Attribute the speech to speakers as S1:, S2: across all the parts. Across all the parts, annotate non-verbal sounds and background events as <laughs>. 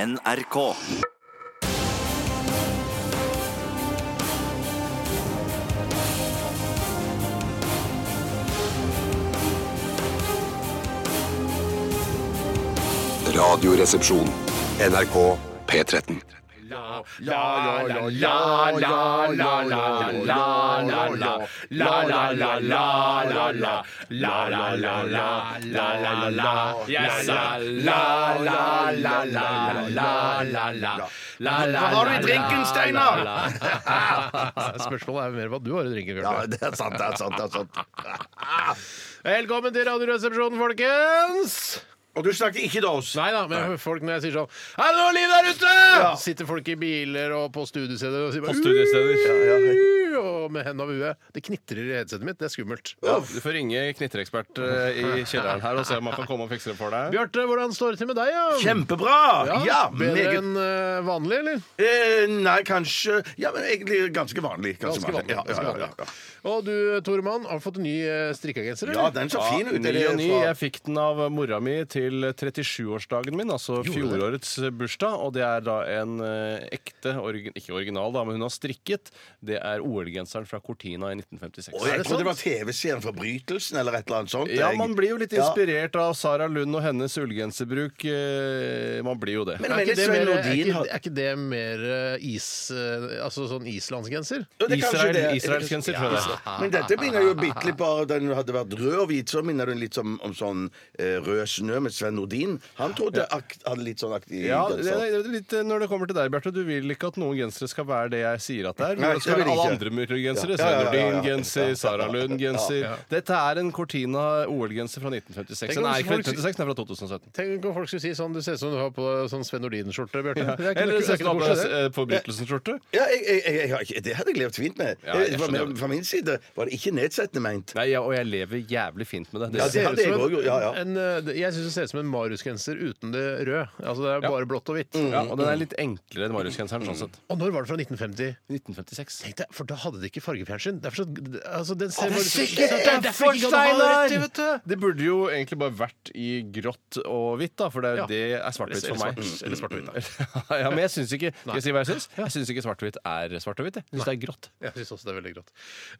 S1: NRK.
S2: Radioresepsjon. NRK P13.
S3: har du i drinken, Steinar?
S4: <laughs> Spørsmålet er mer hva du har i drinken,
S3: Ja,
S4: Bjørte.
S3: det er sant, det er sant. det er sant
S4: <laughs> Velkommen til Radioresepsjonen, folkens!
S3: Og du snakker ikke til oss.
S4: Nei da, men folk når jeg sier sånn Er det noe liv der ute?! Sitter folk i biler og på studiesteder og sier bare
S5: På studiesteder.
S4: «Uh», Og med hendene over huet. Det knitrer i headsetet mitt. Det er skummelt.
S5: Du får ringe knitreekspert eh, i kjelleren her og se om han kan komme og fikse det for deg.
S4: Bjarte, hvordan står det til med deg? Ja?
S3: Kjempebra! Ja,
S4: Bedre
S3: meget.
S4: enn eh, vanlig, eller?
S3: Eh, nei, kanskje Ja, men egentlig ganske vanlig. Ganske
S4: Ganske
S3: vanlig.
S4: vanlig.
S3: Ja,
S4: ganske
S3: ja, ja,
S4: vanlig.
S3: ja.
S4: Og du, Toremann, har fått en ny eh, strikkegenser,
S3: ja, den så fin altså. ut.
S5: Ny
S3: eller?
S5: og ny.
S3: Fra-
S5: Jeg fikk den av mora mi til 37-årsdagen min, altså fjorårets bursdag. Og det er da en eh, ekte, orgi- ikke original, da, men hun har strikket. Det er OL-genseren fra Cortina i 1956.
S3: Og jeg
S4: det
S3: trodde det var
S4: sant?
S3: TV-serien Forbrytelsen eller et eller annet sånt.
S5: Ja,
S3: jeg.
S5: man blir jo litt
S3: Ja.
S5: inspirert av Sara Lund og hennes ullgenserbruk. eh, Man blir jo det.
S3: Men-
S4: Er ikke, det
S3: Svein
S4: mer, er,
S3: Nordin
S4: ikke,
S3: sånn har-
S4: er ikke det mer eh, is... eh, Altså sånn islandsgenser?
S3: Jo, det er kanskje
S5: Israel,
S3: det.
S5: Israelsgenser, tror jeg det er.
S3: Men dette minner jo bitte litt på Den hadde vært rød og hvit, så minner den litt som, om sånn eh, rød snø med Sven Nordin. Han trodde ak hadde litt sånn aktig
S5: Ja,
S3: genser.
S5: det er litt, eh, Når det kommer til deg, Bjarte, du vil ikke at noen gensere skal være det jeg sier at det er.
S3: Nei,
S5: Men det skal
S3: det vil
S5: være alle
S3: jeg ikke.
S5: andre murgensere.
S3: Ja, ja, ja, ja, ja.
S5: Sennerdin-genser, Sara Lund-genser.
S4: Ja.
S5: Dette er en Cortina OL-genser fra 1956.
S4: Tenk
S5: Den
S4: om
S5: er ikke fra
S4: folk-
S5: 1956, den er fra 2017.
S4: Tenk om folk skulle si sånn Du ser ut som du har på deg sånn Sven Nordin-skjorte, Bjarte. Det er ikke-
S5: Eller
S4: det er
S5: ser
S4: ikke
S5: du
S4: noe
S5: på Eh,
S4: koselig, det.
S5: deg forbrytelsen-skjorte?
S3: Ja, jeg, jeg, jeg, har ikke- det hadde jeg levd fint med.
S5: Ja, jeg
S3: Eh, fra,
S5: skjønner
S3: min-
S5: det.
S3: fra min side var det ikke nedsettende meint.
S5: Nei, ja, og jeg lever jævlig fint med det.
S3: Ja,
S5: det.
S3: det
S5: ser-
S3: hadde jeg
S4: som en-
S3: også, ja, ja.
S4: en, eh, jeg syns det ser ut som en Marius-genser uten det røde. Altså det er
S5: Ja. Mm.
S4: bare blått og hvitt.
S5: Ja, og den er litt enklere enn Marius-genseren. Sånn sett.
S4: Og når var det fra 1950?
S5: Mm. 1956.
S4: Tenk deg, for da hadde de ikke fargefjernsyn. Derfor så, altså, den ser
S5: Det
S4: bare
S5: er
S4: ut som-
S5: sikkert
S4: Det er derfor ikke gammel rett i, vet du.
S5: Det burde jo egentlig bare vært i grått og hvitt, da, for det er,
S4: Ja.
S5: det er svart-hvitt for
S4: Eller
S5: meg. Mm.
S4: svart- eller svart-hvitt,
S5: <laughs> ja, men jeg syns ikke Skal jeg si hva jeg syns? Jeg syns ikke svart-hvitt er svart-hvitt. Jeg syns det er grått.
S4: Jeg syns også det er veldig grått.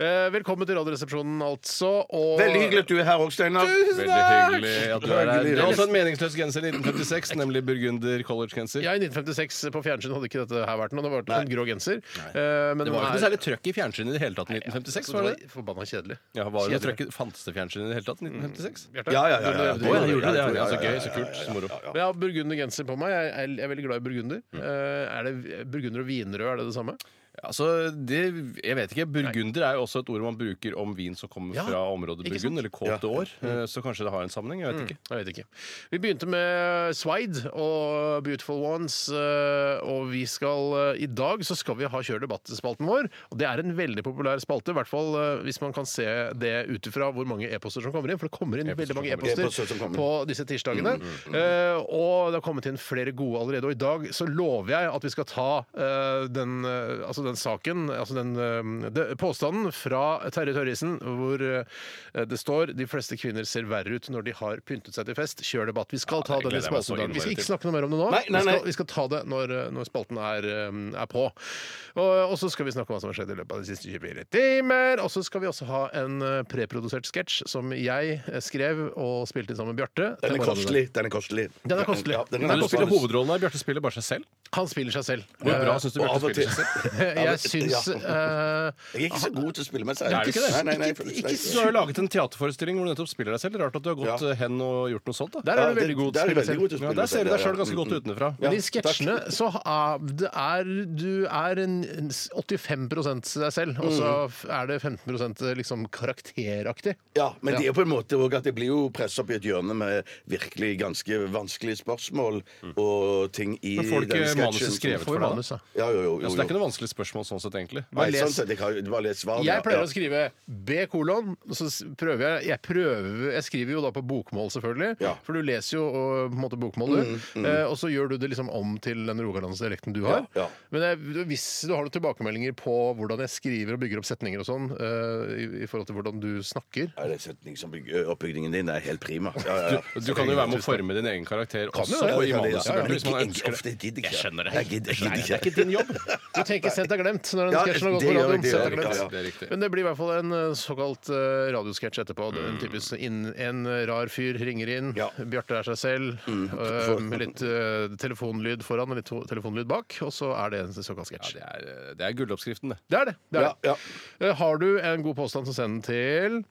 S4: Eh, velkommen til Radioresepsjonen, altså. Og
S3: Veldig hyggelig at du er her òg, Steinar.
S5: Veldig hyggelig at du er her.
S3: Hyggelig.
S5: Det er også en meningsløs genser i 1956, nemlig burgunder collegegenser.
S4: Ja, I 1956 på fjernsyn hadde ikke dette her vært noe. Det var en grå genser. Eh, men
S5: Det
S4: nå
S5: var ikke noe
S4: er-
S5: særlig trøkk i fjernsynet i det hele tatt i 1956, var det det?
S4: var forbanna kjedelig.
S5: Ja, var det noe
S4: Kjedelig.
S5: trøkk, Fantes det fjernsyn i det hele tatt i 1956?
S4: Bjarte?
S3: Ja, ja, ja, ja, ja.
S4: Du-
S5: Å, ja,
S4: du-
S5: gjorde det.
S3: Ja,
S5: Ja,
S3: ja,
S5: så
S3: ja,
S5: gøy,
S3: ja,
S5: så kult, så moro.
S4: Men Jeg har burgundergenser på meg. Jeg er, jeg er veldig glad i burgunder.
S5: Mm.
S4: Eh, er det burgunder og vinrød, er det det samme?
S5: Altså, det, jeg vet ikke, Burgunder er jo også et ord man bruker om vin som kommer
S4: Ja,
S5: fra området Burgund,
S4: ikke sant?
S5: eller kåte år. Eh, Så kanskje det har en sammenheng. jeg vet ikke.
S4: Jeg vet ikke. Vi begynte med Swide og Beautiful Ones, eh, og vi skal eh, i dag så skal vi ha Kjør debatt-spalten vår. Og det er en veldig populær spalte, i hvert fall eh, hvis man kan se det ut ifra hvor mange e-poster som kommer inn, for det kommer inn veldig mange
S3: kommer inn.
S4: e-poster
S3: E-poster som kommer
S4: på disse tirsdagene.
S5: Mm,
S4: Eh, og det har kommet inn flere gode allerede, og i dag så lover jeg at vi skal ta eh, den, eh, altså den saken, altså den eh, de, påstanden fra Terje Tørrisen, hvor eh, det står de fleste kvinner ser verre ut når de har pyntet seg til fest. Kjør debatt. Vi skal ta
S5: det
S4: den i
S5: gleder jeg meg så
S4: spalten. i dag. Vi
S5: innmari
S4: skal ikke
S5: til.
S4: snakke noe mer om det nå.
S3: Nei, nei,
S4: Vi,
S3: nei.
S4: skal, vi skal ta det når, eh, når spalten er, eh, er på. Og, og så skal vi snakke om hva som har skjedd i løpet av de siste 24 timer. Og så skal vi også ha en eh, preprodusert sketsj som jeg eh, skrev og spilte inn sammen med Bjarte.
S3: Den er
S4: Til morgenen.
S3: kostelig. Den er kostelig.
S4: Den er kostelig.
S3: Ja, den er
S5: Men du spiller
S3: kostelig.
S5: hovedrollen her. Bjarte spiller bare seg selv.
S4: Han spiller seg selv.
S5: Hvor bra syns du
S3: Og av
S5: Bjarte
S3: og til
S5: spiller seg selv?
S4: Eh, <laughs> Jeg syns
S3: Ja.
S4: eh,
S3: Jeg er ikke så god til å spille med seg.
S5: Er du ikke det?
S3: Nei, nei, nei, jeg føler
S5: Ikke,
S3: meg
S5: ikke, du har jo laget en teateforestilling hvor du nettopp spiller deg selv. Rart at du har gått
S3: Ja.
S5: eh, hen og gjort noe sånt. da.
S4: Der er du
S3: Ja,
S4: veldig
S3: det-
S4: god
S3: der er du
S4: til å spille
S3: veldig
S4: selv.
S3: god til
S5: Ja,
S3: å spille
S5: der ser du deg
S3: ja,
S5: sjøl ganske
S3: ja. Mm.
S5: godt utenfra.
S3: Ja.
S4: Men I sketsjene så er, det er du er en 85 deg selv, og
S3: Mm.
S4: så er det 15 liksom karakteraktig.
S3: Ja, men det er jo på en måte også at jeg blir jo pressa opp i et hjørne med virkelig ganske vanskelige spørsmål og ting
S5: Mm.
S3: i
S5: Men får du
S3: den
S5: ikke manuset skrevet
S4: Får
S5: for
S4: jo
S5: deg? da?
S4: manus, da.
S3: Ja, jo, jo,
S5: Ja,
S3: jo,
S5: så det er ikke
S3: jo.
S5: noe vanskelig spørsmål sånn sett, egentlig.
S3: Nei,
S4: les.
S3: sånn sett, jeg har bare lest svarene.
S4: Jeg pleier
S3: ja.
S4: å skrive B kolon, og så s- prøver jeg Jeg prøver, jeg skriver jo da på bokmål, selvfølgelig,
S3: Ja. Mm,
S4: for du leser jo og, på en måte bokmål, du. Eh, og så gjør du det liksom om til den rogalandsdialekten du har.
S3: Ja, ja.
S4: Men jeg, hvis du har noen tilbakemeldinger på hvordan jeg skriver og bygger opp setninger og sånn, eh, i, i forhold til hvordan du snakker
S3: Ja, det er setning som bygg- Oppbygningen din er helt prima. Ja, ja, ja.
S5: Du kan jo være med å forme din egen karakter også
S4: jo det,
S5: på- i
S3: Ja,
S5: manuset,
S3: det- ja, ja.
S5: selvfølgelig, hvis man
S3: Jeg
S5: ønsker
S3: gidder
S5: det.
S3: ikke.
S5: Jeg skjønner det.
S3: Jeg gidder jeg
S5: Nei,
S3: gidder ikke.
S5: det er ikke din jobb.
S4: Du tenker 'sett er glemt' når den
S3: Ja,
S4: sketsjen har gått
S3: det
S4: på
S3: gjør
S4: radioen.
S3: det,
S4: Sett er
S3: det er
S4: glemt.
S3: riktig,
S5: det er riktig.
S4: Men det blir i hvert fall en eh, såkalt eh, radiosketsj etterpå. Det er en typisk inn, en rar fyr ringer inn,
S3: Mm. Ja. Mm.
S4: Bjarte er seg selv, eh, med litt eh, telefonlyd foran og litt to- telefonlyd bak, og så er det en såkalt sketsj.
S5: Det er, eh, det er gulloppskriften, det.
S4: det er det. det, er
S3: Ja, ja.
S4: det. Eh, Har du en god påstand, så send den til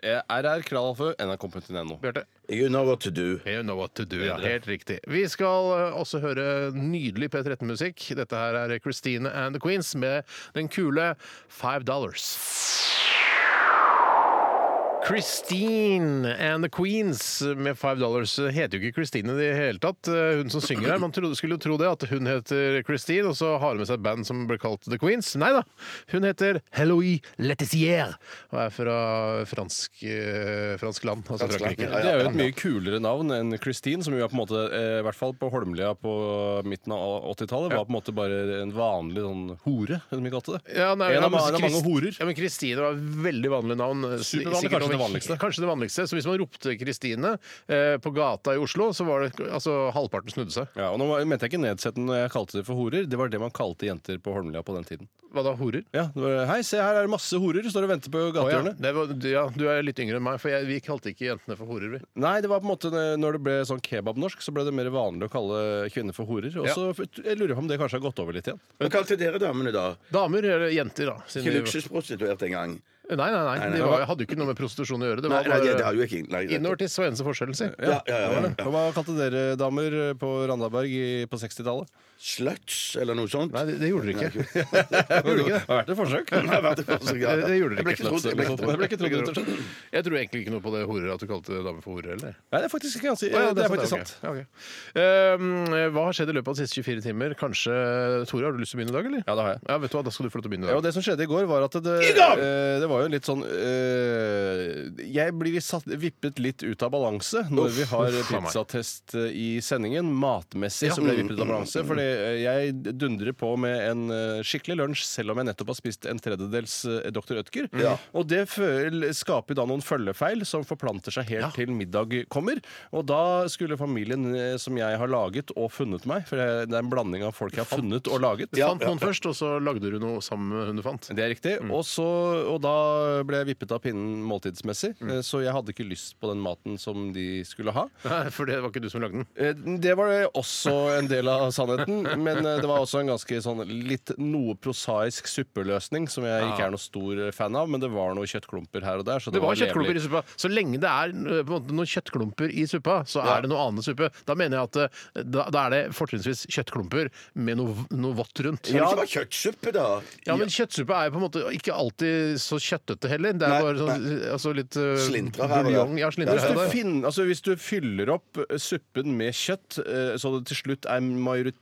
S5: Eh, rr.nrk.no.
S4: Bjarte.
S3: You know what to do.
S4: You know what to do. Ja, helt riktig. Vi skal eh, også høre nydelig P13-musikk. Dette her er Christine and the Queens med den kule Five Dollars. Christine and the Queens med Five Dollars heter jo ikke Christine i det hele tatt. eh, Hun som synger her. Man trodde, skulle jo tro det, at hun heter Christine, og så har hun med seg et band som ble kalt The Queens. Nei da. Hun heter Heloï Letizier og er fra fransk, eh, fransk land, altså
S3: Fransk land,
S4: Frankrike.
S3: ja,
S5: Det er jo et mye kulere navn enn Christine, som jo er på en måte, eh, i hvert fall på Holmlia på midten av 80-tallet, var på en måte bare en vanlig sånn hore, som vi kalte det.
S4: Ja, nei,
S5: en av
S4: men
S5: mange, mange
S4: Krist-
S5: horer.
S4: Ja, men Kristine var et veldig vanlig navn. eh,
S5: Supervanlig,
S4: Sikkert
S5: kanskje det
S4: over-
S5: vanligste.
S4: Kanskje det vanligste. Så hvis man ropte Kristine eh, på gata i Oslo, så var det altså halvparten snudde seg.
S5: Ja, og nå mente jeg ikke nedsettende når jeg kalte det for horer, det var det man kalte jenter på Holmlia på den tiden.
S4: Hva da, horer?
S5: Ja, det var, Hei, se her er det masse horer, står og venter på
S4: Å, ja.
S5: gatehjørnet.
S4: Det var, ja, du er litt yngre enn meg, for jeg, vi kalte ikke jentene for horer, vi.
S5: Nei, det var på en måte eh, når det ble sånn kebabnorsk, så ble det mer vanlig å kalle kvinner for horer. Og
S4: Ja.
S5: så f- jeg lurer jeg på om det kanskje har gått over litt igjen.
S3: Hva kalte dere damene da?
S4: Damer eller jenter, da. siden
S3: Ikke
S4: vi-
S3: luksusprostituert engang.
S4: Nei, nei, nei.
S3: nei,
S4: de
S3: det
S4: var,
S3: var-
S4: hadde jo ikke noe med prostitusjon å gjøre. Det
S3: Nei,
S4: var
S3: nei, det det har
S4: bare
S3: jo ikke nei, det-
S4: innovertiss var eneste forskjellen, si.
S3: Ja, ja, ja, ja.
S5: Hva kalte dere damer på Randaberg i, på 60-tallet?
S3: Sluts eller noe sånt.
S4: Nei, det, det gjorde dere ikke.
S5: Det
S4: <laughs>
S5: har vært et forsøk.
S3: <laughs> Nei, vent, det var så
S4: Det,
S3: galt.
S4: det gjorde
S3: Jeg
S4: dere
S3: ble ikke
S4: ikke.
S3: trodd, jeg ble ikke trodd.
S5: Det ble ikke trodd, rett og slett.
S4: <laughs> Jeg tror egentlig ikke noe på det horer, at du kalte damer for horer, eller?
S5: Nei, det er faktisk ikke ganske,
S4: Å, ja,
S5: det er
S4: sant,
S5: faktisk
S4: ja, ok.
S5: sant.
S4: Ja, ok. Ehm, hva har skjedd i løpet av de siste 24 timer? Kanskje, Tore, har du lyst til å begynne i dag, eller?
S5: Ja, det har jeg.
S4: Ja, vet du hva, Da skal du få lov til å begynne. i
S5: Ja,
S4: dag
S5: og Det som skjedde i går, var at det,
S3: I gang!
S5: eh, det var jo litt sånn eh, Jeg blir satt, vippet litt ut av balanse når vi har
S4: uff, faen meg.
S5: pizzatest eh, i sendingen. Matmessig
S4: Ja. Mm,
S5: så ble jeg vippet ut av balanse. Fordi eh, jeg dundrer på med en eh, skikkelig lunsj, selv om jeg nettopp har spist en tredjedels eh, Dr. Ødker. Og det føl- skaper da noen følgefeil som forplanter seg helt til middag kommer. Og da skulle familien eh, som jeg har laget og funnet meg, for det er en blanding av folk jeg har funnet og laget
S4: Du fant noen først, og så lagde du noe sammen med hun du <laughs> fant.
S5: det er riktig.
S4: Mm.
S5: Og, så, og da ble jeg vippet av pinnen måltidsmessig,
S4: Mm.
S5: eh, så jeg hadde ikke lyst på den maten som de skulle ha.
S4: Nei, For det var ikke du som lagde den.
S5: Eh, Det var det også en del av
S4: <laughs>
S5: sannheten, men eh, det var også en ganske sånn litt noe prosaisk suppeløsning som jeg ikke er noe stor fan av, men det var noen kjøttklumper her og der. Så det,
S4: Det var kjøttklumper
S5: levelig.
S4: i suppa. Så lenge det er eh, på en måte, noen kjøttklumper i suppa, så er det noe annet suppe. Da mener jeg at eh, da, da er det fortrinnsvis kjøttklumper med noe, noe vått rundt.
S3: Kan det ikke være kjøttsuppe, da?
S4: Ja, men kjøttsuppe er jo på en måte ikke alltid så kjøttete heller. Det er
S3: Nei,
S4: bare sånn, altså litt uh,
S3: Slintrer her og der.
S4: Ja, slintrer her
S5: Hvis
S4: og
S5: du,
S4: der.
S5: finner, altså hvis du fyller opp eh, suppen med kjøtt, eh, så det til slutt er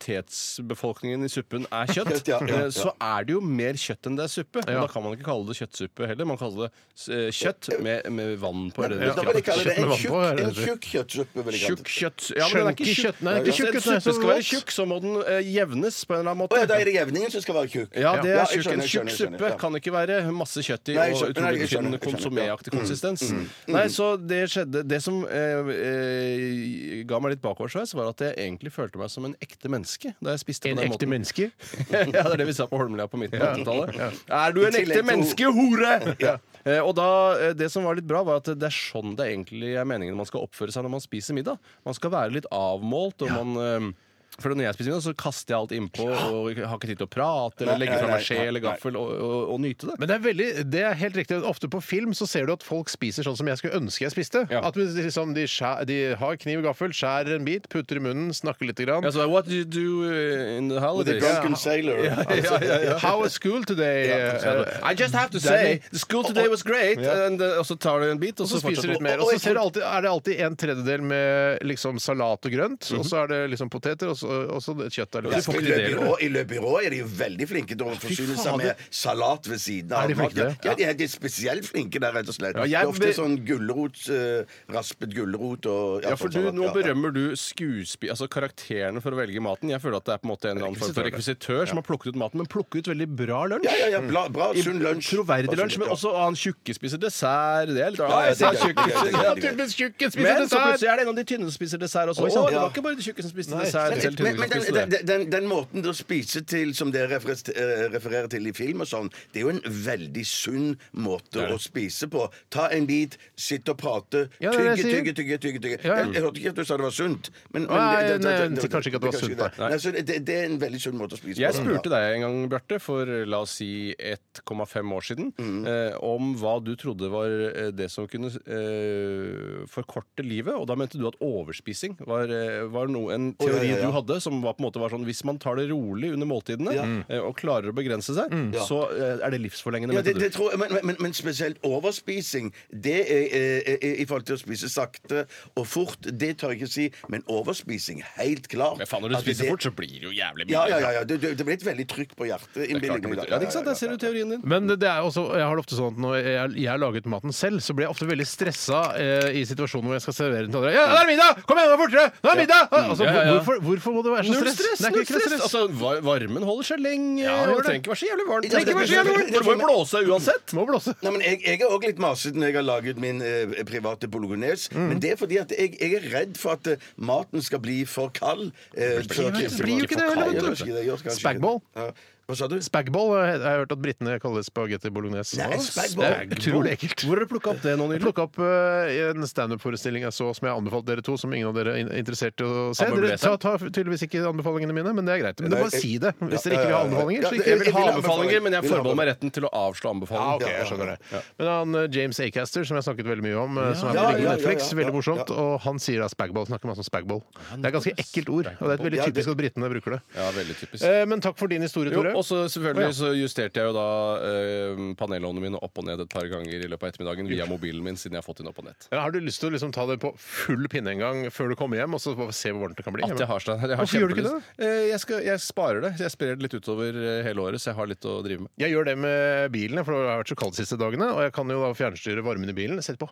S5: majoritetsbefolkningen i suppen er kjøtt,
S3: Kjøtt, ja, ja,
S5: eh,
S3: ja.
S5: så er det jo mer kjøtt enn det er suppe. Men
S4: Ja.
S5: Da kan man ikke kalle det kjøttsuppe heller. Man kaller det eh, kjøtt med, med vann på. Eller,
S3: Men Da vil jeg kalle det
S4: Kjøtt
S3: en tjukk
S4: med vann på, er det
S3: en
S4: det?
S3: tjukk kjøttsuppe. vil jeg kalle
S5: Tjukk
S3: det.
S5: kjøtt. Ja, men den er ikke
S4: Chunky
S5: tjukk.
S4: kjøtt. Nei, det er ikke
S5: Hvis
S4: tjukk,
S5: en
S4: nei, så
S5: suppe skal være
S4: godt.
S5: tjukk, så må den eh, jevnes på en eller annen
S3: Å ja, da
S5: måte.
S3: er det jevningen som skal være tjukk.
S5: Ja, det er
S3: jeg
S5: tjukk. En
S3: skjønner,
S5: tjukk
S3: jeg skjønner,
S5: suppe
S3: ja.
S5: kan ikke være masse kjøtt i
S3: Nei, jeg
S5: og
S3: skjønner, nei,
S5: utrolig tynn
S3: jeg skjønner, jeg skjønner, ja. Mm,
S5: konsoméaktig konsistens. Nei, så det skjedde Det som eh, eh, ga meg litt bakoversveis, var at jeg egentlig følte meg som en ekte menneske da jeg spiste
S4: En
S5: på den
S4: ekte
S5: måten.
S4: menneske?
S5: <laughs> ja, det er det vi sa på Holmlia på midten av 80-tallet. Er du
S3: I
S5: en
S3: tillegg
S5: ekte
S3: til-
S5: menneske, hore?! Eh, Og da, eh, Det som var litt bra, var at det er sånn det egentlig er meningen man skal oppføre seg når man spiser middag. Man skal være litt avmålt, og man eh, for når jeg spiser middag, så kaster jeg alt innpå og har ikke tid til å prate eller
S3: Nei,
S5: legge fra
S3: nei,
S5: meg skje
S3: nei,
S5: eller
S3: nei.
S5: gaffel og, og, og nyte det.
S4: Men det er, veldig, det er helt riktig. Ofte på film så ser du at folk spiser sånn som jeg skulle ønske jeg spiste.
S5: Ja.
S4: At de liksom, de, skjæ, de har kniv og gaffel, skjærer en bit, putter i munnen, snakker lite grann.
S5: Altså, what do you do uh, in the
S3: With a
S5: holidays?
S3: drunken sailor. Altså,
S4: <laughs> How was school today? Eh,
S5: Altså, I just have to say, the school today was great and, uh, Og så tar du en bit, og
S4: Og så
S5: så
S4: spiser du
S5: fortsetter
S4: litt
S5: du.
S4: mer. Og så ser du alltid, er det alltid en tredjedel med liksom salat og grønt, og så er det liksom poteter, og så også, også et kjøtt der.
S3: Ja,
S5: får
S3: I
S5: ikke det,
S3: løbyrå- i Le Byrå er de jo veldig flinke til å forsyne seg med salat ved siden av.
S4: Er de flinke til det?
S3: maten. Ja, de er, de er spesielt flinke der, rett og slett.
S5: Ja, jeg
S3: det er ofte
S5: be-
S3: sånn gulrot, eh, raspet gulrot og
S5: Ja, for
S3: sånn
S5: du,
S3: salat,
S5: Nå
S3: ja.
S5: berømmer du skuespill, altså karakterene for å velge maten. Jeg føler at det er på en måte en eller annen form for rekvisitør som har plukket ut maten, men plukket ut veldig bra lunsj.
S3: Ja, ja, ja, bra, bra sunn lunsj.
S5: Troverdig
S3: Bra, sunn
S5: lunsj, men
S3: ja.
S5: også annen tjukkespiser dessert. Det er litt
S3: Ja, ja, det er
S5: Ah,
S3: gøy, det er gøy, det er gøy.
S5: Ja,
S4: Typisk tjukken spiser
S5: Men så
S4: dessert!
S5: plutselig er det en av de tynne som spiser dessert også.
S3: Oi,
S5: Å,
S3: sant.
S5: det
S3: Ja.
S5: var ikke bare de tjukke som spiste
S4: Nei.
S5: dessert.
S3: Men,
S5: Selv
S3: men,
S5: tynne
S3: men den,
S5: spiste
S3: den,
S5: det.
S3: den, den måten dere spiser til som dere referer- eh, refererer til i film og sånn, det er jo en veldig sunn måte å spise på. Ta en bit, sitt og prate,
S4: Ja, det er
S3: tygge,
S4: det jeg
S3: tygge, tygge. tygge, tygge.
S4: Ja, ja.
S3: Jeg, jeg hørte ikke at du sa det var sunt. Men, men,
S4: Nei,
S3: det- det-
S4: nei,
S3: det- det-
S4: jeg tror kanskje ikke at det var sunt,
S3: det.
S4: nei.
S3: Nei, så det, det er en veldig sunn måte å spise
S5: Jeg
S3: på.
S5: spurte deg en gang, Bjarte, for eh, la oss si 1,5 år siden,
S3: Mm.
S5: eh, om hva du trodde var eh, det som kunne eh, forkorte livet. Og da mente du at overspising var, eh, var noe, en
S3: ja,
S5: teori
S3: ja, ja.
S5: du hadde, som var på en måte var sånn hvis man tar det rolig under måltidene
S4: Mm.
S5: eh, og klarer å begrense seg, så eh, er det livsforlengende,
S3: Ja, det,
S5: mente
S3: det
S5: du.
S3: tror jeg, men, men, men spesielt overspising Det er, er, er, I forhold til å spise sakte og fort, det tør jeg ikke si, men overspising, helt klart.
S5: Men faen, når du
S3: At
S5: spiser
S3: det-
S5: fort, så blir det jo jævlig mye.
S3: Ja, ja, ja, ja. Det, det, det blir et veldig trykk på hjertet.
S5: Det er klart
S3: innbiller
S5: det
S3: jeg meg
S5: blir-
S3: da.
S5: Ja, ikke sant? Der ser du teorien din.
S4: Men det er jo også, jeg har det ofte sånn at når jeg, jeg har laget maten selv, så blir jeg ofte veldig stressa eh, i situasjonen hvor jeg skal servere den til andre. Ja, det er middag! Kom igjen, nå er det fortere! Nå er det middag! Altså,
S5: Ja, ja, ja.
S4: Hvorfor, hvorfor må det være så
S5: Null
S4: stress?
S5: stress!
S4: Det er
S5: Null
S4: ikke
S5: stress.
S4: stress.
S5: Altså, var- varmen holder seg lenge.
S4: Ja, gjør
S5: og det
S4: det.
S5: trenger ikke være så jævlig varmt.
S3: Ja, det-
S5: Trenger ikke være så jævlig varmt, For det må jo blåse uansett.
S4: Må blåse.
S3: Nei, men jeg, jeg er òg litt masete når jeg har laget min eh, private bolognese.
S4: Mm.
S3: Men det er fordi at jeg, jeg er redd for at eh, maten skal bli for kald. Eh, før
S4: blir jo
S3: kristemål.
S4: ikke det heller, vet
S3: Nei, jeg
S4: du.
S3: gjør ikke det, jeg gjør kanskje ikke det.
S4: Spagball?
S3: Ja. Hva sa du?
S4: Spagball eh, jeg har hørt at britene kaller det spagetti bolognese.
S3: Nei,
S4: Hva?
S3: spagball.
S4: Det er utrolig ekkelt.
S5: Hvor har du plukka opp det nå
S4: Jeg
S5: nylig?
S4: plukka opp eh, en standup-forestilling jeg så som jeg anbefalte dere to, som ingen av dere er in- interessert i å se.
S5: Han burde
S4: Dere
S5: lese
S4: tar tar tydeligvis ikke anbefalingene mine, men det er greit. Men
S3: Nei,
S4: bare
S3: jeg-
S4: si det hvis dere
S3: Ja, ja,
S4: ikke vil ha
S3: ja, ja.
S4: anbefalinger.
S3: Ja,
S4: Så
S3: det-
S4: ikke
S5: Jeg vil ha
S3: Vil ha
S5: anbefalinger, men jeg
S3: Vil ha
S5: forbeholder meg retten til å avslå
S4: Ja, ok,
S5: anbefalinger.
S4: jeg skjønner det. Men han eh, James Acaster, som jeg har snakket veldig mye om, eh, som er
S3: Ja,
S4: på ligge
S3: ja, ja,
S4: Netflix,
S3: ja, ja,
S4: veldig morsomt,
S3: ja.
S4: og han sier da spagball. Snakker masse om spagball. Det er ganske ekkelt ord, og det er veldig
S3: Ja, det-
S4: typisk at britene bruker det.
S5: Ja, veldig typisk.
S4: Eh, Men takk for din historie,
S5: Jo,
S4: Tore.
S5: og så
S4: Å, ja.
S5: selvfølgelig så justerte jeg jo da eh, panelovnene mine opp og ned et par ganger i løpet av ettermiddagen via mobilen min, siden jeg har fått inn opp og ned.
S4: Ja, Har du lyst til å liksom ta det på full pinne en gang før du kommer hjem, og så bare se hvor varmt det kan bli?
S5: At jeg har, Stein, jeg har
S4: Hvorfor gjør du ikke
S5: kjempelyst. Eh, Jeg, skal, jeg sparer det. Jeg sprer det litt utover eh, hele året, så jeg har litt å drive med.
S4: Jeg gjør det med bilen, for det har vært så kaldt de siste dagene. Og jeg kan jo da fjernstyre varmen i bilen, sette på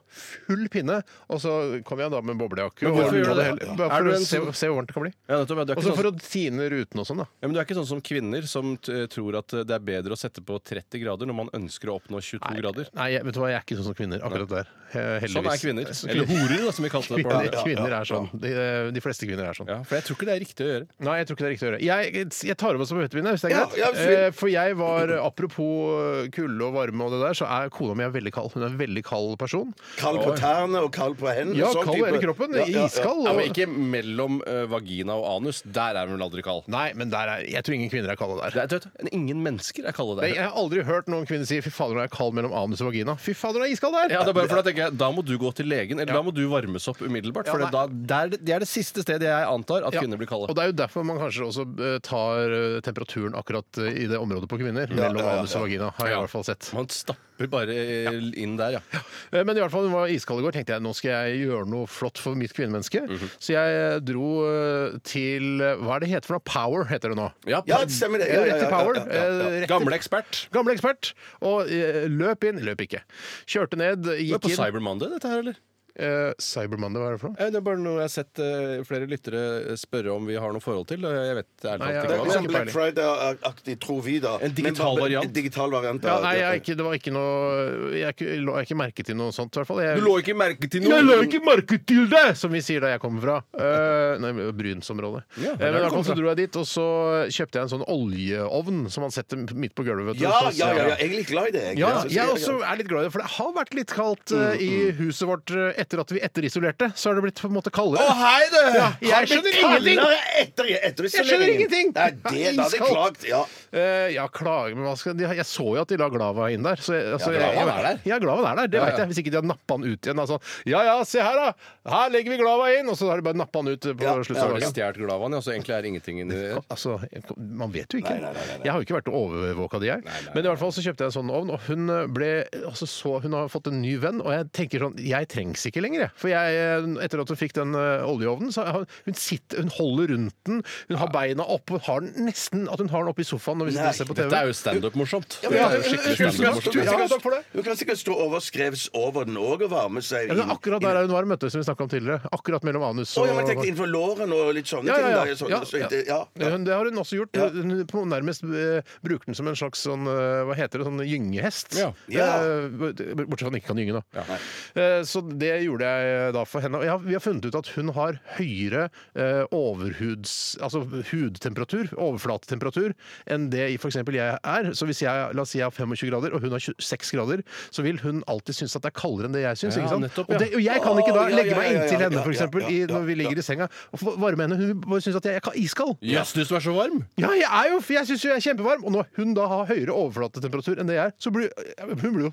S4: full pinne, og så kommer jeg da med boblejakke. og
S5: hvorfor
S4: ordner
S5: gjør du
S4: det
S5: det?
S4: hele-
S5: Ja.
S4: Bare
S5: Er
S4: for
S5: du
S4: å
S5: en
S4: se,
S5: som-
S4: se hvor varmt det kan bli.
S5: Ja, nettopp, ja, du er
S4: Og
S5: ikke
S4: så
S5: sånn-
S4: for å tine rutene og sånn, da.
S5: Ja, men Du er ikke sånn som kvinner som t eh, tror at det er bedre å sette på 30 grader når man ønsker å oppnå 22 grader.
S4: Nei, jeg, vet du hva, jeg er ikke sånn som kvinner akkurat der. Eh, Heldigvis.
S5: Sånn er kvinner. Eller horer, da, som vi kalte det. på
S4: Kvinner,
S5: ordentlig.
S4: kvinner er sånn. De, de fleste kvinner er sånn.
S5: Ja, for jeg tror ikke det er riktig å gjøre.
S4: Nei, jeg tror ikke det er riktig å gjøre. Jeg, jeg tar over som høytvinner, hvis det er
S3: Ja,
S4: greit.
S3: ja, fint.
S4: Eh, for jeg var, <laughs> apropos eh, kulde og varme og det der, så er kona mi er veldig kald. Hun er en veldig kald person.
S3: Kald på tærne og kald på hendene.
S4: Ja,
S3: sånn
S4: kald i
S3: type-
S4: hele kroppen.
S3: Ja, ja, ja.
S4: Iskald.
S5: Ja,
S4: og-
S5: men ikke mellom eh, vagina og anus. Der er hun vel aldri kald.
S4: Nei, men der er, jeg tror ingen kvinner er kalde der.
S5: Det er, vet du, ingen mennesker er kalde
S4: Nei,
S5: der.
S4: Jeg har aldri hørt noen kvinner si 'fy fader, nå er jeg kald mellom anus og vagina'. Fy fader, nå er jeg iskald der!
S5: Ja, det er bare for Da tenker jeg, da må du gå til legen, eller da må du varmes opp umiddelbart. For
S4: Ja,
S5: da, det, er det, det er det siste stedet jeg antar at
S4: Ja,
S5: kvinner blir kalde.
S4: Og det er jo derfor man kanskje også eh, tar eh, temperaturen akkurat eh, i det området på kvinner. mellom
S3: ja, ja,
S4: anus og vagina, har jeg
S5: Ja.
S4: i hvert fall sett.
S5: Man stapper bare eh, inn der, ja.
S4: Eh, Men i hvert fall, hun var iskald i går. tenkte jeg nå skal jeg gjøre noe flott for mitt kvinnemenneske.
S3: Mhm.
S4: Så jeg dro eh, til eh, Hva er det heter for noe? Power heter det nå.
S5: Ja,
S3: Ja, det stemmer det.
S4: Eh,
S3: Ja, ja,
S4: Rett
S3: ja, ja,
S4: til Power.
S3: ja, ja.
S4: eh, rett til-
S5: Gamle ekspert.
S4: Gamle ekspert. Og eh, løp inn. Løp ikke. Kjørte ned,
S5: Du er
S4: gikk
S5: på
S4: inn.
S5: Cyber Monday, dette her, eller?
S4: Eh, Cybermandag, hva er det for noe?
S5: Eh, Det er bare noe jeg har sett eh, flere lyttere spørre om vi har noe forhold til. og Jeg vet ærlig
S4: Nei,
S5: talt ikke
S4: jeg-
S5: hva det
S3: Det er litt
S5: er.
S3: sånn Black Friday-aktig, tror vi, da.
S5: En digital
S3: Men bare-
S5: variant.
S3: Digital variant
S4: Ja,
S3: da. sånn-
S4: nei, jeg, er ikke, det var ikke noe Jeg ikke- la ikke merke til noe sånt, i hvert fall. Jeg,
S5: Du lå ikke merke til noe?
S4: jeg la ikke merke til det! Som vi sier der jeg kommer fra. Eh, nei, Brynsområdet.
S5: Ja,
S4: Eh,
S5: der du
S4: men i hvert fall
S5: kommer
S4: så
S5: fra.
S4: dro jeg dit, og så kjøpte jeg en sånn oljeovn som man setter midt på gulvet. vet du,
S3: Ja,
S4: så-
S3: ja, ja, ja. Jeg er litt glad i det. jeg. Altså,
S4: Ja,
S3: synes
S4: jeg
S3: det er
S4: også er litt glad i det, for det har vært litt kaldt eh, i huset vårt eh, etter at vi etterisolerte. Så har det blitt på en måte kaldere.
S5: hei, du!
S4: Ja, jeg
S5: Har
S4: skjønner
S5: blitt
S4: ingenting.
S5: kaldere.
S3: Kaldere etter, etter
S4: Jeg skjønner ingenting!
S3: Nei, det, da hadde jeg
S4: Iskaldt.
S3: klagt. Ja.
S4: Eh, ja, klager, men hva skal de ha? Jeg så jo at de la Glava inn der. Så jeg, altså,
S5: Ja, Glava
S4: jeg,
S5: er der.
S4: Ja, Glava er der, det vet jeg. Hvis ikke de hadde nappa han ut igjen. Altså, ja ja, se her, da! Her legger vi Glava inn! Og så har de bare nappa han ut på
S3: Ja,
S5: Jeg
S4: slutten
S5: har
S4: av
S5: vel
S4: dagen.
S5: stjålet Glavan, ja, så egentlig er ingenting inni det.
S4: Altså, jeg- Man vet jo ikke. Jeg har jo ikke vært overvåka, de jeg. Men i hvert fall så kjøpte jeg en sånn ovn, og hun ble altså, så, Hun har fått en ny venn, og jeg tenker sånn Jeg trengs ikke lenger, jeg. For jeg, etter at hun fikk den eh, oljeovnen, så har- hun sitter Hun holder rundt den, hun har beina oppe, har den nesten at hun har den oppe i sofaen når vi sitter og ser på TV.
S5: Dette er jo standup-morsomt.
S4: Ja, men
S5: Dette
S4: ja,
S5: er jo skikkelig
S4: tusen takk,
S5: standup-morsomt.
S4: tusen takk for det.
S3: Du kan sikkert stå overskrevs over den òg og varme seg.
S4: Ja, men
S3: inn-
S4: akkurat der er hun varm, vet du, som vi snakka om tidligere. Akkurat mellom anus
S3: Å, ja, men jeg tenkte innenfor låren og litt sånne
S4: Ja, ja,
S3: ting. Da,
S4: ja. Ja,
S3: så, så, ikke-
S4: ja.
S3: ja.
S4: Hun- Det har hun også gjort.
S3: Ja.
S4: Hun på nærmest eh, bruker den som en slags sånn, eh, hva heter det, sånn gyngehest.
S5: Ja.
S3: Ja.
S4: Eh, Bortsett fra at den ikke kan gynge, da. Eh, Så det gjorde jeg eh, da for henne. Og jeg har- vi har funnet ut at hun har høyere eh, overhuds... Altså hudtemperatur, overflatetemperatur, enn det f.eks. jeg er. Så hvis jeg la oss si jeg har 25 grader, og hun har 26 grader, så vil hun alltid synes at det er kaldere enn det jeg syns.
S5: Ja,
S4: ikke sant?
S5: nettopp,
S4: og,
S5: ja.
S4: det, og jeg kan ikke da
S3: Å, ja,
S4: legge
S3: ja,
S4: meg
S3: ja, ja, ja,
S4: inntil henne,
S3: ja,
S4: f.eks.
S3: ja,
S4: i-
S3: ja,
S4: når vi
S3: ja.
S4: ligger i senga, og få varme henne. Hun bare syns at jeg, jeg er iskald.
S5: Jøss, du som er så varm!
S4: Ja, jeg er jo, for jeg syns jo jeg er kjempevarm. Og når hun da har høyere overflatetemperatur enn det jeg er, så blir hun blir jo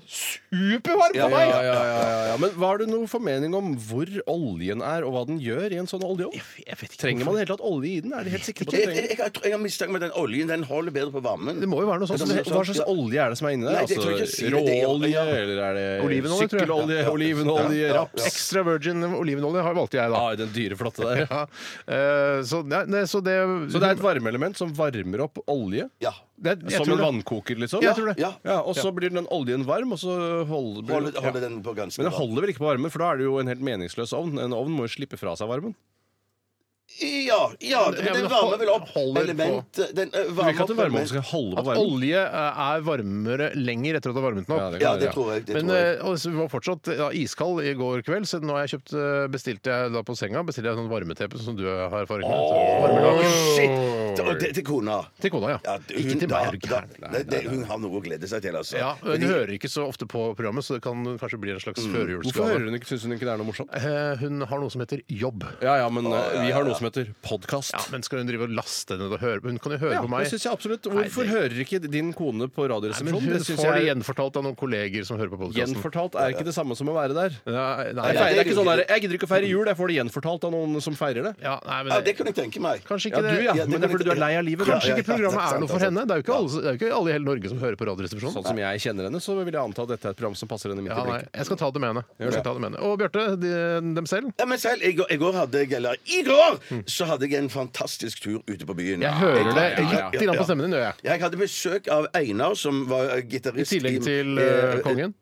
S4: supervarm
S5: Ja,
S4: av
S5: ja,
S4: meg!
S5: ja, ja, ja, ja. Men har du noen formening om hvor oljen er, og hva den gjør i en sånn oljeovn?
S4: Jeg vet ikke
S5: Trenger
S4: hvorfor.
S5: man i det hele tatt olje i den? Er de helt sikre på at de
S3: Jeg, jeg,
S5: trenger
S3: jeg, har- jeg har mistanke om at den oljen den holder bedre på varmen.
S4: Det må jo være noe sånt.
S3: Ja,
S4: som
S3: det
S4: det-
S3: må-
S5: Altså, Hva slags olje er det som er inni der?
S3: Nei, det tror jeg ikke jeg
S5: Altså,
S3: sier det.
S5: råolje,
S3: Ja.
S5: eller er det
S4: Olivenolje, tror jeg.
S5: sykkelolje, olivenolje,
S3: Ja.
S5: raps?
S4: Extra virgin olivenolje har valgte jeg, da.
S5: Ah, Ja, den dyre, flotte der.
S4: Ja. eh, Så, nei, nei, så
S5: <laughs>
S4: det
S5: Så det er et varmeelement som varmer opp olje?
S3: Ja.
S4: det, jeg
S5: Som en
S4: tror det.
S5: vannkoker, liksom?
S4: Jeg tror det.
S3: Ja.
S5: Ja, og så blir den oljen varm, og så holder, blir,
S3: Holder, holder
S5: ja.
S3: den på ganske
S5: Men det
S3: bra.
S5: holder vel ikke på varmen, for da er det jo en helt meningsløs ovn. En ovn må jo slippe fra seg varmen.
S3: Ja, ja, men
S4: Ja, men
S3: den varmer vel opp
S4: holder på.
S3: elementet Den eh,
S5: Du vil
S3: varmer
S5: ikke at en
S3: opp
S5: varmeovn
S3: element-
S5: skal holde på
S4: At
S5: varmen?
S4: olje eh, er varmere lenger etter at du har varmet den opp.
S5: kan
S3: Ja,
S5: være,
S3: det tror jeg. Det
S4: Men
S3: tror jeg.
S4: eh, og så vi var fortsatt ja, iskald i går kveld, så nå har jeg kjøpt, eh, bestilte jeg da på senga bestilte jeg sånn varmeteppe sånn som du har erfaring med. Så varmelager.
S3: Å, shit! Og det til kona.
S4: Til kona, ja.
S3: Ja,
S4: Ikke til meg, er du
S3: da-
S4: gæren?
S3: da- det- det- Hun har noe å glede seg til, altså.
S4: Ja,
S3: Fordi-
S4: hun hører ikke så ofte på programmet, så det kan kanskje bli en slags
S5: Mm. Hvorfor hører
S4: førjulsgave.
S5: hun ikke, syns hun ikke det er noe morsomt?
S4: Eh, Hun har noe som heter jobb.
S5: Ja, ja, men eh, vi har noe som heter podkast.
S4: Ja, men skal hun drive og laste ned og høre Hun kan jo høre
S5: Ja,
S4: på meg.
S5: det syns jeg absolutt. Hvorfor
S4: det-
S5: hører ikke din kone på
S4: Nei, men
S5: Radioresepsjonen?
S4: hun
S5: Det syns
S4: får det
S5: jeg
S4: gjenfortalt av noen kolleger som hører på podkasten.
S5: Gjenfortalt er ikke det samme som å være der.
S4: Nei, nei,
S5: Nei,
S4: nei,
S5: det er ikke sånn der, Jeg gidder ikke å feire jul, jeg får det gjenfortalt av noen som feirer det.
S4: ja, nei,
S3: Ja,
S4: men
S3: det kan jeg tenke meg.
S4: Kanskje
S5: Ja,
S4: ikke
S5: du,
S4: det.
S5: ja.
S3: Ja, det
S5: Men det er
S3: kan
S5: fordi du er lei av livet. da.
S4: Kanskje
S3: Ja, ja,
S4: ikke
S3: ja,
S4: programmet
S3: sant,
S4: er noe for
S3: sant,
S4: henne. Det er jo ikke, alle, det er jo ikke alle i hele Norge som hører på Radioresepsjonen.
S5: Sånn som jeg kjenner henne, så vil jeg anta at dette er et program som passer henne midt
S4: Ja,
S5: i
S4: nei,
S5: blikket.
S4: jeg skal ta det med henne. Jeg skal
S5: det.
S4: ta det med henne. Og Bjarte, de, dem selv?
S3: Ja, men selv, i går, i går hadde jeg, eller i går, så hadde jeg en fantastisk tur ute på byen.
S4: Mm. Jeg hører det
S5: ja, ja.
S4: litt grann på stemmen din, gjør jeg.
S3: Jeg hadde besøk av Einar, som var eh,
S4: I
S3: gitarist
S4: tillegg til
S3: eh,
S4: eh, kongen.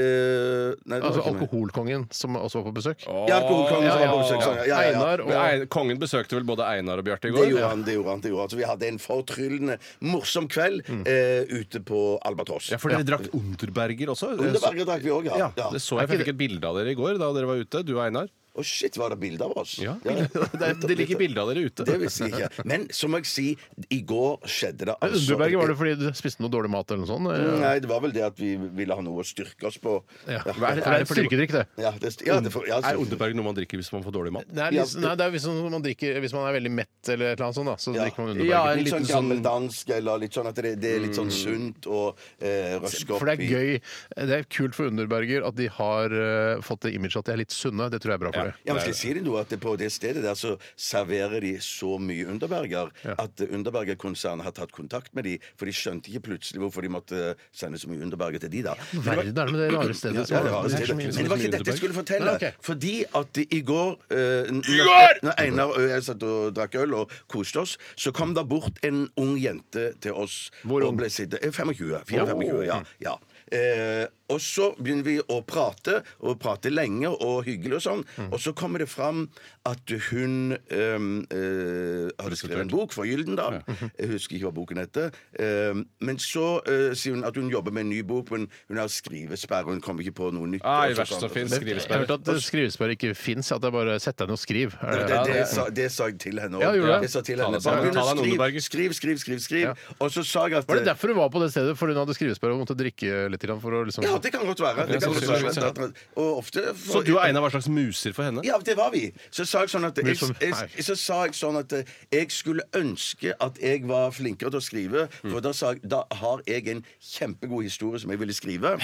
S3: eh, nei, det var
S4: Altså
S3: ikke meg.
S4: alkoholkongen, som også var på besøk.
S3: Ja, alkoholkongen som var på besøk. sånn, Ja, ja, ja.
S4: Einar
S5: Men
S4: og
S5: Ein- Kongen besøkte vel både Einar og Bjarte i
S3: Det
S5: går?
S3: gjorde han. det gjorde han, det gjorde han. Så vi hadde en fortryllende morsom kveld
S4: Mm.
S3: eh, ute på Albatross.
S5: Ja, for dere drakk Unterberger også?
S3: Underberger drakk vi òg, ja.
S5: Ja,
S3: ja.
S5: det så jeg, for jeg fikk et bilde av dere i går da dere var ute, du og Einar.
S3: Å, shit, var det bilde av oss?
S5: Ja,
S4: <laughs>
S3: Det,
S5: <laughs> Det, det ligger bilde av dere ute.
S3: Det visste jeg ikke. Men så må jeg si, i går skjedde det altså
S4: Men Underberget, var det fordi du spiste noe dårlig mat eller noe sånt? Eh,
S3: Nei, det var vel det at vi ville ha noe å styrke oss på.
S4: Ja.
S3: Ja,
S4: For Det er et styrkedrikk, det.
S3: ja, det, ja, det, ja,
S5: Er Unterberg noe man drikker hvis man får dårlig mat?
S4: Det er,
S3: Ja,
S4: litt- nei, det er hvis, man drikker, hvis man er veldig mett eller et eller annet sånt, da, så
S3: Ja.
S4: drikker man
S5: Ja,
S4: Underberget. Mm.
S5: en
S3: Litt
S5: liten
S3: sånn
S5: sånn-
S3: gammeldansk, eller litt sånn at det, det er litt sånn sunt og eh, røske opp
S4: For det er gøy. Det er kult for Underberger at de har eh, fått det imaget at de er litt sunne. Det tror jeg er bra for
S5: Ja.
S4: det.
S3: Ja, men skal jeg si deg noe, at det På det stedet der så serverer de så mye Underberger at Underberger-konsernet har tatt kontakt med de, for de skjønte ikke plutselig hvorfor de måtte sende så mye Underberger til de, da. Men det var-
S4: Verden er det med det rare stedet. som
S3: Ja,
S4: har-
S3: det var
S4: det er så
S3: det.
S4: mye-
S3: Men det var ikke dette jeg skulle fortelle.
S4: Nei, ok.
S3: Fordi at i går eh, når- Når Einar og jeg satt og drakk øl og koste oss, så kom det bort en ung jente til oss.
S4: Hvor ung? Mm.
S3: Og ble sitte, eh, 25. 24-25, ja. ja. Eh, og så begynner vi å prate, og prate lenge og hyggelig og sånn.
S4: Mm.
S3: Og så kommer det fram at hun ehm, eh, hadde skrevet en bok for Gyldendal.
S5: Mhm.
S3: Jeg husker ikke hva boken heter. Ehm, men så eh, sier hun at hun jobber med en ny bok, men hun har skrivesperre. Hun kommer ikke på noe nytt.
S5: Nei,
S3: og så
S5: verst
S3: sånn.
S5: som finnes.
S4: Jeg har hørt at eh, skrivesperre ikke fins, at det er bare å sette deg ned og skriv. Er
S3: Det,
S4: det-
S3: det,
S5: Ja,
S3: det,
S5: det-
S3: sa, det sa jeg til henne
S4: Ja, gjorde du det?
S3: Jeg sa til
S5: Ta
S3: henne,
S5: deg sammen. Ta
S3: bare
S5: deg en
S3: skriv,
S5: Underberger.
S3: skriv, skriv, skriv, skriv.
S4: Ja.
S3: Og så sa jeg at eh,
S4: Var det derfor hun var på det stedet? Fordi hun hadde skrivesperre og måtte drikke litt grann for å liksom
S3: ja, det kan godt være. Det kan godt
S5: sannsynligvis,
S3: være.
S5: ja.
S3: Og ofte
S5: Så du og Einar var slags muser for henne?
S3: Ja, det var vi. Så sa jeg sånn at jeg,
S4: som-
S3: jeg, så sa jeg, sånn at eh, jeg skulle ønske at jeg var flinkere til å skrive, for da, sa jeg, da har jeg en kjempegod historie som jeg ville skrive.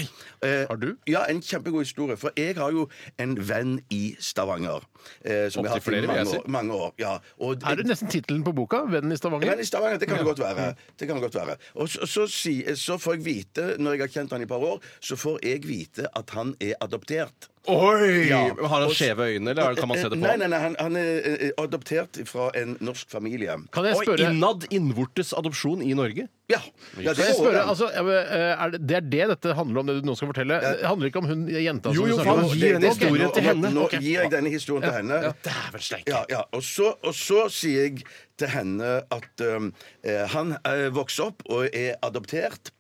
S3: Eh,
S4: Har du?
S3: Ja, en kjempegod historie. For jeg har jo en venn i Stavanger. Eh, som jeg har hatt
S5: flere,
S3: i
S5: vil jeg
S3: mange
S5: si.
S3: år. Mange år ja. og,
S4: Er det nesten tittelen på boka? 'Vennen i
S3: men
S4: Stavanger'?
S3: i Stavanger, det kan det godt være. Det kan det godt være. Og så, så, si- så får jeg vite, når jeg har kjent han i et par år, så får jeg vite at han er adoptert.
S5: Oi!
S3: Ja.
S5: Har han
S3: Og-
S5: skjeve øyne, eller er det- kan man se det på?
S3: Nei, nei, nei, han, han er eh, adoptert fra en norsk familie.
S4: Kan jeg
S5: Oi,
S4: spørre,
S5: innad innvortes adopsjon i Norge?
S3: Ja, ja
S4: kan
S3: går
S4: jeg spørre
S3: an.
S4: altså, ja, men, eh, er det, det er det dette handler om, det du nå skal fortelle? Det handler ikke om hun jenta som
S5: Jo,
S4: du
S5: jo,
S4: snakker
S5: faen,
S4: om?
S5: gir en
S4: Ok.
S5: historie
S3: nå,
S5: til henne.
S3: Nå
S5: Ok.
S3: gir jeg denne historien til henne.
S5: Dæven steike.
S3: Ja, ja. Og, så, og så sier jeg til henne at um, eh, han eh, vokser opp og er adoptert.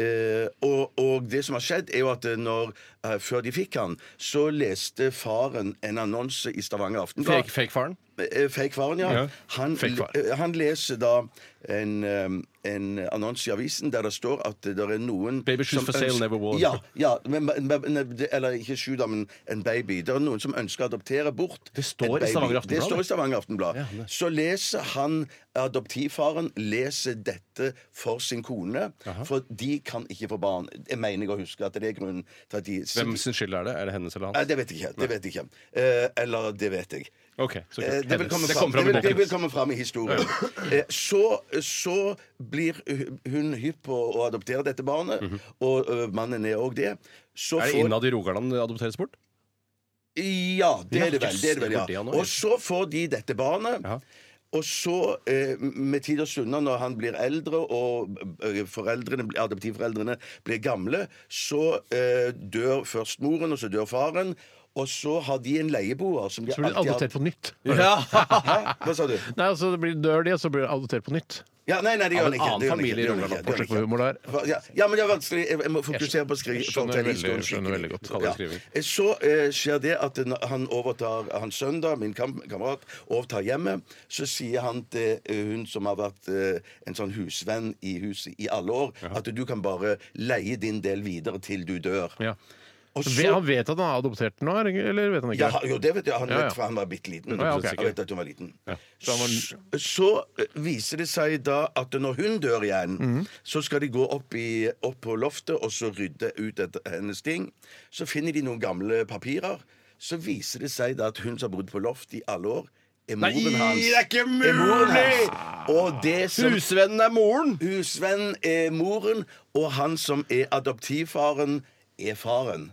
S3: Eh, og, og det som har skjedd, er jo at eh, når, eh, før de fikk han, så leste faren en annonse i Stavanger Aftenblad.
S5: Fake, fake faren?
S3: Eh, Fake-faren, ja.
S5: Ja.
S3: Han,
S4: Fake-faren.
S3: eh, han leser da en, eh, en annonse i avisen der det står at det er noen
S5: Baby shoes for
S3: som
S5: sale,
S3: ønsker-
S5: never worn.
S3: Ja, ja men, men, men, det- eller ikke shoe, da, men en baby. Det er noen som ønsker å adoptere bort
S5: Det står
S3: en
S5: i
S3: baby.
S5: Stavanger Aftenblad,
S3: Det står i
S5: det.
S3: Stavanger Aftenblad.
S5: Ja, det-
S3: Så leser han adoptivfaren leser dette for sin kone, for de kan ikke få barn. Jeg mener jeg å huske at det er grunnen til at de
S5: Hvem sin skyld er det? Er det hennes eller
S3: Nei,
S5: hans?
S3: det vet jeg ikke. Det vet jeg ikke. Eh, eller det vet jeg.
S5: Ok, så
S3: Eh,
S5: kult.
S3: Det vil komme
S5: Det
S3: fram,
S5: kommer
S3: det
S5: fram i
S3: vil, det vil
S5: boken.
S3: komme fram i historien. Eh, Så, så blir hu- hun hypp på å adoptere dette barnet, og ø, mannen er òg det. Så
S5: Mhm. Er det
S3: får-
S5: innad i Rogaland
S3: eh,
S5: det adopteres bort?
S3: Ja, det
S5: Ja,
S3: er det vel.
S5: jøss,
S3: Det er det vel
S5: det var
S3: ja.
S5: det han var.
S3: Og så får de dette barnet.
S5: Ja.
S3: Og så, eh, med tid og stunder, når han blir eldre og eh, foreldrene, adoptivforeldrene blir gamle, så eh, dør først moren, og så dør faren. Og så har de en leieboer som de
S4: Så blir det
S3: alltid har-
S4: adoptert på nytt.
S3: Hæ? Hva sa du?
S4: <laughs> Nei, altså det blir dør de, og så blir det adoptert på nytt.
S3: Ja, nei, nei, det gjør
S5: Av
S3: han
S5: en
S3: ikke.
S5: annen
S3: det gjør han
S5: familie
S3: ikke, det gjør han
S5: i
S3: ikke,
S5: Rogaland.
S3: det gjør han
S4: Forsøk på humor der.
S3: ikke. Ja, ja, men det er vanskelig. Jeg jeg må fokusere på å skri-
S4: Jeg skjønner
S3: fortelle
S4: veldig-
S3: historien skikkelig.
S4: skjønner veldig godt.
S5: Kaller det skriving.
S3: Eh, Så eh, skjer det at når han overtar hans sønn, da, min kam kamerat, overtar hjemmet. Så sier han til eh, hun som har vært eh, en sånn husvenn i huset i alle år, at du kan bare leie din del videre til du dør.
S4: Ja.
S3: Og
S4: Ve- Han vet at han har adoptert den nå, er det ikke- eller vet han ikke?
S3: ja, han- jo, det vet jeg. Han
S4: Ja, ja.
S3: vet fra han var bitte liten.
S4: Ja, ok.
S3: Han vet at hun var liten.
S4: Så han var-
S3: S- Så, eh, viser det seg da at når hun dør igjen, så skal de gå opp, i, opp på loftet og så rydde ut et, hennes ting. Så finner de noen gamle papirer. Så viser det seg da at hun som har bodd på loft i alle år, er moren hans.
S5: ikke
S3: Er moren hans. Og det som
S5: Husvennen er moren!
S3: Husvenn er moren, og han som er adoptivfaren, er faren.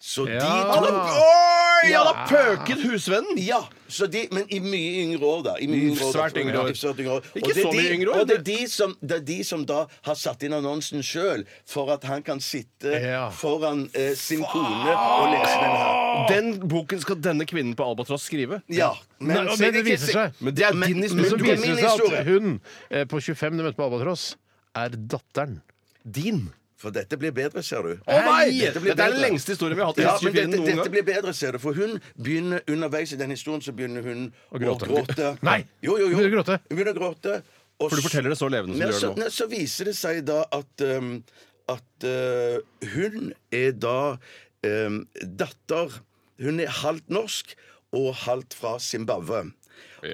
S3: Så de
S4: Ja.
S3: to
S5: Oi!
S3: Ja.
S5: Han har pøket husvennen!
S3: ja, så de, men i mye yngre år, da. I mye
S5: Mm,
S3: yngre år, da.
S5: svært yngre år.
S3: Ja, svært yngre år.
S5: Ikke
S3: Og det er
S5: så mye
S3: de-
S5: yngre år,
S3: Og det er de som, det er de som da har satt inn annonsen sjøl, for at han kan sitte
S4: Ja.
S3: foran eh, sin kone og lese den her.
S5: Den boken skal denne kvinnen på Albatross skrive.
S3: Ja, men,
S4: Nei,
S3: så
S4: men
S3: er
S4: det
S3: ikke
S4: viser
S3: si-
S4: seg.
S5: Men det er
S3: Men-
S5: din
S4: Men
S5: historie.
S4: så
S3: Du
S5: Du
S3: er
S4: viser
S3: min
S4: det seg
S3: historie.
S4: at hun eh, på 25 du møtte på Albatross, er datteren.
S5: din.
S3: For dette blir bedre, ser du.
S5: Å nei!
S3: Hei,
S5: Dette,
S3: blir
S5: er den
S3: bedre.
S5: lengste historien vi har hatt i
S3: Ja, men
S5: Hestefjellen
S3: dette,
S5: noen
S3: dette
S5: gang.
S3: blir bedre, ser du. For hun begynner underveis i den historien så begynner hun å
S4: gråte.
S3: gråte.
S4: Nei!
S3: Jo, jo, jo.
S4: Hun begynner å gråte.
S3: Hun begynner å gråte. og
S5: For du forteller det så levende som
S3: Nei,
S5: du gjør
S3: så,
S5: det nå.
S3: nei, så viser det seg da at um, at uh, hun er da um, datter Hun er halvt norsk og halvt fra Zimbabwe.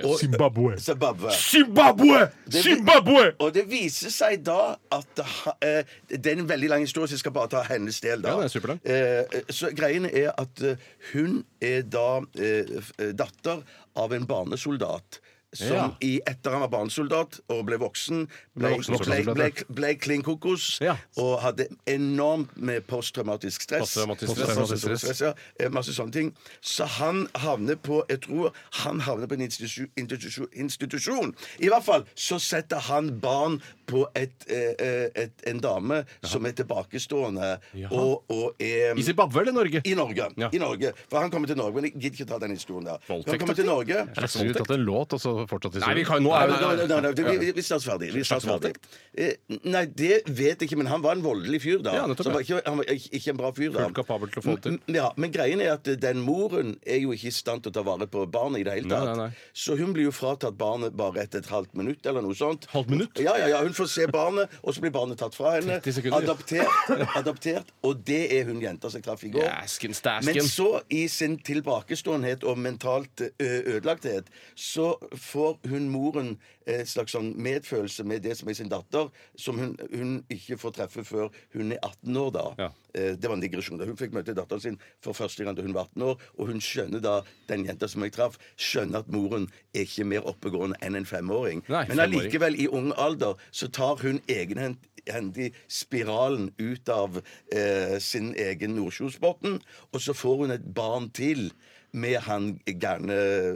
S3: Og-
S4: Zimbabwe.
S3: Zimbabwe.
S4: Zimbabwe! Zimbabwe!
S3: Og det viser seg da at ha- eh, Det er en veldig lang historie, så jeg skal bare ta hennes del, da.
S5: Ja, den er superlang.
S3: Eh, eh, så greien er at eh, hun er da eh, f- eh, datter av en barnesoldat. Som
S5: Ja.
S3: i etter han var barnesoldat og ble voksen, ble,
S5: voksen
S3: ble,
S5: barnesoldat,
S3: ble, ble klin kokos
S5: Ja.
S3: og hadde enormt med posttraumatisk stress.
S5: Posttraumatisk stress.
S3: Posttraumatisk stress, ja. Eh, Masse sånne ting. Så han havner på Jeg tror han havner på en institusjon, institusjon, institusjon. I hvert fall så setter han barn på et, eh, eh, et, en dame som er tilbakestående og, og er
S5: I Zimbabwe eller Norge?
S3: i Norge.
S5: Ja.
S3: I Norge. For han kommer til Norge, men jeg gidder ikke ta den historien der.
S5: Voldtekt,
S3: Han kommer til
S5: da?
S3: Norge
S4: Er det skulle vi tatt en låt, og så fortsatt
S5: Nei, vi
S4: historien?
S5: kan jo nå
S3: Nei,
S5: er
S3: nei, nei,
S5: det
S3: nei, nei, vi- vi- Vi er snart ferdig. Vi er snart ferdig. Eh, Nei, det vet jeg ikke, men han var en voldelig fyr da.
S5: Ja, nettopp,
S3: Så han var ikke, han var ikke ikke en bra fyr da.
S5: Fullt kapabel til å få det til.
S3: M- Ja, men greien er at eh, den moren er jo ikke i stand til å ta vare på barnet i det hele
S5: Nei,
S3: tatt.
S5: nei, nei.
S3: Så hun blir jo fratatt barnet bare etter et halvt minutt eller noe sånt.
S5: Halvt minutt?
S3: Ja, ja, ja, hun får se barnet, og så blir barnet tatt fra
S5: <laughs>
S3: henne.
S5: 30 sekunder.
S3: Adoptert, adoptert. Og det er hun jenta som jeg traff i går.
S5: Dæsken, stæsken.
S3: Men så, i sin tilbakeståenhet og mentalt ø, ødelagthet, så får hun moren en slags sånn medfølelse med det som er sin datter, som hun, hun ikke får treffe før hun er 18 år, da.
S5: Ja.
S3: Eh, Det var en digresjon. da Hun fikk møte datteren sin for første gang da hun var 18 år, og hun skjønner da, den jenta som jeg traff, skjønner at moren er ikke mer oppegående enn en femåring.
S5: Nei,
S3: Men
S5: femåring.
S3: allikevel, i ung alder, så tar hun egenhendig spiralen ut av eh, sin egen Nordkjosbotn, og så får hun et barn til. Med han gærne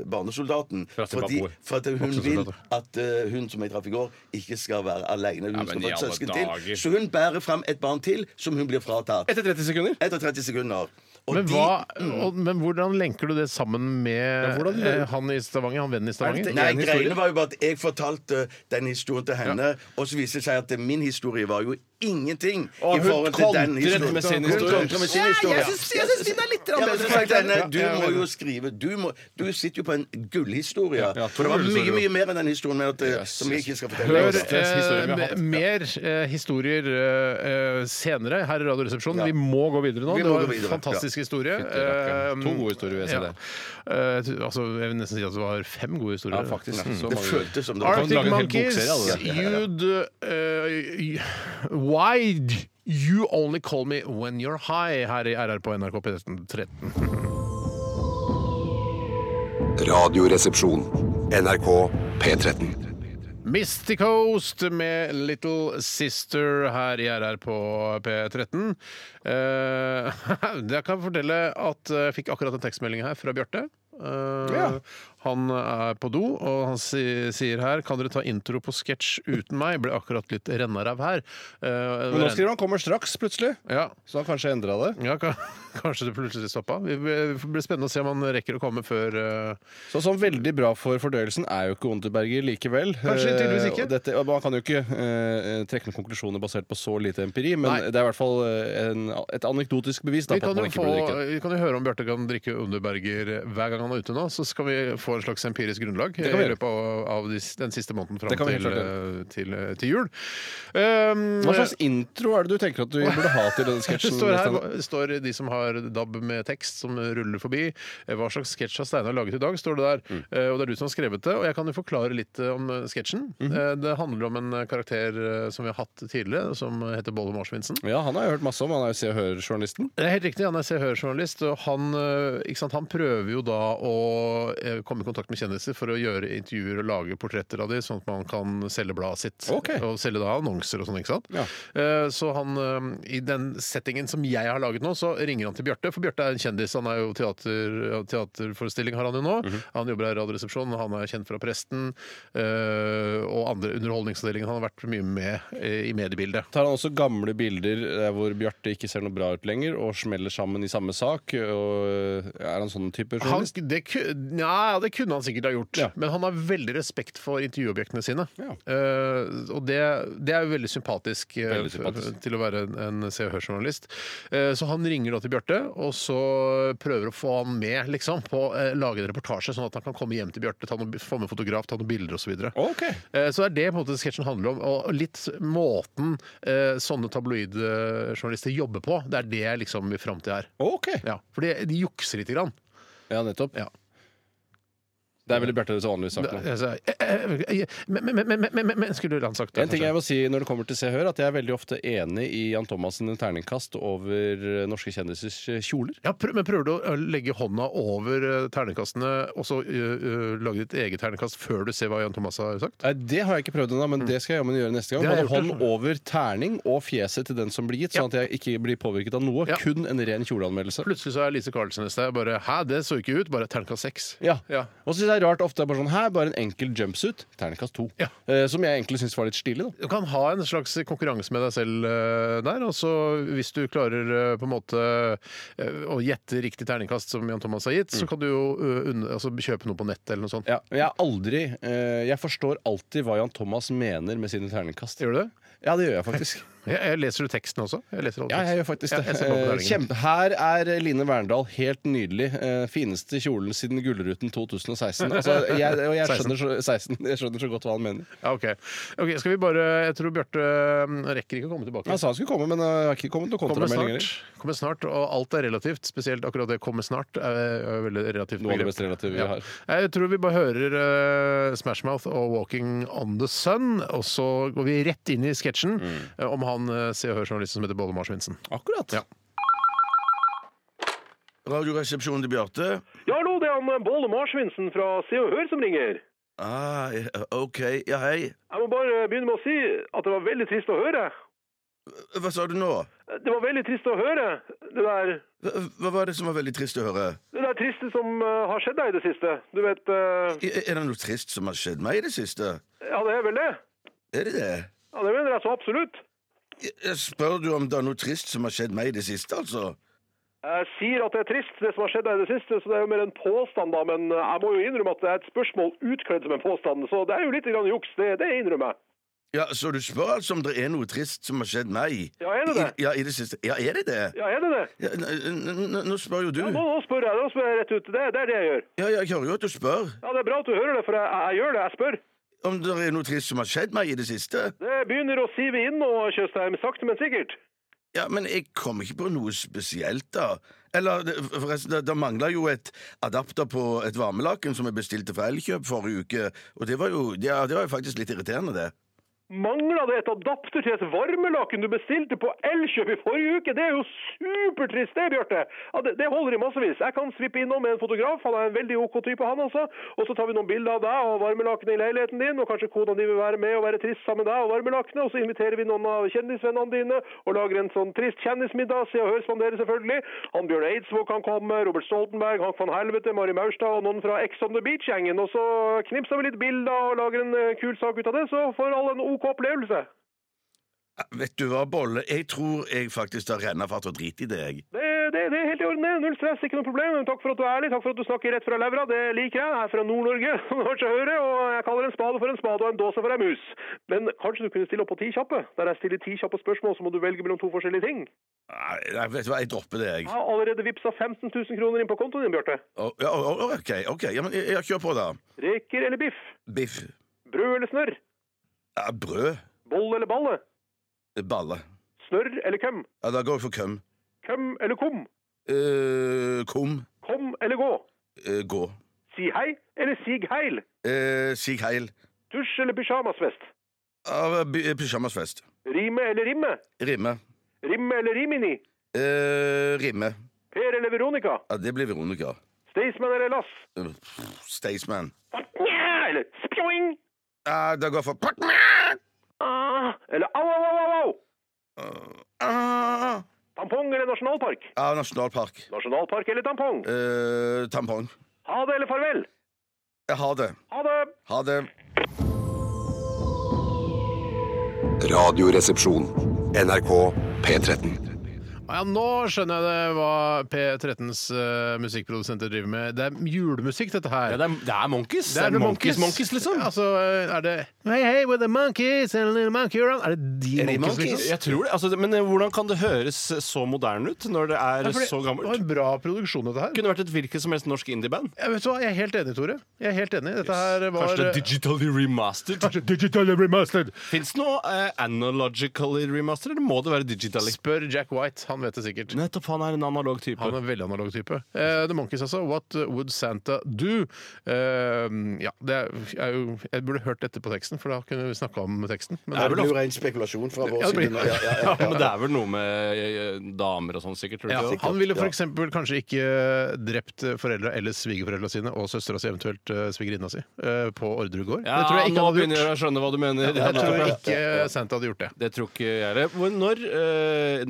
S3: barnesoldaten.
S5: Fra
S3: Fordi,
S5: Zimbabwe.
S3: for at hun vil
S5: Voksensoldater.
S3: at eh, hun som jeg traff i går, ikke skal være aleine. Hun
S5: men
S3: skal
S5: i
S3: få et
S5: alle
S3: søsken
S5: dager.
S3: til. Så hun bærer fram et barn til, som hun blir fratatt.
S5: Etter 30 sekunder.
S3: Etter 30 sekunder. Og
S4: Men,
S3: de-
S4: hva, og, men hvordan lenker du det sammen med
S5: hvordan-
S4: eh, han i Stavanger, han vennen i Stavanger?
S5: det-
S3: Nei,
S5: en historie?
S3: greiene var jo bare at jeg fortalte eh, den historien til henne, og så viste det seg at eh, min historie var jo ingenting
S5: Og
S3: i
S5: hun
S3: forhold til
S5: kontret
S3: den historien.
S5: med sin
S3: Hun
S5: historie.
S3: kontret med sin historie.
S5: jeg syns din er litt
S3: Ja, men så sa jeg til henne, du
S4: Ja, ja,
S3: må
S4: ja.
S3: jo skrive Du, må, du sitter jo på en gullhistorie.
S5: ja,
S3: for det var
S5: gullhistorier.
S3: mye mye mer enn den historien med at, eh,
S5: Yes,
S3: som jeg ikke skal fortelle.
S4: Hør
S5: Det er den historien vi har
S4: eh,
S5: hatt.
S4: mer eh, historier eh, eh, senere her i Radioresepsjonen.
S3: Ja.
S4: Vi må gå videre nå.
S3: Vi
S4: Det
S3: må
S4: var
S3: gå
S4: en
S3: videre,
S4: fantastisk historie.
S5: rakkeren.
S4: Eh,
S5: To gode historier, vil jeg si det.
S4: Eh, t- altså, jeg vil nesten si at det var fem gode historier.
S5: Ja, faktisk. Så
S3: Det
S5: mange.
S3: føltes som det var sånn
S5: lage
S4: Arctic
S5: en hel
S4: Monkeys,
S5: bokserie av det
S4: you'd eh, Why d- you only call me when you're high? Her i RR på NRK P13. 13.
S2: Radioresepsjon. NRK P13.
S4: Misty Coast med Little Sister her i RR på P13. Eh, <laughs> jeg kan fortelle at jeg fikk akkurat en tekstmelding her fra Bjarte. Eh,
S5: Ja.
S4: Han er på do, og han si, sier her Kan dere ta intro på sketsj uten meg? Ble akkurat litt rennaræv her. Eh,
S5: Men nå skriver han 'kommer straks', plutselig.
S4: ja.
S5: Så han kanskje endra det.
S4: Ja, ka- <laughs> Kanskje det plutselig stoppa. Det blir spennende å se om han rekker å komme før eh,
S5: Så sånn veldig bra for fordøyelsen er jo ikke Unterberger likevel.
S4: Kanskje, tydeligvis
S5: Eh,
S4: ikke.
S5: og Dette, og man kan jo ikke eh, trekke noen konklusjoner basert på så lite empiri, men
S4: Nei.
S5: det er i hvert fall eh, en, et anekdotisk bevis da,
S4: Vi
S5: på
S4: kan,
S5: at
S4: jo
S5: man ikke
S4: få,
S5: burde drikke.
S4: vi kan jo høre om Bjarte kan drikke Underberger hver gang han er ute nå. Så skal vi få en slags empirisk grunnlag i
S5: kan vi gjøre.
S4: løpet av, av de, s- den siste måneden fram
S5: Det kan vi
S4: til,
S5: helt klart
S4: eh, til, eh, til jul. Um,
S5: Hva slags intro er det du tenker at du burde ha til
S4: <laughs>
S5: denne
S4: det
S5: sketsjen?
S4: står her
S5: Stein?
S4: hva- står de som har DAB med tekst, som ruller forbi. Eh, Hva slags sketsj har Steinar laget i dag? står det der. Eh, Og det er du som har skrevet det. Og jeg kan jo forklare litt eh, om eh, sketsjen. Eh, Det handler om en eh, karakter eh, som vi har hatt tidligere, som heter Bolle Morsvinsen.
S5: Ja, han har jeg hørt masse om. Han er jo Se og Hør-journalisten.
S4: Det er helt riktig. Han er Se og Hør-journalist. og Han, eh, ikke sant, han prøver jo da å eh, komme i kontakt med kjendiser for å gjøre intervjuer og lage portretter av dem, sånn at man kan selge bladet sitt.
S5: Ok.
S4: Og selge da annonser og sånn, ikke sant.
S5: Ja.
S4: Eh, Så han, eh, i den settingen som jeg har laget nå, så ringer han til Bjarte. For Bjarte er en kjendis. Han er jo teater, ja, teaterforestilling har han jo nå.
S5: Mhm.
S4: Han jobber her i Radioresepsjonen. Han er kjent fra Presten eh, og andre underholdningsavdelinger. Han har vært mye med eh, i mediebildet.
S5: Tar han også gamle bilder der hvor Bjarte ikke ser noe bra ut lenger, og smeller sammen i samme sak? Og er han sånn type
S4: Han,
S5: journalist?
S4: det, ku- ja, det kunne han sikkert ha gjort,
S5: Ja.
S4: men han har veldig respekt for intervjuobjektene sine.
S5: Ja.
S4: Eh, og det, det er jo veldig sympatisk, eh,
S5: Veldig
S4: f-
S5: sympatisk.
S4: til å være en, en Se og Hør-journalist. Eh, så han ringer da til Bjarte, og så prøver å få han med liksom, på å lage en reportasje, sånn at han kan komme hjem til Bjarte, ta noen- få med fotograf, ta noen bilder osv.
S5: Ok.
S4: Eh, Så det er det på en måte sketsjen handler om, og litt måten eh, sånne tabloidjournalister jobber på. Det er det jeg liksom vil fram til her.
S5: Ok.
S4: Ja, for de, de jukser lite grann.
S5: Ja, nettopp.
S4: Ja.
S5: Det er vel Bjarte det vanlige sak nå.
S4: Altså, eh, eh, eh, Men, men, men, men, men, men skulle du ha sagt det?
S5: En ting jeg må si når det kommer til Se og Hør, at jeg er veldig ofte enig i Jan Thomassen terningkast over eh, norske kjendisers eh, kjoler.
S4: ja, prøv, men prøver du å eh, legge hånda over eh, terningkastene og så eh, eh, lage ditt eget terningkast før du ser hva Jan Thomas har sagt?
S5: Nei, Det har jeg ikke prøvd ennå, men det skal jeg jammen gjøre neste gang.
S4: Det har jeg
S5: Både
S4: gjort,
S5: hånd over terning og fjeset til den som blir gitt,
S4: Ja.
S5: sånn at jeg ikke blir påvirket av noe.
S4: Ja.
S5: Kun en ren kjoleanmeldelse.
S4: Plutselig så er Lise Carlsen i sted. Bare 'hæ, det så ikke ut'. Bare terningkast seks.
S5: Ja.
S4: Ja.
S5: Og så synes jeg det er rart ofte er det bare sånn her, bare en enkel jumpsuit, terningkast to.
S4: Ja.
S5: Eh, som jeg egentlig syns var litt stilig, da.
S4: Du kan ha en slags konkurranse med deg selv eh, der. og så hvis du klarer eh, på en måte eh, å gjette riktig terningkast som Jan Thomas har gitt, så kan du jo eh, unn- altså, kjøpe noe på nettet eller noe sånt.
S5: Mm. Ja, men jeg er aldri eh, Jeg forstår alltid hva Jan Thomas mener med sine terningkast.
S4: Gjør du det?
S5: Ja, det gjør jeg faktisk.
S4: Jeg, jeg leser du teksten også? Jeg leser all
S5: Ja,
S4: tekst.
S5: jeg gjør faktisk det.
S4: jeg ser på
S5: Eh,
S4: forklaringen.
S5: eh, Kjempe. Her er Line Verndal helt nydelig. Eh, Fineste kjolen siden Gullruten 2016. 16. Altså, jeg, og jeg skjønner, <laughs> så, 16. jeg skjønner så godt hva han mener.
S4: Ja, ok. ok. Skal vi bare Jeg tror Bjarte øhm, rekker ikke å komme tilbake.
S5: Han sa han skulle komme, men øh, jeg har ikke kommet noen
S4: Kommer snart,
S5: kontrameldinger.
S4: kommer snart, og alt er relativt. Spesielt akkurat det 'kommer snart' er er veldig relativt.
S5: Noe av det
S4: begrep.
S5: mest relative vi
S4: Ja.
S5: har.
S4: Jeg tror vi bare hører eh, Smashmouth og 'Walking on the Sun', og så går vi rett inn i sketsjen eh, om han eh, Se og Hør-journalisten som heter Bolle Marsvinsen.
S5: Mm. Akkurat.
S4: Ja.
S3: Radioresepsjonen til Bjarte.
S1: Ja, hallo, det er han eh, Båle Marsvinsen fra Se og Hør som ringer.
S3: Ah, eh, OK. Ja, hei.
S1: Jeg må bare begynne med å si at det var veldig trist å høre.
S3: Hva sa du nå?
S1: Det var veldig trist å høre, det der,
S3: Hva, hva var det som var veldig trist å høre?
S1: det der triste som eh, har skjedd deg i det siste. Du vet, eh,
S3: I- Er det noe trist som har skjedd meg i det siste?
S1: ja, det er vel det.
S3: Er det det?
S1: Ja, det mener jeg så absolutt.
S3: Jeg- jeg Spør du om det er noe trist som har skjedd meg i det siste, altså?
S1: Jeg sier at det er trist, det som har skjedd deg i det siste, så det er jo mer en påstand da, men eh, jeg må jo innrømme at det er et spørsmål utkledd som en påstand, så det er jo litt grann juks, det, det innrømmer jeg.
S3: Ja, Så du spør altså om det er noe trist som har skjedd meg?
S1: Ja, er det det?
S3: I, ja, i det siste. Ja, er det det?
S1: Ja, er det det?
S3: Ja, n- n- n- nå spør jo du.
S1: Ja, nå, nå spør jeg, nå spør jeg rett ut. Det, det er det jeg gjør.
S3: Ja, ja, jeg hører jo at du spør
S1: Ja, det er bra at du hører det, for jeg, jeg, jeg gjør det, jeg spør.
S3: om det er noe trist som har skjedd meg i det siste.
S1: Det begynner å sive inn nå, Tjøstheim. Sakte, men sikkert.
S3: Ja, Men jeg kom ikke på noe spesielt, da. Eller det- forresten, det, det mangla jo et adapter på et varmelaken som jeg bestilte fra Elkjøp forrige uke, og det var jo ja, det var jo faktisk litt irriterende, det.
S1: Mangla det et adapter til et varmelaken du bestilte på Elkjøp i forrige uke? Det er jo supertrist, det, Bjarte. Ja, det, det holder i massevis. Jeg kan svippe innom med en fotograf. Han er en veldig OK type, han altså. Og så tar vi noen bilder av deg og varmelakenet i leiligheten din, og kanskje kona di vil være med og være trist sammen med deg og varmelakenet. Og så inviterer vi noen av kjendisvennene dine og lager en sånn trist kjendismiddag. Se og Hør spanderer selvfølgelig. Han Bjørn Eidsvåg kan komme, Robert Stoltenberg, Hank van Helvete, Mari Maurstad og noen fra Ex on the Beach-gjengen. Og så knipser vi litt bilder og lager en eh, kul sak ut av det, så får alle en OK opplevelse.
S3: Ja, Vet du hva, Bolle, jeg tror jeg faktisk har renna fart og drit i det, jeg.
S1: Det, det, det er helt i orden, det. null stress, ikke noe problem. Takk for at du er ærlig, takk for at du snakker rett fra levra. Det liker jeg. Jeg er fra Nord-Norge, <laughs> som du kanskje hører, og jeg kaller en spade for en spade og en dåse for en mus. Men kanskje du kunne stille opp på ti kjappe? Der jeg stiller ti kjappe spørsmål, så må du velge mellom to forskjellige ting.
S3: Nei, nei, vet du hva, jeg dropper det, jeg.
S1: Jeg har allerede vippsa 15 000 kroner inn på kontoen din, Bjarte.
S3: Å, ja, å, å, ok, ok, ja, men jeg, jeg kjør på, da.
S1: Reker eller biff?
S3: Biff.
S1: Brød eller snørr?
S3: Ja, brød.
S1: Boll eller balle?
S3: Balle.
S1: Snørr eller køm?
S3: Ja, da går jeg for køm.
S1: Køm eller kom?
S3: Eh, kom.
S1: Kom eller gå?
S3: Eh, gå.
S1: Si hei eller sig heil?
S3: Eh, sig heil.
S1: Tusj eller pysjamasfest?
S3: Av pysjamasfest.
S1: Rime eller rimme?
S3: Rimme.
S1: Rimme eller rimini?
S3: Eh, rimme.
S1: Per eller Veronica?
S3: Ja, det blir Veronica.
S1: Staysman eller Lass?
S3: Eh, pff, Staysman.
S1: Nja, Eller spjoing?
S3: Ja, da går jeg for
S1: Ah, Eller au, au, au, au, au!
S3: ah,
S1: Tampong eller nasjonalpark?
S3: Ja, nasjonalpark.
S1: Nasjonalpark eller tampong?
S3: Eh, tampong.
S1: Ha det eller farvel?
S3: Jeg har det.
S1: Ha det!
S3: Ha det.
S2: Radioresepsjon. NRK P13.
S4: Ja, nå skjønner jeg det hva P13s eh, musikkprodusenter driver med. Det er julemusikk, dette her.
S5: Ja, det, er, det er monkeys.
S4: Det er noen
S5: monkeys, monkeys, liksom.
S4: Ja, Altså, er det Hey, hey, with the monkeys and little monkey around Er det de
S5: Er det
S4: monkeys,
S5: monkeys?
S4: liksom?
S5: Jeg tror det. Altså, det- men eh, hvordan kan det høres så moderne ut når det er
S4: Ja, fordi
S5: så
S4: Det var
S5: gammelt?
S4: en bra produksjon, dette her.
S5: Det kunne vært et hvilket som helst norsk indieband.
S4: Jeg, vet du hva, jeg er helt enig, Tore. Jeg er helt enig. Dette her var
S5: Kanskje det er digitally remastered?
S4: Kanskje digitally remastered.
S5: Fins det noe eh, analogically remastered, eller må det være digitally?
S4: Spør Jack White. Han vet det sikkert.
S5: Nettopp, han er en analog type.
S4: Han er en veldig analog type. Eh, The Monkeys, altså. What would Santa do? Eh, ja, det er jo Jeg burde hørt dette på teksten, for da kunne vi snakka om teksten.
S3: Det
S4: Men det er
S3: blir jo ren spekulasjon fra vår
S4: Ja, det blir-
S3: side. nå. Ja, ja,
S4: <laughs>
S5: ja,
S3: ja,
S5: men det er vel noe med eh, damer og sånn, sikkert. Tror du
S4: Ja,
S5: ikke det?
S4: han ville f.eks. kanskje ikke drept foreldra eller svigerforeldra sine og søstera si, eventuelt eh, svigerinna si, eh, på Orderud gård.
S5: ja,
S4: det tror jeg ikke
S5: nå
S4: han hadde
S5: begynner
S4: gjort.
S5: jeg å skjønne hva du mener.
S4: Jeg tror ikke Santa hadde gjort det.
S5: Det tror ikke jeg heller. Hvor- Når,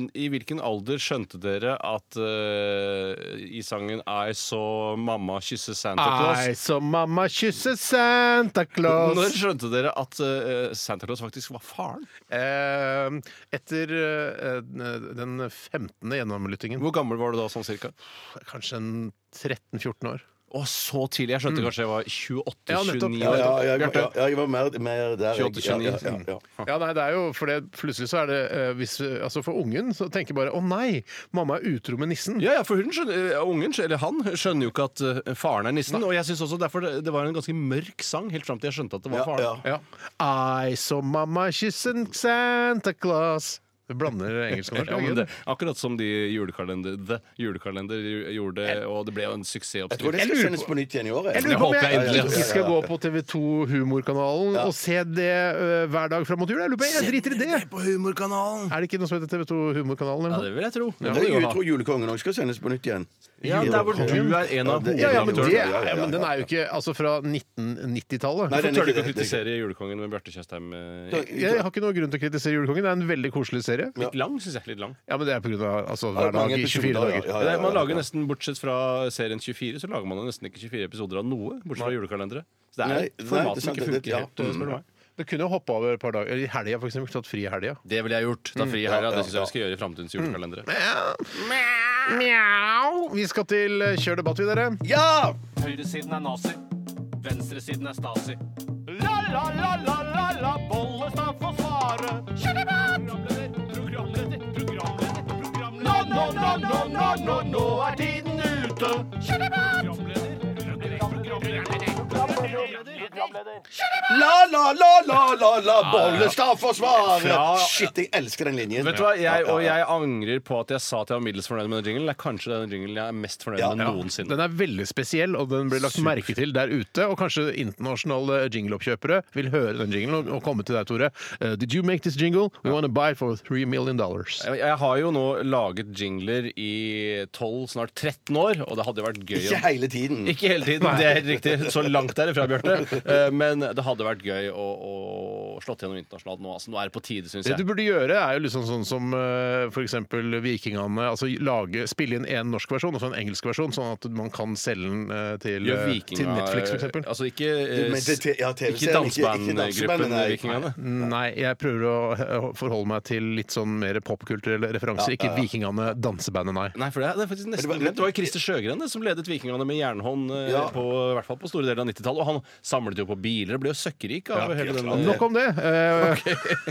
S5: eh, I hvilken alder skjønte dere at eh, i sangen I så mamma kysse Santa
S4: Nei,
S5: Claus?
S4: så mamma kysser Santa
S5: Når
S4: Claus.
S5: skjønte dere at eh, Santa Claus faktisk var faren?
S4: Eh, etter eh, den 15. gjennomlyttingen.
S5: Hvor gammel var du da, sånn cirka?
S4: Kanskje en 13-14 år.
S5: Å, så tidlig! Jeg skjønte kanskje jeg var 28-29
S4: Mm. Ja, nettopp.
S3: Ja, ja, ja, jeg,
S4: Bjarte.
S3: ja, jeg var mer, mer der. jeg-
S5: 28-29.
S3: ja, ja, ja, ja.
S4: Ja, nei, det er jo, for det, Plutselig så er det eh, hvis, altså For ungen så tenker bare 'Å nei, mamma er utro med nissen'.
S5: Ja, ja, for hun skjønner, eh, ungen, skj- eller han skjønner jo ikke at eh, faren er nissen. Og jeg synes også derfor det, det var en ganske mørk sang helt fram til jeg skjønte at det var
S3: Ja,
S5: faren.
S3: ja.
S4: Ja. I saw mamma kissing Santa Claus. Du blander engelsk og norsk.
S5: Ja, men
S4: ikke?
S5: det, akkurat som de julekalender, The Julekalender gj- gjorde, og det ble jo en
S3: Jeg tror
S5: suksessoppskrift.
S3: det skal sendes på nytt igjen i år. jeg.
S4: Jeg
S5: Det
S4: lurer på om
S5: håper jeg
S4: jeg
S5: endelig,
S4: ikke
S5: altså.
S4: skal gå på TV2 Humorkanalen
S3: Ja.
S4: og se det ø, hver dag fram mot jul. Jeg lurer på, jeg driter i det!
S5: På humorkanalen!
S4: Er det ikke noe som heter TV2
S5: Ja,
S4: Humorkanalen? Eller noe?
S5: det vil jeg tro.
S3: Det er jo utro julekongen òg skal sendes på nytt igjen.
S5: Ja, der hvor du er en av
S3: Ja, det-
S4: Ja, ja, men, det,
S3: Ja, ja, ja,
S4: ja, men den er jo ikke altså fra
S3: Nei,
S4: 1990-tallet.
S3: den er
S5: Tør du ikke å
S3: ikke det, det er
S5: kritisere Julekongen med Bjarte Tjøstheim? eh,
S3: ikke-
S4: Jeg har ikke noe grunn til å kritisere Julekongen. Det er en veldig koselig serie.
S3: Ja.
S5: Litt lang, syns jeg. Litt lang.
S4: Ja, men det er pga. Altså, hver
S3: Mange
S4: dag i 24
S3: episoder, ja,
S4: dager.
S3: ja,
S5: Det
S3: ja,
S5: er- Man
S3: ja,
S5: lager
S3: ja.
S5: nesten, bortsett fra serien 24, så lager man jo nesten ikke 24 episoder av noe. Bortsett fra julekalendere. Så det
S3: Nei, nei,
S5: er
S3: det er
S5: et format som ikke
S3: sant, det-
S5: funker
S3: ja.
S5: helt, eh, spør du meg.
S4: Du Mm. kunne jo hoppa over et par dager. Eller I helga, for eksempel. Tatt fri i helga.
S5: Det ville jeg gjort. Ta fri her, Mm. ja. Mm.
S3: ja,
S5: Det syns jeg vi
S3: ja.
S5: skal gjøre i framtidens julekalendere.
S4: Mjau. Vi skal til eh, Kjør debatt, vi, dere.
S3: Ja!
S6: Høyresiden er nazi. Venstresiden er stasi. La, la, la, la, la, la, Bollestad får svare. Kjør debatt! Programleder, programleder, programleder. Nå, nå, nå, nå, nå, nå, nå er tiden ute. Kjør debatt!
S3: La, la, la, la, la, la, Bollestad forsvarer!
S5: Fra-
S3: Shit, jeg elsker den linjen.
S5: Vet du hva, jeg, Og jeg angrer på at jeg sa at jeg var middels fornøyd med den jinglen. Det er kanskje den jinglen jeg er mest fornøyd
S3: Ja.
S5: med
S3: Ja.
S5: noensinne.
S4: Den er veldig spesiell, og den blir lagt merke til der ute. Og kanskje internasjonale eh, jingleoppkjøpere vil høre den jinglen og- og komme til deg, Tore. Eh, did you make this jingle? We want to buy for three million dollars.
S5: Jeg, jeg har jo nå laget jingler i 12, snart 13 år, og det hadde jo vært gøy
S3: <laughs> Ikke
S5: om
S3: hele tiden.
S5: Ikke hele tiden, det er helt riktig. Så langt derifra,
S3: <laughs>
S5: Bjarte. Eh, Men det hadde vært gøy å, å slått gjennom internasjonalt nå. Altså, nå er det på tide, syns
S4: Det du
S5: jeg.
S4: burde gjøre, er jo liksom sånn som eh, for eksempel Vikingene. altså lage, Spille inn en norsk versjon og så en engelsk versjon, sånn at man kan selge den eh, til,
S5: Gjør
S4: eh, til
S5: vikinga
S4: Netflix, for eksempel.
S5: Altså ikke, eh,
S3: Men det- ja,
S5: ikke
S3: TV-serien, ikke- ikke dansebandene,
S5: dansebandgruppen eh,
S3: nei.
S5: Vikingene.
S4: Nei, jeg prøver å eh, forholde meg til litt sånn mer popkulturelle referanser. Ikke Vikingene, dansebandet, nei.
S5: Nei, for det er, det er faktisk nesten
S3: Men det var-
S5: glemt. Det var jo Christer Sjøgren det, som ledet vikingene med jernhånd eh,
S3: Ja.
S5: på, i hvert fall på store deler av 90-tallet. Og han samlet jo på biler og ble jo søkkrik av hele den
S4: Nok om det. Eh,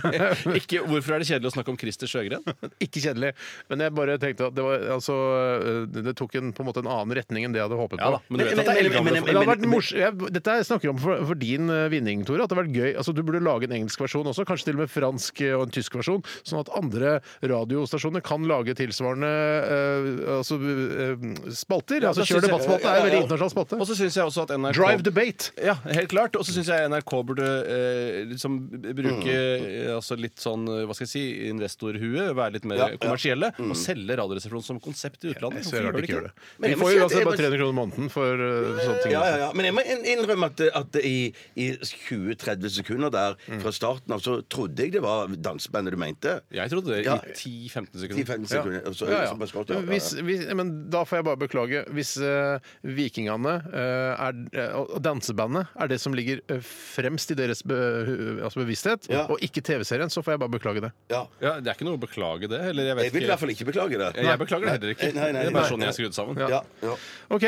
S5: <laughs> ikke, Hvorfor er det kjedelig å snakke om Christer Sjøgren?
S4: <laughs> Ikke kjedelig, men jeg bare tenkte at det, var, altså, eh, det tok en, på en måte en annen retning enn det jeg hadde håpet på.
S5: Ja da, men du vet at
S3: Men-
S5: det er
S3: men-
S5: eldgamle
S3: men-
S4: Men det hadde vært mors- jeg, dette jeg snakker om for, for din eh, vinning, Tore. At det hadde vært gøy. Altså, du burde lage en engelsk versjon også, kanskje til og med fransk eh, og en tysk versjon. Sånn at andre radiostasjoner kan lage tilsvarende eh, altså, eh, spalter.
S5: da
S4: altså,
S5: synes
S4: Kjør
S5: jeg-
S4: debatt-spalte er
S5: ja,
S4: en
S5: ja,
S4: veldig
S5: ja.
S4: internasjonal
S5: Og
S4: spalte.
S5: så syns jeg også at NRK
S4: Drive debate!
S5: Ja, helt klart. Og så syns jeg NRK burde eh, liksom bruke
S3: Mm.
S5: eh, altså litt sånn eh, hva skal jeg si, investorhue, være litt mer
S3: Ja, Mm. ja.
S5: kommersielle, og selge Radioresepsjonen som konsept i utlandet.
S4: Så jeg
S5: Hvorfor
S4: rart
S5: gjør de
S4: ikke gjør det.
S3: Men
S4: Vi
S3: jeg må
S4: får
S3: si
S4: jo
S3: at
S4: altså
S3: jeg-
S4: bare 300 kroner i måneden for eh, sånne ting.
S3: Ja, ja, ja. Men jeg må inn- innrømme at, at i, i 20-30 sekunder der fra starten av så trodde jeg det var dansebandet du mente.
S5: Jeg trodde det
S3: Ja.
S5: i 10-15 sekunder.
S3: 10-15 sekunder. og Så,
S4: Ja, ja.
S3: så bare skrått, ja, ja, ja.
S4: Hvis, hvis, men da får jeg bare beklage. Hvis eh, vikingene eh, er, eh, og dansebandet er det som ligger eh, fremst i deres be, hu- altså bevissthet,
S3: Ja.
S4: og ikke TV-serien, så får jeg bare beklage det.
S3: ja.
S5: Ja, det er ikke noe å beklage det. Eller jeg vet
S3: Jeg vil i
S5: ikke.
S3: hvert fall ikke beklage det.
S5: Jeg beklager det heller ikke.
S3: Nei, nei, nei,
S5: det er bare
S3: nei,
S5: sånn
S3: nei.
S5: jeg er skrudd sammen.
S3: Ja, ja.
S4: OK,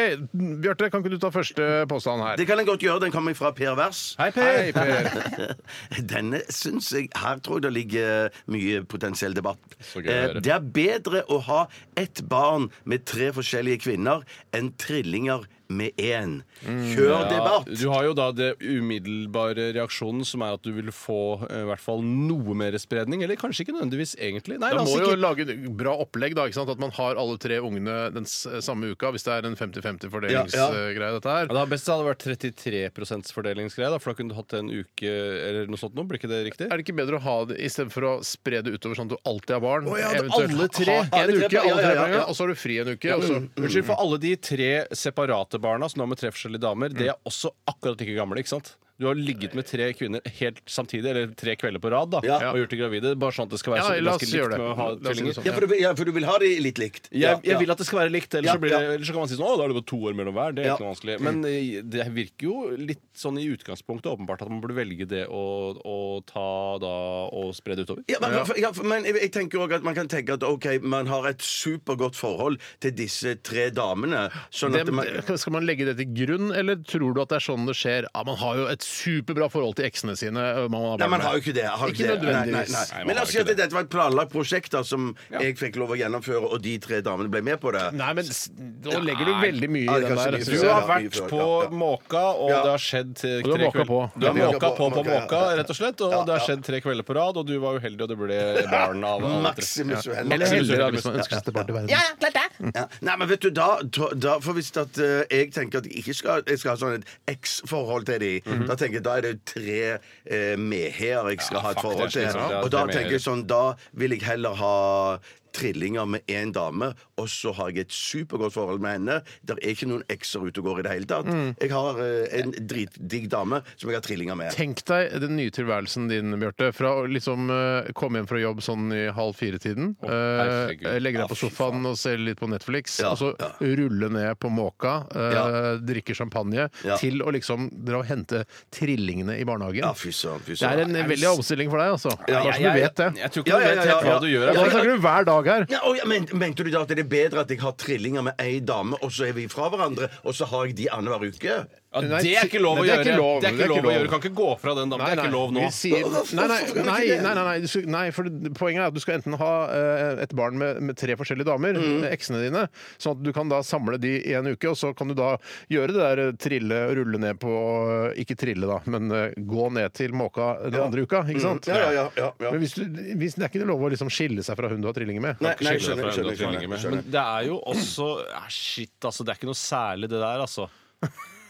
S4: Bjarte, kan ikke du ta første påstand her?
S3: Det kan jeg godt gjøre. Den kommer fra Per Vers.
S5: Hei, Per!
S4: Hei, Per.
S3: <laughs> Denne syns jeg Her tror jeg det ligger mye potensiell debatt.
S5: Så gøy å
S3: Eh,
S5: høre.
S3: Det er bedre å ha ett barn med tre forskjellige kvinner enn trillinger med én.
S5: Mm,
S3: Kjør debatt!
S5: Du har jo da det umiddelbare reaksjonen, som er at du vil få eh, i hvert fall noe mer spredning. Eller kanskje ikke nødvendigvis egentlig. Nei,
S4: Da
S5: altså
S4: må jo
S5: ikke-
S4: lage et bra opplegg, da. Ikke sant? At man har alle tre ungene den s- samme uka, hvis det er en 50-50-fordelingsgreie, dette her.
S5: Ja, det hadde best hadde vært 33 fordelingsgreie, da, for da kunne du hatt en uke eller noe sånt. Nå. Blir ikke det riktig?
S4: Er det ikke bedre å ha det istedenfor å spre det utover sånn at du alltid har barn?
S5: Å ja, det-
S4: Eventuelt
S5: alle tre.
S4: Ha en
S5: Alle tre
S4: uke,
S5: på- ja,
S4: alle
S5: ja,
S4: tre på en
S5: ja. mm.
S4: gang, og så har du fri en uke. Og så
S5: Unnskyld for alle de tre separate barna som du har med tre forskjellige damer. De er også akkurat like gamle, ikke sant? Du har ligget med tre kvinner helt samtidig, eller tre kvelder på rad, da,
S3: Ja.
S5: og gjort de gravide. Bare sånn at det skal være så
S4: Ja, la
S5: ganske
S4: oss
S5: likt
S4: gjøre det.
S5: med å ha
S4: La oss si det
S5: tvillinger.
S4: sånn.
S3: Ja, for du, ja, for du vil ha de litt likt?
S5: Jeg, jeg vil at det skal være likt, ellers,
S3: Ja,
S5: så blir det,
S3: ja.
S5: ellers så kan man si sånn, å, da er det bare to år mellom hver. Det er
S3: Ja.
S5: ikke noe vanskelig. Men eh, det virker jo litt sånn i utgangspunktet åpenbart at man burde velge det og, og ta da og spre det utover.
S3: Ja, men, ja, for- men jeg, jeg tenker også at man kan tenke at ok, man har et supergodt forhold til disse tre damene. Sånn at man,
S4: Det, skal man legge det til grunn, eller tror du at det er sånn det skjer? Ja, man har jo et superbra forhold til eksene sine. eh, Man har
S3: Nei, man har jo
S4: barn med.
S3: ikke det. Har
S4: Ikke
S3: ikke det.
S4: nødvendigvis.
S5: Nei,
S3: Nei, nei, nei.
S5: man
S3: Men la
S5: har
S3: oss si
S5: ikke
S3: at dette var et planlagt prosjekt da, som jeg fikk lov å gjennomføre, og de tre damene ble med på det.
S4: Nei, men s- nå legger du veldig mye
S3: Ja,
S4: i den
S3: kanskje
S4: der.
S3: mye
S4: synes
S5: Du
S4: jeg.
S3: Ja,
S5: har
S3: mye
S5: vært
S3: før,
S5: på
S3: ja, ja.
S5: måka, og
S3: Ja.
S5: det har skjedd tre
S4: du har måka
S5: kvelder-
S4: på.
S5: Du har
S3: Ja,
S5: måka på på
S3: måka, ja.
S5: måka, rett og slett. Og det har skjedd tre kvelder på rad, og du var uheldig, og det ble barn av alle tre.
S3: Maximus Uheldig.
S4: Eller heller, da, hvis man ønsker seg tilbake til verden.
S3: Ja. Nei, men vet du, da, da For hvis at, eh, jeg tenker at jeg ikke skal, jeg skal ha sånn et eks-forhold til de
S4: Mhm.
S3: Da tenker jeg da er det tre uh, medheer jeg skal
S5: Ja,
S3: ha et
S5: fuck,
S3: forhold
S5: det er
S3: til.
S5: slitsomt, ja,
S3: og
S5: tre
S3: da
S5: medheer.
S3: tenker jeg sånn Da vil jeg heller ha trillinger med én dame, og så har jeg et supergodt forhold med henne. Det er ikke noen ekser ute og går i det hele tatt.
S4: Mm.
S3: Jeg har eh, en dritdigg dame som jeg har trillinger med.
S4: Tenk deg den nye tilværelsen din, Bjarte. Fra å liksom eh, komme hjem fra jobb sånn i halv fire-tiden. eh,
S5: herregud.
S4: legge
S5: Ja,
S4: deg på
S5: fy
S4: sofaen og se litt på Netflix.
S3: Ja,
S4: og så
S3: ja.
S4: rulle ned på måka, eh,
S3: Ja.
S4: drikke champagne,
S3: Ja.
S4: til å liksom dra og hente trillingene i barnehagen.
S3: Ja, fy søren, fy
S4: det
S3: søren.
S4: er en veldig omstilling for deg, altså.
S3: Ja,
S4: Bare så du vet det.
S5: Jeg, jeg tror ikke
S3: Ja,
S5: du
S3: ja,
S5: vet
S3: ja,
S5: helt hva
S3: ja.
S5: du
S4: Ja,
S5: gjør.
S4: da snakker du hver dag her.
S3: Ja, og, ja, men, mente du da at det er bedre at jeg har trillinger med ei dame, og så er vi fra hverandre, og så har jeg de annenhver uke?
S5: Ja,
S4: Nei,
S5: det er ikke lov å
S4: det er
S5: gjøre.
S4: ikke lov.
S5: Det er ikke lov å gjøre. Du kan ikke gå fra den damen. Det er ikke lov nå.
S4: vi Sier,
S3: Hva- hva-
S4: nei, nei,
S3: hvorfor kan vi
S4: nei,
S3: ikke det?
S4: nei, nei, nei, du skal- nei, for det- poenget er at du skal enten ha eh, et barn med, med tre forskjellige damer,
S5: Mm.
S4: eh, eksene dine, sånn at du kan da samle de i en uke, og så kan du da gjøre det der eh, trille og rulle ned på eh, Ikke trille, da, men eh, gå ned til måka den andre uka,
S5: Mm.
S4: ikke sant?
S3: Mm, Ja, ja, ja, ja, ja.
S4: Men hvis du, hvis, det er ikke lov å liksom skille seg fra hun du har trillinger med.
S3: Nei, nei,
S5: Skille
S3: skjønner,
S5: deg fra hundre
S3: skjønner,
S5: og tvillinger
S3: skjønner,
S5: med.
S3: skjønner.
S5: Men det er jo også ah, Shit, altså. Det er ikke noe særlig, det der, altså.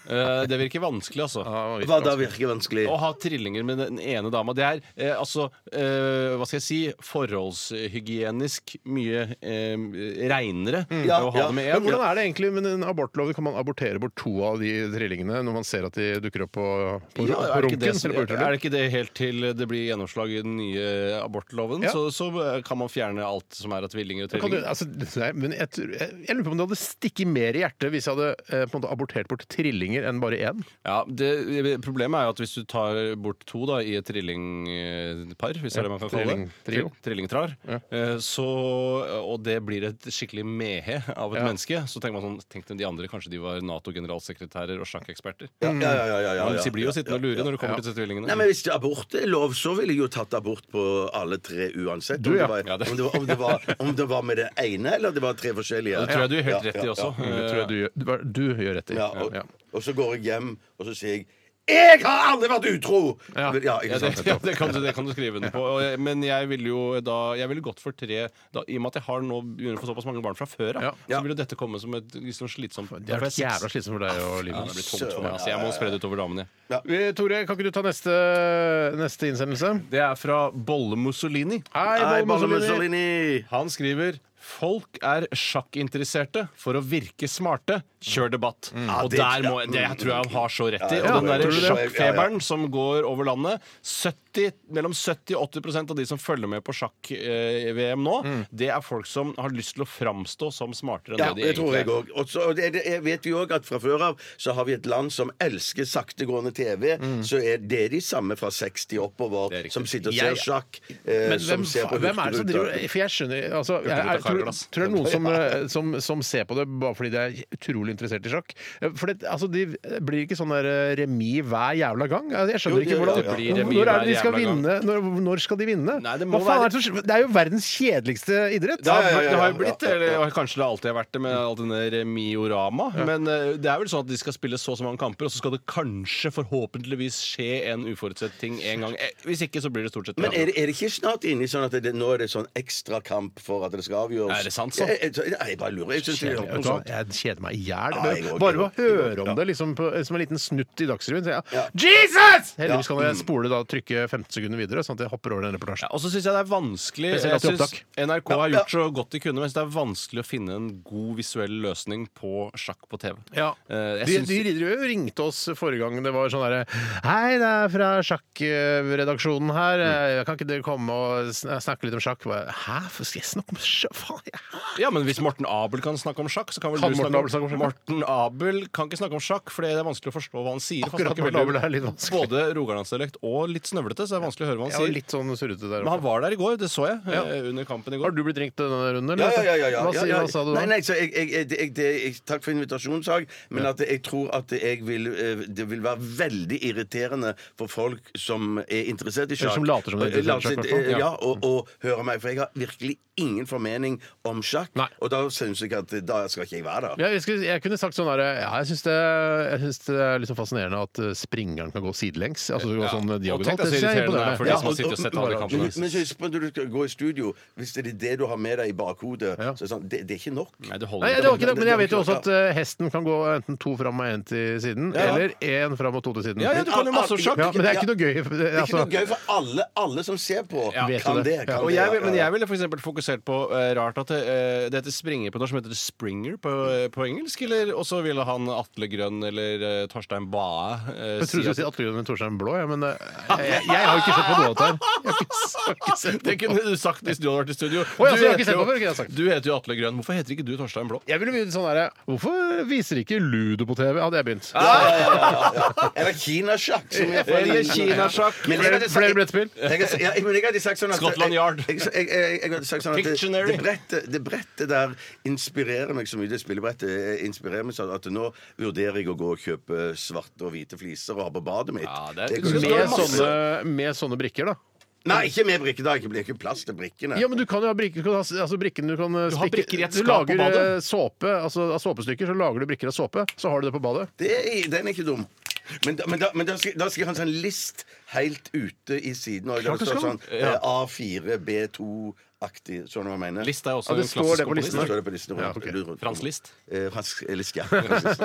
S5: Eh, Det virker vanskelig, altså.
S4: Ah,
S3: Hva da virker vanskelig?
S5: Å ha trillinger med den ene dama. Det er eh, altså eh, Hva skal jeg si? Forholdshygienisk mye eh, reinere
S3: Ja,
S5: å ha
S3: ja.
S5: det med
S4: Mm. Men
S5: én.
S4: hvordan er det egentlig med en abortlov? Kan man abortere bort to av de trillingene når man ser at de dukker opp på, på,
S5: Ja,
S4: på
S5: er, det ikke
S4: runken?
S5: det, som-
S4: eller på
S5: er
S4: utelukken?
S5: det ikke det helt til det blir gjennomslag i den nye abortloven?
S4: Ja.
S5: Så, så eh, kan man fjerne alt som er av tvillinger og
S4: Kan du,
S5: trillinger.
S4: altså, nei, men jeg, tror- jeg, jeg lurer på om det hadde stikket mer i hjertet hvis jeg hadde eh, på en måte abortert bort trillinger enn bare én.
S5: Ja, det, problemet er jo at hvis du tar bort to da, i et trillingpar, hvis det er det man kan kalle det,
S4: trillingtrio.
S5: Tri- trillingtrar, eh, så, og det blir et skikkelig mehe av et
S4: Ja.
S5: menneske, så tenker man sånn Tenk deg de andre, kanskje de var Nato-generalsekretærer og sjakkeksperter.
S3: Ja, ja, ja, ja, ja, ja,
S5: Man
S3: ja.
S5: blir jo sittende og lure når det kommer til disse tvillingene.
S3: Nei, men Hvis abort er lov, så ville jeg jo tatt abort på alle tre uansett.
S4: Du, ja.
S3: om, det
S5: Ja,
S3: var,
S5: det-
S3: om, det var, om, det var, om det var med den ene, eller det var tre forskjellige.
S5: det tror jeg du er helt
S3: Ja,
S5: rett i
S3: ja,
S5: også.
S4: Det tror jeg du gjør, du, du gjør rett i.
S3: Ja, og,
S4: Ja.
S3: og så går jeg hjem, og så sier jeg Jeg har aldri vært utro!
S4: Ja.
S5: Ja,
S3: ikke
S5: det,
S3: sant?
S5: ja, det, kan du, det kan du skrive under på. Og jeg- Men jeg ville jo da Jeg ville gått for tre da, I og med at jeg har nå begynner å få såpass mange barn fra før, da,
S4: Ja.
S5: så vil jo dette komme som et liksom, slitsomt
S4: Det
S5: Da
S4: har
S5: får
S4: vært
S5: jeg seks.
S4: jævla slitsomt for deg og
S5: Ja,
S4: livet.
S5: det blir tungt for meg. Altså, jeg må spre det utover damene.
S4: Eh, Tore, kan ikke du ta neste, neste innsendelse?
S5: Det er fra Bolle Mussolini.
S4: Hei,
S3: Nei,
S4: Bolle
S3: Bolle
S4: Mussolini.
S3: Mussolini!
S5: Han skriver Folk er sjakkinteresserte for å virke smarte. Kjør debatt. Og
S3: Mm. det- Mm.
S5: der må, det tror jeg han har så rett i. Og den
S3: ja,
S5: derre
S3: tror du det?
S5: sjakkfeberen som går over landet 70, Mellom 70 og 80 av de som følger med på sjakk-VM nå, det er folk som har lyst til å framstå som smartere enn
S3: Mm. Ja,
S5: det de
S3: det tror jeg
S5: egentlig er.
S3: òg. Og så det- det- vet vi òg at fra før av så har vi et land som elsker saktegående TV.
S4: Mm.
S3: Så er det de samme fra 60
S5: Det er
S3: oppover
S5: riktig.
S3: som sitter og ser
S4: Jeg-
S3: sjakk. Eh,
S4: Men
S3: som
S4: hvem,
S3: ser på
S4: fa- hvem er det som driver
S3: Hurtigruta.
S4: For jeg skjønner altså, jeg, jeg, tror,
S5: karglass.
S4: tror det er noen
S3: <laughs>
S4: som, eh, som, som ser på det bare fordi de er utrolig interessert i sjakk. Eh, For det, altså, de blir ikke sånn der eh, remis hver jævla gang. Eh, Jeg skjønner
S3: Jo,
S4: ikke
S3: det-
S4: hvordan
S3: ja, det
S5: blir remis
S4: Når er det de
S5: hver jævla
S4: skal
S5: gang.
S4: vinne? Når, når skal de vinne?
S5: Nei, det må
S4: Hva faen
S5: være-
S4: er det, som skjer? det er jo verdens kjedeligste idrett.
S5: Det har,
S3: Ja, ja, ja,
S5: det har jo
S3: ja,
S5: blitt,
S3: ja, ja, ja.
S5: eller kanskje det alltid har vært det med all denne remiorama. Men eh, det er vel sånn at de skal spille så og så mange kamper, og så skal det kanskje, forhåpentligvis, skje en uforutsett ting en gang. Eh, Hvis ikke, så blir det stort sett
S3: Men
S5: drama.
S3: er det, er det ikke snart inni sånn at det, nå er det sånn ekstra kamp for at det skal lurer.
S5: Er det sant, så?
S3: Jeg, jeg, jeg, jeg bare lurer. Jeg synes det er noe
S4: Vet du hva?
S3: sånt.
S4: Jeg kjeder meg i hjel.
S3: Ja, jeg
S4: Bare
S3: går,
S4: bare ved
S3: jeg
S4: å
S3: går, jeg
S4: høre
S3: går,
S4: om
S3: ja.
S4: det liksom, på, som en liten snutt i Dagsrevyen, sier jeg
S3: Ja.
S4: Jesus! Heldigvis
S3: Ja, Mm.
S4: kan jeg spole da trykke 15 sekunder videre, sånn at jeg hopper over den
S5: Ja,
S4: reportasjen.
S5: og så syns jeg det er vanskelig
S4: Spesielt
S5: Jeg
S4: til
S5: synes
S4: opptak.
S5: NRK har gjort så godt de kunne, men jeg synes det er vanskelig å finne en god visuell løsning på sjakk på TV. Eh,
S4: De,
S5: Jeg
S4: de
S5: synes,
S4: ridder jo ringte oss forrige gang det var sånn derre Hei, det er fra sjakkredaksjonen her. Eh, Kan ikke dere komme og sn- snakke litt om sjakk? Jeg bare, Hæ? For skal jeg snakke om sjakk? Faen, jeg
S5: ja, men hvis Morten Abel kan snakke om sjakk, så kan vel
S4: Kan
S5: du snakke
S4: Morten
S5: om
S4: Abel snakke om sjakk?
S5: Morten Abel kan ikke snakke om sjakk, for det er vanskelig å forstå hva han sier. for han
S4: Akkurat
S5: snakker
S4: Morten
S5: veldig-
S4: Abel er litt vanskelig.
S5: Både rogalandsdialekt og litt snøvlete, så det er vanskelig å høre hva
S4: Jeg
S5: han
S4: var
S5: sier.
S4: litt sånn surrete der
S5: Men han
S4: oppe.
S5: var der i går, det så jeg, eh, under kampen i går.
S4: Har du blitt ringt til denne runden?
S3: Ja,
S4: eller?
S3: ja, ja, ja, ja.
S4: Hva, sier,
S3: ja, ja.
S4: hva sa du da?
S3: Nei, nei, så jeg, jeg, jeg, jeg, det, jeg, takk for invitasjonen, Sag, men at jeg tror at jeg vil, eh, det vil være veldig irriterende for folk som er interessert i sjakk.
S4: som later som de er interessert i
S3: Later-
S4: sjakk, i hvert fall.
S3: eh, Ja, og, og høre meg, for jeg har virkelig ingen formening om sjakk,
S4: Nei.
S3: og da synes jeg at da skal ikke jeg være der.
S4: Ja, jeg, skulle, jeg kunne sagt sånn der, ja, jeg syns det, jeg synes det er liksom fascinerende at eh, springeren kan gå sidelengs. Altså gå sånn eh,
S5: Og tenk deg
S4: diagonalt.
S5: så
S4: Det synes jeg er
S5: irriterende det er for de
S4: imponerende.
S5: som har sittet og sett alle
S3: Men,
S5: kampene.
S3: men så husk på når du skal gå i studio, hvis det er det du har med deg i bakhodet,
S4: Ja.
S3: så er det sånn, det, det er ikke nok.
S5: Nei, det
S4: Nei,
S5: holder
S4: det var
S5: ikke.
S4: ikke det, men jeg vet jo også at eh, hesten kan gå enten to fram og én til siden, eller én fram og to til siden.
S5: Ja, ja, du kan jo masse om sjakk.
S4: Ja, men det er ikke noe gøy.
S3: Det er ikke
S4: Altså,
S3: noe gøy for alle, alle som ser på.
S4: vet
S3: kan
S4: du
S3: det.
S4: det?
S3: kan
S4: Ja.
S5: Og
S3: det,
S5: jeg, vil-
S3: ja,
S5: men
S3: ja.
S5: jeg ville for eksempel fokusert på eh, rart at det, eh, det heter springer på norsk, men heter det springer på, eh, på engelsk? Eller også ville han Atle Grønn eller eh, Torstein Bae eh,
S4: jeg trodde du skulle
S5: at-
S4: si Atle Grønn med Torstein Blå, ja, men eh, jeg, jeg har jo ikke sett på noe av dette her. Jeg har ikke, jeg har ikke sett
S5: Det
S4: på
S5: kunne du sagt hvis du hadde vært i studio.
S4: Å, ja, så jeg har
S5: heter
S4: ikke sett
S5: jo-
S4: på før, kunne jeg sagt.
S5: du heter jo Atle Grønn. Hvorfor heter ikke du Torstein Blå?
S4: jeg ville begynt sånn
S5: eh,
S4: der, Hvorfor viser ikke Ludo på TV? Hadde jeg begynt.
S3: <laughs> Eller kinasjakk. som jeg får
S5: Eller
S3: liten-
S5: kinasjakk.
S3: Men jeg
S4: Flere-
S3: hadde sagt-
S4: flere brettspill?
S3: Jeg, hadde- ja, men jeg hadde sagt sånn at
S5: Scotland Yard.
S3: Jeg, jeg, jeg, jeg, jeg hadde sagt sånn at det,
S5: Pictionary.
S3: det, brettet, det brettet der inspirerer meg så mye. Det spillebrettet eh, inspirerer meg sånn at nå vurderer jeg å gå og kjøpe svarte og hvite fliser og ha på badet mitt.
S5: Ja, det er-
S3: går-
S5: Det er
S4: Med
S5: masse.
S4: sånne, med sånne brikker, da.
S3: Nei, ikke med brikker. Da Det blir ikke plass til brikkene.
S4: Ja, men du kan jo ha brikker. Du kan ha, altså brikken du kan eh,
S5: Du har
S4: spikke-
S5: brikker i et
S4: du
S5: skap på
S4: lager,
S5: badet.
S4: eh, Såpe, altså av såpestykker, så lager du brikker av såpe, så har du det på
S5: <laughs>
S4: badet.
S3: Det er, den er ikke dum. Men, da, men, da, men da, skal, da skal jeg ha en sånn list helt ute i siden. Og det
S4: Klart du
S3: står
S4: skal.
S3: sånn eh, A4, B2-aktig. Sånn hva jeg mener.
S5: Lista er også
S4: Ja, det
S5: en
S4: står
S5: klassisk
S4: det på
S5: komponist.
S4: listen
S3: Det står det på listen rundt.
S4: Ja, ok.
S3: du- rundt-
S5: Frans List?
S3: Eh, Frans eh, List, ja. Frans List.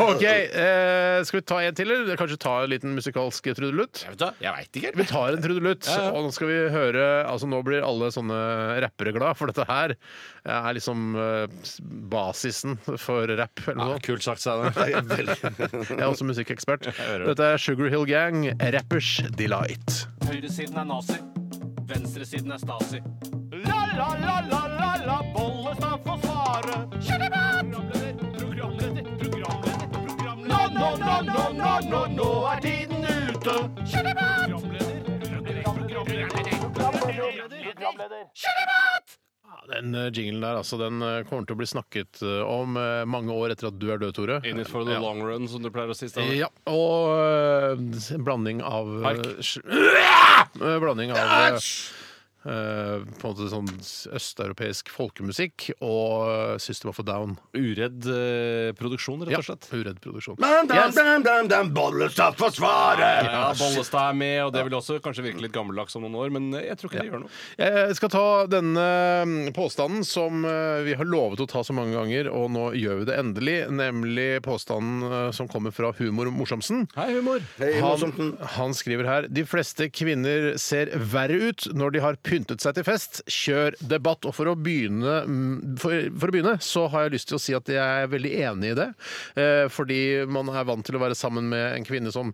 S4: OK, eh, skal vi ta en til, eller kanskje ta en liten musikalsk trudelutt?
S5: Jeg vet da, jeg vet ikke.
S4: <laughs> Vi tar en trudelutt,
S5: Ja, ja.
S4: og nå skal vi høre Altså, nå blir alle sånne rappere glad, for dette her er liksom eh, basisen for rapp, eller noe
S5: Ja,
S4: sånt.
S5: kult sagt, Steinar.
S4: <laughs> Jeg er også musikkekspert. Dette er Sugar Hill Gang, Rappers Delight.
S6: Høyresiden er nazi. Venstresiden er stasi. La, la, la, la, la, la, Bollestad får svare. Programleder, programleder, programleder, programleder. Nå, nå, nå, nå, nå, nå, nå er tiden ute. Programleder, programleder, programleder, programleder.
S4: Den eh, jinglen der altså, den eh, kommer til å bli snakket eh, om eh, mange år etter at du er død, Tore.
S5: In it for the long run, som du pleier å si. Steinar.
S4: Ja, og eh, en blanding av eh,
S5: Hark.
S4: sj- Eh, Blanding av eh, eh, på en måte sånn østeuropeisk folkemusikk og eh, System of a Down.
S5: Uredd eh, produksjon, rett
S4: Ja,
S5: og slett.
S4: uredd produksjon.
S3: Bam, <laughs> dam,
S5: Yes.
S3: dam, dam, dam, Bollestad forsvarer!
S5: Ja, Bollestad er med, og det vil også kanskje virke litt gammeldags om noen år, men eh, jeg tror ikke det gjør noe.
S4: Jeg skal ta denne mm, påstanden som eh, vi har lovet å ta så mange ganger, og nå gjør vi det endelig, nemlig påstanden eh, som kommer fra Humor Morsomsen.
S5: Hei, humor!
S3: Hei,
S4: Han,
S3: Morsomten.
S4: han skriver her De fleste kvinner ser verre ut når de har pyntet seg til fest. Kjør debatt. Og for å begynne, mm, for, for å begynne så har jeg lyst til å si at jeg er veldig enig i det. Eh, fordi man er vant til å være sammen med en kvinne som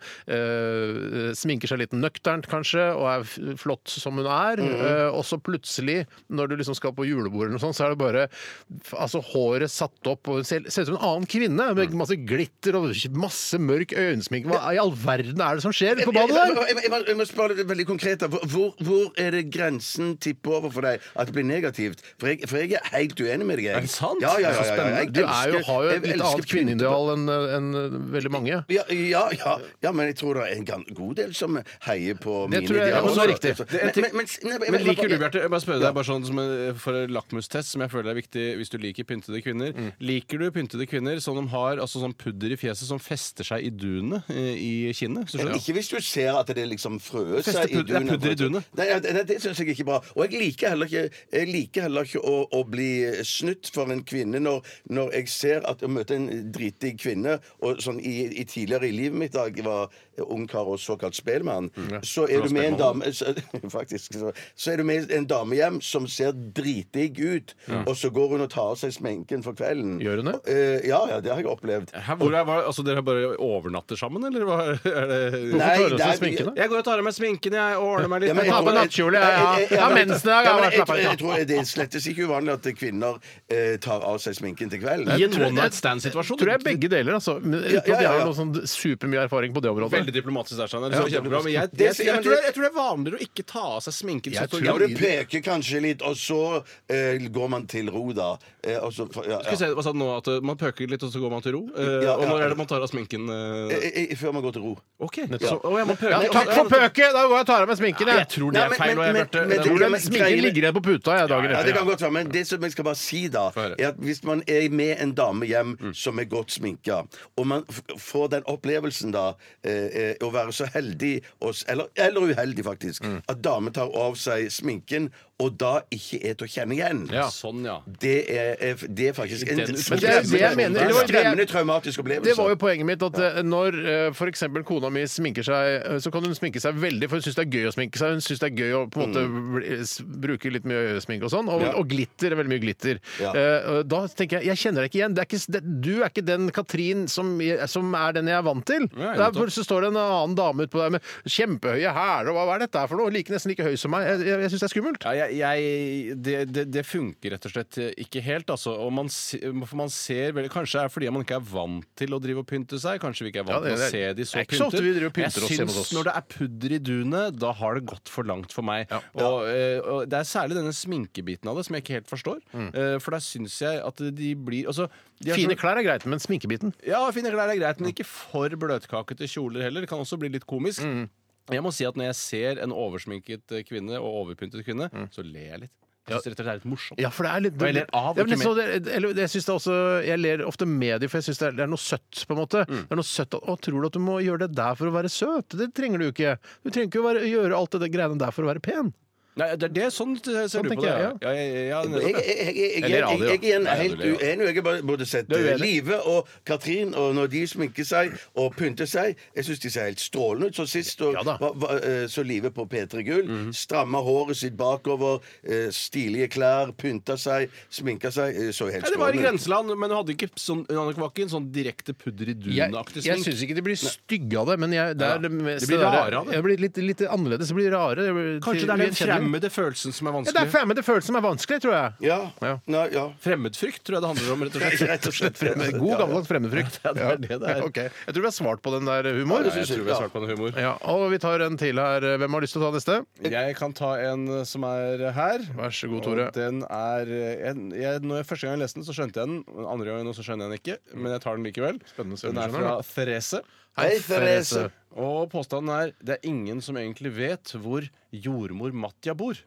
S4: eh, sminker seg litt nøkternt, kanskje, og er f- flott som hun er. eh, og så plutselig, når du liksom skal på julebord eller noe sånt, så er det bare f- altså, håret satt opp, og hun ser, ser ut som en annen kvinne med masse glitter og masse mørk øyensminke. Hva i all verden er det som skjer på badet
S3: Jeg,
S4: der?
S3: jeg, jeg, jeg må spørre deg veldig konkret. da. Hvor- Hvor, hvor er det grensen tipper over for deg at det blir negativt? For jeg, for jeg er helt uenig med deg. jeg.
S5: Er det sant?
S3: Ja, ja, ja, ja, ja. Jeg
S4: Du er jo,
S3: elsker-
S4: har jo
S3: jeg
S4: et litt
S3: elsker
S4: annet kvinneideal enn enn veldig mange.
S3: Ja, ja, ja, ja, men jeg tror det er en gan- god del som heier på mine
S4: tror jeg- ja, men
S3: idealer.
S4: det er riktig.
S3: Så-
S4: Det er en ting-
S3: men- men- nei,
S5: Men liker du,
S3: jeg-
S5: Bjarte, jeg bare spør deg bare sånn som en- for en lakmustest, som jeg føler er viktig hvis du liker pyntede kvinner. Liker du pyntede kvinner som de har altså sånn pudder i fjeset som fester seg i dunet eh, i kinnet? hvis du skjønner?
S3: Ikke hvis du ser at det liksom frøer
S5: Feste
S3: seg i
S5: pudder- det er
S3: dunet.
S5: pudder i dunet.
S3: Nei, ja, det, det syns jeg ikke bra. Og jeg liker heller ikke, jeg liker heller ikke å, å bli snytt for en kvinne når, når jeg ser at jeg møter en drittig kvinne og sånn i, i tidligere i livet mitt da jeg var ungkar og såkalt spelmann,
S4: Mm,
S3: så er du med en dame så, <laughs> Faktisk. Så, så er du med en dame hjem som ser dritdigg ut, og så går hun og tar av seg sminken for kvelden.
S4: Gjør hun det?
S3: Eh, ja, ja, det har jeg opplevd.
S5: Hæ, hvor er, hva- altså, dere bare overnatter sammen, eller hva er det
S3: Nei,
S4: Hvorfor tar du av
S3: nei,
S4: seg sminken, da?
S5: Jeg går og tar av meg sminken, jeg, og ordner meg litt.
S3: men jeg
S4: Ta på
S3: tror-
S4: nattkjole, ja, ja.
S3: Nei, jeg- jeg-
S4: Ja,
S3: men-
S4: mensen i dag, ja,
S3: men
S4: bare
S3: jeg,
S4: slapp av.
S3: tror- jeg tror Det er slettes ikke uvanlig at kvinner eh, tar av seg sminken til kvelden.
S5: I en
S4: tror-
S5: one night stand-situasjon.
S4: Tror jeg begge deler, altså. Men, uten at
S3: ja,
S4: jeg
S3: ja,
S4: har
S3: ja.
S4: noe sånn supermye erfaring på det området.
S5: Veldig diplomatisk der, Steinar. Det
S4: Ja,
S5: var kjempebra. Men jeg, jeg,
S3: Det
S5: jeg,
S3: sier-
S5: jeg,
S3: men
S5: tror det,
S3: det-
S5: jeg tror det er vanligere å ikke ta av seg sminken.
S4: Jeg
S5: som står
S4: tror-
S3: Ja, men
S5: i-
S3: Du peker kanskje litt, og så eh, går man til ro, da. Eh, og så, ja,
S5: Skal vi
S3: ja.
S5: se, hva sa du nå? At uh, man pøker litt, og så går man til ro? Eh,
S3: Ja,
S5: Og
S3: ja.
S5: når er det man tar av sminken? eh?
S3: Eh, eh, Før man går til ro.
S5: OK. Så, å, jeg må pøke.
S4: Ja, takk for pøket! Da går jeg og tar av meg sminken.
S5: Jeg tror det
S3: Nei,
S5: er
S3: men-
S5: feil, og jeg
S3: men-
S5: Bjarte. Det
S3: men- men-
S5: er-
S4: Tror du den
S3: men-
S4: sminken ligger igjen på puta jeg dagen
S3: Ja, Det kan
S4: etter?
S3: godt være, men det som jeg skal bare si da,
S5: høre.
S3: er at hvis man er med en dame hjem
S4: Mm.
S3: som er godt sminka, og man f- får den opplevelsen da, eh, eh, å være så heldig, og s- eller, eller uheldig faktisk,
S4: Mm.
S3: at damen tar av seg sminken, og da ikke er til å kjenne igjen.
S5: Ja. Sånn, ja.
S3: Det er, er f- det er faktisk en
S5: Den-
S3: skremmende-
S4: Men det er det jeg mener. Det var- det-
S3: skremmende traumatisk opplevelse.
S4: Det var jo poenget mitt at eh, når f.eks. kona mi sminker seg, eh, så kan hun sminke seg veldig, for hun syns det er gøy å sminke seg. Hun syns det er gøy å på en måte bli- eh, s- bruke litt mye øyesminke og sånn. Og,
S3: Ja.
S4: og glitter. Veldig mye glitter.
S3: Ja.
S4: Eh, og Da tenker jeg jeg kjenner deg ikke igjen. Det er ikke, s- det, du er ikke den Katrin som, jeg- som er den jeg er vant til.
S5: Nei,
S4: Der
S5: nettopp.
S4: plutselig står det en annen dame utpå der med kjempehøye hæler og hva hva er dette her for noe? Like nesten like høy som meg. Jeg, jeg, jeg syns det er skummelt.
S5: Ja, jeg, jeg, det, det, det funker rett og slett ikke helt. Altså. Og man, se- for man ser vel, Kanskje det er fordi man ikke er vant til å drive og pynte seg. Kanskje vi ikke er vant
S4: Ja, det-
S5: til å
S4: det-
S5: se de så
S4: det er ikke så ofte vi driver og pynter oss
S5: Jeg
S4: hjemme hos
S5: syns
S4: oss.
S5: når det er pudder i dunet, da har det gått for langt for meg. Og, eh, og Det er særlig denne sminkebiten av det som jeg ikke helt forstår. Eh, For der syns jeg at de blir altså, de er så-
S4: Mm. Fine klær er greit, men sminkebiten
S5: ja, fine klær er greit, men ikke for bløtkakete kjoler heller. Det kan også bli litt komisk.
S4: Mm.
S5: Jeg må si at Når jeg ser en oversminket eh, kvinne og overpyntet kvinne, så ler jeg litt. Jeg synes rett og slett det er litt morsomt.
S4: Mm. Ja, for det er litt
S5: Og jeg ler av,
S4: Ja, men
S5: ikke
S4: så det- eller jeg synes det er også Jeg ler ofte med de, for jeg syns det, er- det er noe søtt, på en måte.
S5: Mm.
S4: Det er noe søtt at, Å, tror du at du må gjøre det der for å være søt? Det trenger du jo ikke. Du trenger ikke å være, gjøre alt det der greiene der for å være pen.
S5: Nei, det er det, sånn ser du på
S4: tenker
S5: det.
S4: jeg,
S5: Ja. Ja, ja, ja,
S3: Jeg, jeg,
S5: nettopp, ja.
S3: jeg, jeg, jeg,
S5: Eller radio.
S3: jeg, jeg er en
S5: Nei,
S3: helt
S5: du ler, ja.
S3: uenig. Jeg bare burde sett
S4: er
S3: eh,
S4: uenig.
S3: Live og Katrin, og når de sminker seg og pynter seg Jeg syns de ser helt strålende ut. Så sist og,
S4: Ja da. Mhm.
S3: va- va- eh, så Live på P3 Gull. Stramma håret sitt bakover, eh, stilige klær, pynta seg, sminka seg. eh, Så helt
S5: Nei, det var i
S3: strålende ut.
S5: grenseland, men hun hadde ikke sånn, hun hadde ikke en sånn direkte pudder i
S4: Jeg,
S5: duen-aktig
S4: jeg
S5: smink.
S4: syns ikke de blir stygge av det, men jeg, det er
S5: Ja.
S4: det mest
S5: Det blir
S4: rare.
S5: rare av det.
S4: Jeg blir litt, litt annerledes. Det blir rare. Jeg blir-
S5: Kanskje det er den
S4: gjenkjennelig.
S5: fremmede følelsen som er
S4: Ja, det er
S5: vanskelig.
S4: fremmede følelsen som er vanskelig, tror jeg.
S3: Ja.
S4: Ja.
S3: Nei, ja.
S5: Fremmedfrykt tror jeg det handler om. rett og
S4: <laughs>
S5: slett.
S3: Rett og slett.
S4: Fremmed, god gammeldags fremmedfrykt.
S5: Ja, det er det det er.
S4: <laughs> Ok. Jeg tror vi har svart på den der humor.
S5: Nei, jeg tror vi har svart på den humor.
S4: Ja, og vi tar en til her. Hvem har lyst til å ta neste?
S5: Jeg kan ta en eh, som er her.
S4: Vær så god, Tore.
S5: Og den er jeg, jeg, når jeg, Første gang jeg leste den, så skjønte jeg den. Men Andre gangen nå så skjønner jeg den ikke, men jeg tar den likevel.
S4: Mm. Spennende å se om
S5: den er
S4: du skjønner
S5: fra Therese.
S3: Hei, Therese.
S5: Og påstanden er det er ingen som egentlig vet hvor jordmor Matja bor.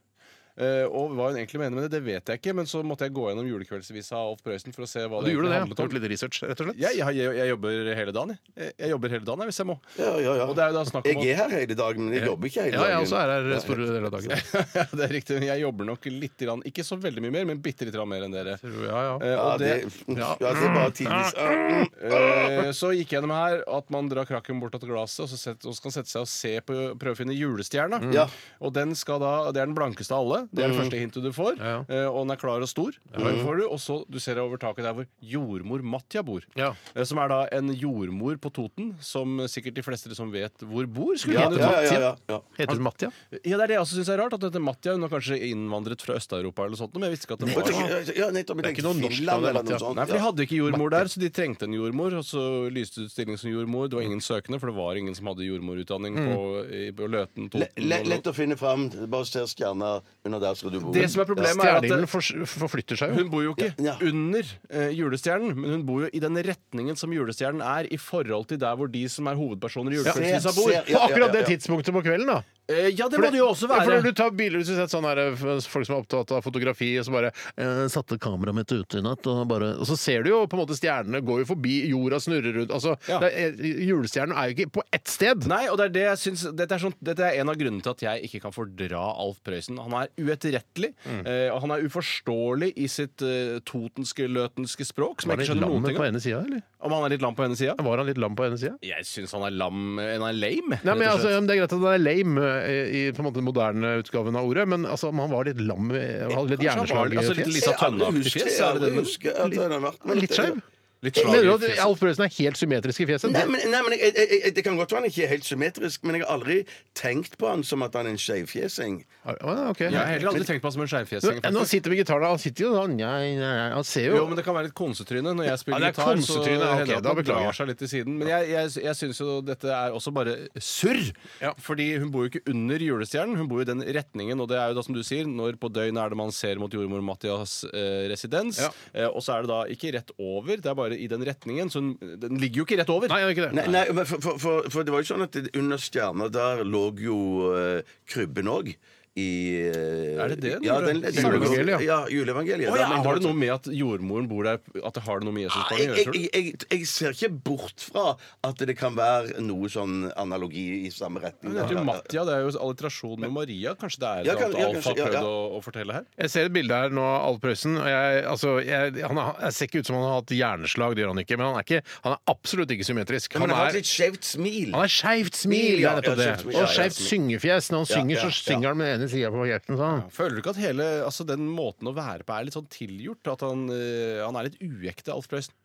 S5: Eh, og hva hun egentlig mener med det, det vet jeg ikke, men så måtte jeg gå gjennom julekveldsvisa av Alf Prøysen for å se hva
S4: Du
S5: det egentlig
S4: gjorde det, ja.
S5: handlet om.
S4: Gjort litt research, rett og slett?
S5: Jeg, jeg, jeg, jeg jobber hele dagen, jeg. jeg. Jeg jobber hele dagen jeg, hvis jeg må.
S3: Ja, ja, ja.
S5: Og det er jo da snakk om
S3: Jeg er her hele dagen, men jeg jobber ikke hele
S4: Ja, jeg også
S3: dagen.
S4: er her store deler av dagen.
S5: <laughs> Ja, det er riktig. men Jeg jobber nok litt, grann, ikke så veldig mye mer, men bitte litt grann mer enn dere.
S4: Ja, ja.
S5: Eh,
S3: Ja,
S5: og
S3: det,
S5: det, <laughs>
S3: ja, det er bare tidvis Mm.
S5: eh, så gikk jeg gjennom her at man drar krakken bort av glasset, og så, set, og så kan sette seg og se på, prøve å finne julestjerna.
S3: Mm. Ja. Mm.
S5: Og den skal da, det er den blankeste av alle. Det er det første hintet du får.
S4: Ja,
S5: eh, Og den er klar og stor. Den får du, og så du ser over taket der hvor jordmor Matja bor.
S4: Ja.
S5: Eh, Som er da en jordmor på Toten, som sikkert de fleste som vet hvor bor, skulle
S3: Ja,
S5: gjerne
S3: ja,
S5: tatt
S3: ja,
S5: til.
S3: ja, ja.
S4: Heter du Mattia?
S5: Ja, det er det jeg også syns er rart. At dette Matja hun har kanskje innvandret fra Øst-Europa eller sånt, men jeg visste ikke at det
S3: Og
S5: var sånn.
S3: tenk- Ja, nettopp.
S4: Det er ikke noe norsk navn,
S3: Finland eller
S4: Matja.
S3: noe sånt.
S5: Nei, for
S3: ja.
S5: De hadde ikke jordmor der, så de trengte en jordmor. Og så lyste det ut stilling som jordmor. Det var ingen søkende, for det var ingen som hadde jordmorutdanning på, i- på Løten. Toten,
S3: Le- le-
S5: og-
S3: Lett å finne fram. Bare se stjerna under der skal du bo.
S5: Det som er problemet, er at
S4: Stjernehimmelen
S5: det,
S4: fors- forflytter seg jo.
S5: hun bor jo ikke
S3: Ja, ja.
S5: under eh, julestjernen, men hun bor jo i den retningen som julestjernen er, i forhold til der hvor de som er hovedpersoner i
S3: Ja,
S5: julestjernen,
S3: se-
S5: bor.
S3: se-
S4: På
S3: Ja, ja, ja,
S4: akkurat det
S3: ja.
S4: tidspunktet på kvelden, da.
S5: Eh, ja, det må det jo også
S4: Ja, for
S5: være.
S4: når du tar bilder hvis du har sett sånn her, eh, folk som er opptatt av fotografi, og så bare eh, satte kameraet mitt ute i natt, og, bare, og så ser du jo på en måte stjernene går jo forbi, jorda snurrer rundt altså,
S5: Ja.
S4: det er- Julestjernen er jo ikke på ett sted!
S5: Nei, og det er det jeg syns dette, er sånn, dette er en av grunnene til at jeg ikke kan fordra Alf Prøysen. Han er uetterrettelig, eh, og han er uforståelig i sitt eh, totenske, løtenske språk. Som
S4: Var
S5: jeg
S4: det
S5: ikke skjønner
S4: lam
S5: noen ting
S4: på
S5: av.
S4: ene sida, eller?
S5: Om han er litt lam på henne sida?
S4: Var han litt lam på ene sida?
S5: Jeg syns han er lam eh, Han er lame.
S4: Nei,
S5: rett
S4: men
S5: og
S4: altså,
S5: slett.
S4: Det er greit at han er lame eh, i på en måte, den moderne utgaven av ordet, men altså, om han var litt lam eh, han hadde Litt
S5: Kanskje han var
S4: hjerneslag
S5: litt- altså,
S4: i
S5: litt
S4: fjes?
S5: Lisa Tønne-aktig
S3: husker,
S5: fjes?
S3: jeg
S5: Er det det?
S3: aldri
S5: men-
S3: husker at han har vært med
S4: Litt
S3: dette.
S4: skeiv?
S5: Litt
S4: Mener du
S5: slag
S4: at
S5: i fjeset.
S4: Alf Prøysen er helt symmetrisk i fjeset?
S3: Nei, men, nei, men jeg, jeg, jeg, Det kan godt være han ikke er helt symmetrisk, men jeg har aldri tenkt på han som at han er en skeivfjesing.
S4: Ah, ok.
S5: Jeg har heller aldri tenkt på han som en skeivfjesing.
S4: Nå, nå sitter vi i gitaren, han sitter jo sånn nei, nei, nei, Han ser
S5: Jo,
S4: jo
S5: men det kan være litt konsetryne. Når jeg spiller
S4: Ja, det er
S5: gitar, så
S4: konsetryne, ja, ok,
S5: hender det at
S4: da
S5: man
S4: beklager jeg.
S5: drar seg litt til siden. Men jeg, jeg, jeg syns jo dette er også bare surr.
S4: Ja.
S5: Fordi hun bor jo ikke under julestjernen, hun bor jo i den retningen. Og det er jo da som du sier, når på døgnet er det man ser mot jordmor Mathias eh, residens.
S4: Ja.
S5: Eh, og så er det da ikke rett over, det er bare i den retningen. Så den, den ligger jo ikke rett over.
S4: Nei, han gjør ikke det.
S3: Nei, nei men for, for, for, for det var jo sånn at det- under stjerna der lå jo eh, krybben òg. I, eh,
S5: Er det det den
S3: Ja,
S5: gjorde?
S3: den, den,
S4: Juleevangeliet, ja.
S3: Ja, juleevangeliet.
S5: Å
S3: Der
S5: ja,
S3: mente
S5: har det
S3: jeg-
S5: noe med at jordmoren bor der At det har det noe med
S3: Ah,
S5: Jesusbarnet å
S3: Jeg,
S5: gjøre? tror
S3: jeg,
S5: du?
S3: jeg, jeg ser ikke bort fra at det kan være noe sånn analogi i samme retning.
S5: Men Det heter jo Mattia, det er jo alliterasjon med Maria. Kanskje det er
S3: Ja,
S5: det
S3: kan-
S5: at
S3: ja,
S5: Alf
S3: kanskje,
S5: har
S3: ja,
S5: prøvd
S3: ja.
S5: å, å fortelle her?
S4: Jeg ser et bilde her nå av Alf Prøysen. og Jeg, altså, jeg, han har, jeg ser ikke ut som han har hatt hjerneslag, det gjør han ikke. Men han er, ikke, han er absolutt ikke symmetrisk.
S3: Men
S4: Han
S3: han har et
S4: er,
S3: litt skjevt smil.
S4: han er skeivt smil!
S3: Ja,
S4: Ja,
S3: ja,
S4: nettopp det.
S3: skjevt smil, ja,
S4: Og
S3: ja,
S4: skeivt
S3: smil.
S4: syngefjes. Når han
S3: Ja,
S4: synger,
S3: ja,
S4: så synger han med den ene sida på kjeften sånn.
S5: Føler du ikke at hele altså, den måten å være på er litt sånn tilgjort? At han, eh, han er litt uekte, Alf Prøysen?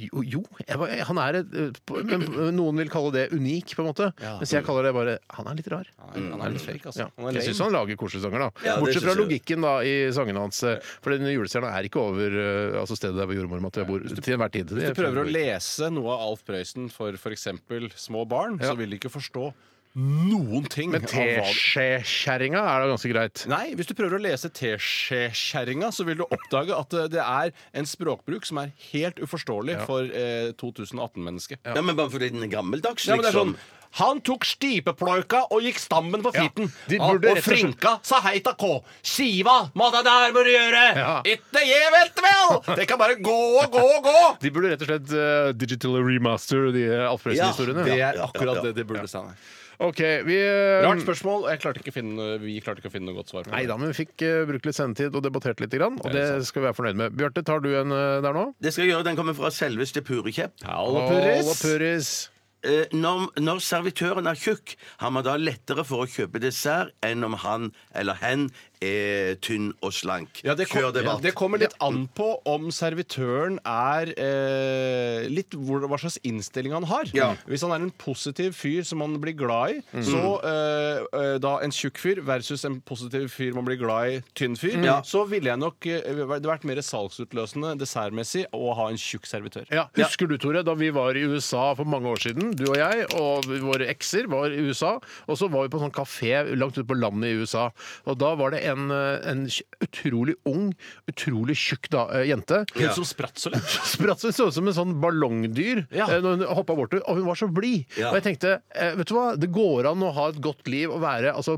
S4: Jo, jo jeg, var- han er et, eh, på- men noen vil kalle det unik, på en måte.
S5: Ja.
S4: Mens jeg kaller det bare Han er litt rar.
S5: Han er, han er litt fake, altså.
S4: Ja.
S5: Han er
S4: Jeg
S5: lame.
S4: syns han lager koselige sanger, da.
S3: Ja, det
S4: Bortsett fra
S3: synes jeg.
S4: logikken da i sangene hans. eh, For den julestjerna er ikke over eh, altså stedet der hvor jordmor Mathea bor til enhver tid.
S5: Hvis du prøver å lese noe av Alf Prøysen for f.eks. små barn,
S4: Ja.
S5: så vil de ikke forstå noen ting.
S4: Men
S5: av hva det-
S4: teskjekjerringa er da ganske greit.
S5: Nei, hvis du prøver å lese Teskjekjerringa, så vil du oppdage at eh, det er en språkbruk som er helt uforståelig for eh, 2018-mennesket.
S3: Ja, men bare fordi den er gammeldags,
S5: Ja, men det er
S3: liksom.
S5: sånn han tok stipeploika og gikk stammen på
S4: Ja,
S5: fitten.
S4: de
S5: Han-
S4: burde
S5: og
S4: rett og slett-
S5: frinka sa hei ta kå. Siva, hva det der må du gjøre?
S4: Ja.
S5: Ikke jeg vet vel! Det kan bare gå og gå og gå!
S4: De burde rett og slett eh, digital remaster de eh, Alf Prøysen-historiene.
S5: Det
S4: Ja.
S5: er akkurat det de burde si.
S4: OK, vi eh,
S5: Rart spørsmål. og Jeg klarte ikke å finne, vi klarte ikke å finne noe godt svar på
S4: Nei da,
S5: det.
S4: men vi fikk eh, brukt litt sendetid og debattert litt, grann, og det skal vi være fornøyd med. Bjarte, tar du en eh, der nå?
S3: Det skal jeg gjøre, Den kommer fra selveste Purekjepp.
S5: Halla,
S4: Halla,
S5: Purris.
S4: Purris.
S3: Eh, når, når servitøren er tjukk, har man da lettere for å kjøpe dessert enn om han eller hen er tynn og slank.
S5: Ja, det, kom,
S3: Kjør
S5: ja,
S3: debatt.
S5: det kommer litt an på om servitøren er eh, litt hvor, hva slags innstilling han har.
S3: Ja. Mm.
S5: Hvis han er en positiv fyr som man blir glad i, så eh, eh, da en tjukk fyr versus en positiv fyr man blir glad i, tynn
S3: Mm.
S5: fyr, så ville jeg nok eh, vært- det vært mer salgsutløsende dessertmessig å ha en tjukk servitør.
S4: Ja, husker du, Tore, da vi var i USA for mange år siden, du og jeg, og våre ekser var i USA, og så var vi på en sånn kafé langt ute på landet i USA, og da var det en, eh, en utrolig ung, utrolig tjukk da, eh, jente. <laughs>
S5: Hun som spratt så lett.
S4: Spratt så så ut som en sånn ballongdyr
S5: Ja.
S4: eh, når hun hoppa bortover, og hun var så blid.
S3: Ja.
S4: Og jeg tenkte, eh, vet du hva, det går an å ha et godt liv og være altså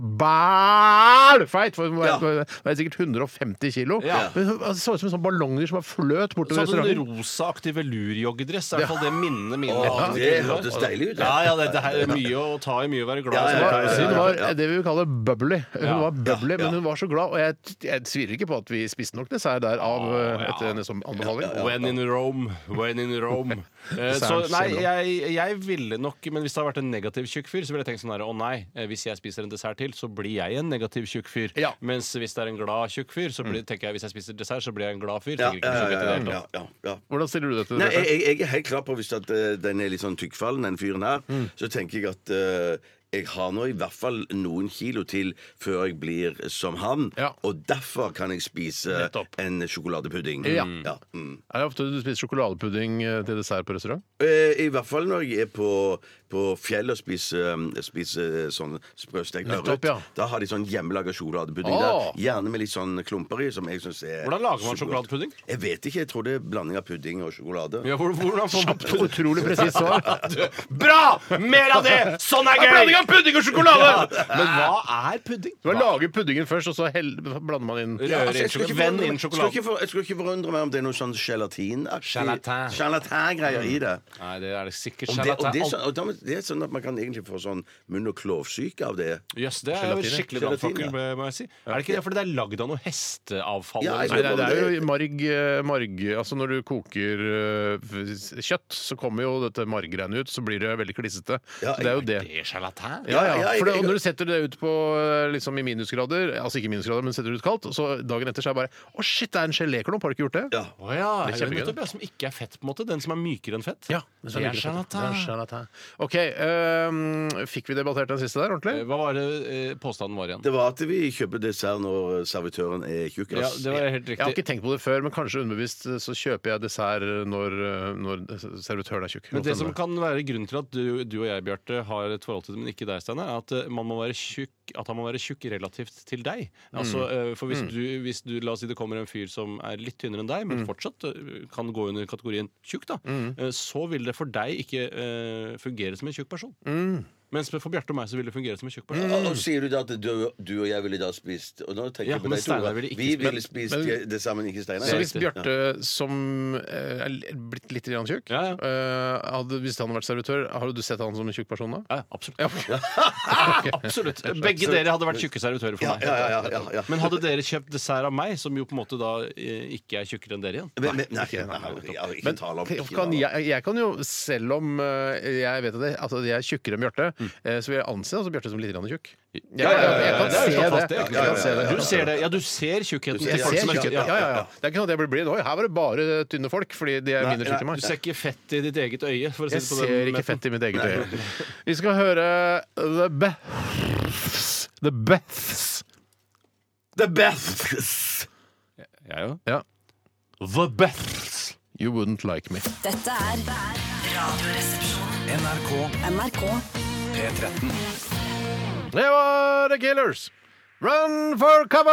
S4: bælfeit, for hun var,
S3: Ja.
S4: var, var sikkert 150 kilo.
S5: Ja.
S4: Men hun altså, så ut som en sånn ballongdyr som bare fløt bortover
S5: Sånn en
S4: restauranten.
S5: rosaaktig velurjoggedress. er I hvert fall det minnet mine.
S3: Å, det hørtes deilig ut.
S5: Ja, ja, det, det her er mye å ta i, mye å være glad i.
S3: Ja,
S5: som
S3: ja,
S5: jeg
S3: ja,
S5: pleier å si.
S4: Hun var det vi vil kalle bubbly. Hun
S5: Ja.
S4: var bubbly,
S3: Ja, ja.
S4: men hun var så glad. Og jeg, jeg tviler ikke på at vi spiste nok dessert der av eh, etter henne som anbefaling.
S5: When in Rome, when in
S3: <laughs>
S5: Rome. Eh, så
S4: Særlig
S5: nei,
S4: selv om.
S5: jeg, jeg ville nok Men hvis det hadde vært en negativ tjukk fyr, så ville jeg tenkt sånn her Å nei, eh, hvis jeg spiser en dessert til, så blir jeg en negativ tjukk fyr.
S4: Ja.
S5: Mens hvis det er en glad tjukk fyr, så blir, tenker jeg hvis jeg spiser dessert, så blir jeg en glad fyr.
S3: Mm. Ja,
S5: Tenker ikke så
S3: ja,
S5: mye
S3: ja,
S5: til det, da.
S3: ja, ja, ja, ja.
S4: Hvordan stiller du deg til
S3: Nei, jeg,
S4: det?
S3: jeg, jeg er helt klar på hvis at eh, den er litt sånn tykkfallen, den fyren her,
S5: Mm.
S3: så tenker jeg at eh, jeg har nå i hvert fall noen kilo til før jeg blir som han,
S4: Ja.
S3: og derfor kan jeg spise
S4: Nettopp.
S3: en sjokoladepudding.
S4: Ja.
S3: mm.
S4: Er det ofte du spiser sjokoladepudding eh, til dessert på restaurant?
S3: Eh, I hvert fall når jeg er på, på fjellet og spise, spise sånn sprøstekt
S4: Nettopp,
S3: ørret.
S4: ja.
S3: Da har de sånn hjemmelaga sjokoladepudding
S4: Åh!
S3: der. Gjerne med litt sånn klumper i. Som jeg synes er
S5: Hvordan lager man
S3: så godt.
S5: sjokoladepudding?
S3: Jeg vet ikke. Jeg tror det er blanding av pudding og sjokolade.
S5: Ja, hvor- hvordan får man
S4: Utrolig presist svar.
S5: Bra! Mer av det! Sånn er gøy!
S4: Blanding av pudding og sjokolade!
S5: Men hva er pudding?
S4: Man lager puddingen først, og så hell, blander man inn
S5: Rører
S3: Altså, jeg
S5: inn
S3: skulle ikke
S5: sjokolade. Vend
S3: forundre
S5: inn
S3: meg- skulle
S5: sjokolade.
S3: ikke for- jeg skulle ikke forundre meg om det er noe sånn
S5: Gelatin.
S3: gelatin-aktig Gelatin-greier i det.
S5: Nei, det er det sikkert
S3: Om det, og det, er
S5: gelatin.
S3: sånn, og da, det er sånn at man kan egentlig få sånn munn- og klovsyke av det.
S5: Jøss, det er jo
S3: Gelatine.
S5: skikkelig
S3: Gelatine,
S5: brannfakkel,
S3: ja.
S5: må må jeg si. Er det ikke det fordi det er lagd av noe hesteavfall?
S3: Ja,
S5: eller
S3: jeg
S5: noe
S4: Nei,
S5: sånt?
S4: det, det er jo marg, eh, marg Altså Når du koker eh, kjøtt, så kommer jo dette marggreiene ut. Så blir det veldig klissete.
S3: Ja,
S4: Så det er jo det.
S5: Det er gelatin?
S4: Ja,
S3: ja,
S4: ja.
S3: jeg-
S4: For det,
S3: jeg-
S4: og når du setter det ut på eh, liksom i minusgrader, altså ikke minusgrader, men setter det ut kaldt, og så dagen etter så er det bare Å, shit, det er en geléklump! Har du ikke gjort det?
S3: Ja.
S5: Å ja.
S4: Det er
S5: er
S4: kjempegøy.
S5: nettopp det som ikke er fett, på en måte. Den som er mykere enn fett.
S4: Ja,
S5: det
S4: så
S5: er sånn
S4: liker du det.
S5: gelatin.
S4: Det er gelatin. OK. ehm, fikk vi debattert den siste der
S5: Eh,
S4: ordentlig?
S5: Hva var det eh, påstanden var igjen?
S3: Det var at vi kjøper dessert når servitøren er tjukk.
S5: Ja,
S3: ass.
S5: det var helt
S4: Jeg har
S5: riktig.
S4: ikke tenkt på det før, men kanskje underbevisst eh, så kjøper jeg dessert når, eh, når servitøren er tjukk.
S5: Men
S4: Godt
S5: det som
S4: hende.
S5: kan være grunnen til at du, du og jeg, Bjarte, har et forhold til det, men ikke deg, Steinar, er at eh, man må være tjukk at han må være tjukk relativt til deg. Altså, eh, for hvis du, hvis du, La oss si det kommer en fyr som er litt tynnere enn deg, men fortsatt eh, kan gå under kategorien tjukk, da, eh, så vil det for deg ikke eh, fungere som en tjukk person. Mens for Bjarte og meg så vil det fungere som en tjukk person.
S3: Og, og sier du da at du, du og jeg ville da spist Og nå tenker
S5: Ja,
S3: jeg på
S5: men
S3: deg, Tore.
S5: Steinar ville ikke
S3: Vi
S5: spist-
S3: ville spist
S4: men-
S3: det sammen, ikke Steinar.
S4: Så
S5: Ja,
S4: hvis
S5: riktig.
S4: Bjarte, som eh, er li- blitt litt grann tjukk
S5: Ja, ja.
S4: eh, hadde, Hvis han hadde vært servitør, har du sett han som en tjukk person da?
S5: Ja, absolutt. <laughs> absolutt. Begge dere hadde vært tjukke servitører for
S3: Ja,
S5: meg.
S3: ja, ja, ja, ja, ja.
S5: Men hadde dere kjøpt dessert av meg, som jo på en måte da eh, ikke er tjukkere enn dere igjen?
S3: Men- men- Nei, nei, nei, nei, ja, ikke tale om ikke tale
S4: kan
S3: om.
S4: jeg, jeg kan jo, selv om eh, jeg vet at jeg, altså, jeg er tjukkere enn Bjarte, eh, så vil jeg anse altså, Bjarte som litt grann tjukk. Jeg,
S5: Mm. Ja, ja, ja, ja,
S4: kan
S5: det er jo slått
S4: se det.
S5: fast, det er jo ikke
S4: Jeg
S5: noe
S4: kan se det.
S5: problem. Du ser det. Ja, du ser tjukkheten
S4: Jeg
S5: til folk
S4: ser
S5: som er
S4: tjukkheten.
S5: tjukke.
S4: Ja, ja, ja. Det er ikke sånn at jeg blir blind. Oi, her var det bare tynne folk fordi de er mindre tjukke
S5: Du
S4: enn meg.
S5: ser ikke fett i ditt eget øye. For å si
S4: Jeg
S5: det på den
S4: ser ikke
S5: måten.
S4: fett i mitt eget øye. Vi skal høre The Beths. The Beths.
S3: The best!
S5: Jeg jo.
S4: Ja.
S5: The Beths.
S4: You wouldn't like me.
S7: Dette er Radioresepsjonen. NRK. NRK.
S4: Det var The Killers. Run for cover!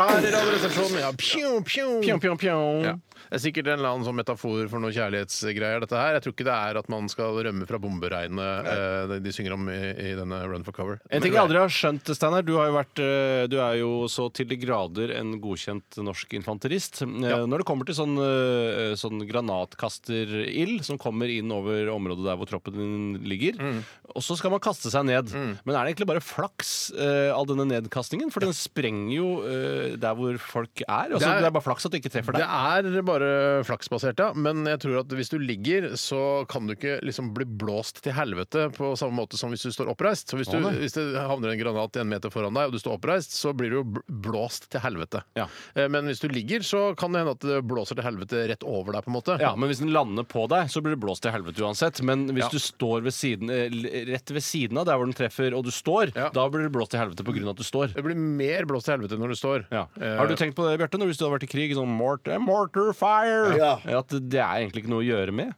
S4: Her i Radioresepsjonen. Ja, pju, pju.
S5: Pjong, pjong, pjong.
S4: Ja. Det er sikkert en eller annen sånn metafor for noen kjærlighetsgreier. dette her. Jeg tror ikke det er at man skal rømme fra bomberegnet eh, det de synger om i, i denne Run for cover.
S5: En ting jeg aldri har skjønt, Steinar. Du, har jo vært, eh, du er jo så til de grader en godkjent norsk infanterist. Eh, Når det kommer til sånn, eh, sånn granatkasterild som kommer inn over området der hvor troppen din ligger,
S4: Mm.
S5: og så skal man kaste seg ned. Men er det egentlig bare flaks, eh, all denne nedkastingen? For den sprenger jo eh, der hvor folk er. Altså,
S4: Det
S5: det,
S4: er-
S5: er, bare flaks at det ikke treffer
S4: Det
S5: deg.
S4: er bare flaksbasert, ja. Men jeg tror at hvis du ligger, så kan du ikke liksom bli blåst til helvete på samme måte som hvis du står oppreist. Så hvis, du,
S5: Å, nei.
S4: hvis det havner en granat en meter foran deg, og du står oppreist, så blir du jo bl- blåst til helvete.
S5: Ja.
S4: Eh, Men hvis du ligger, så kan det hende at det blåser til helvete rett over deg, på en måte.
S5: Ja, men hvis den lander på deg, så blir det blåst til helvete uansett. Men hvis
S4: Ja.
S5: du står ved siden, eh, l- rett ved siden av der hvor den treffer, og du står,
S4: Ja.
S5: da blir det blåst til helvete pga. at du står.
S4: Det blir mer blåst til helvete når du står.
S5: Ja.
S4: Eh,
S5: Har du tenkt på det, Bjarte? når- Hvis du hadde vært i krig, sånn mortar, mortar fire
S3: Ja.
S5: At det er egentlig ikke noe å gjøre med?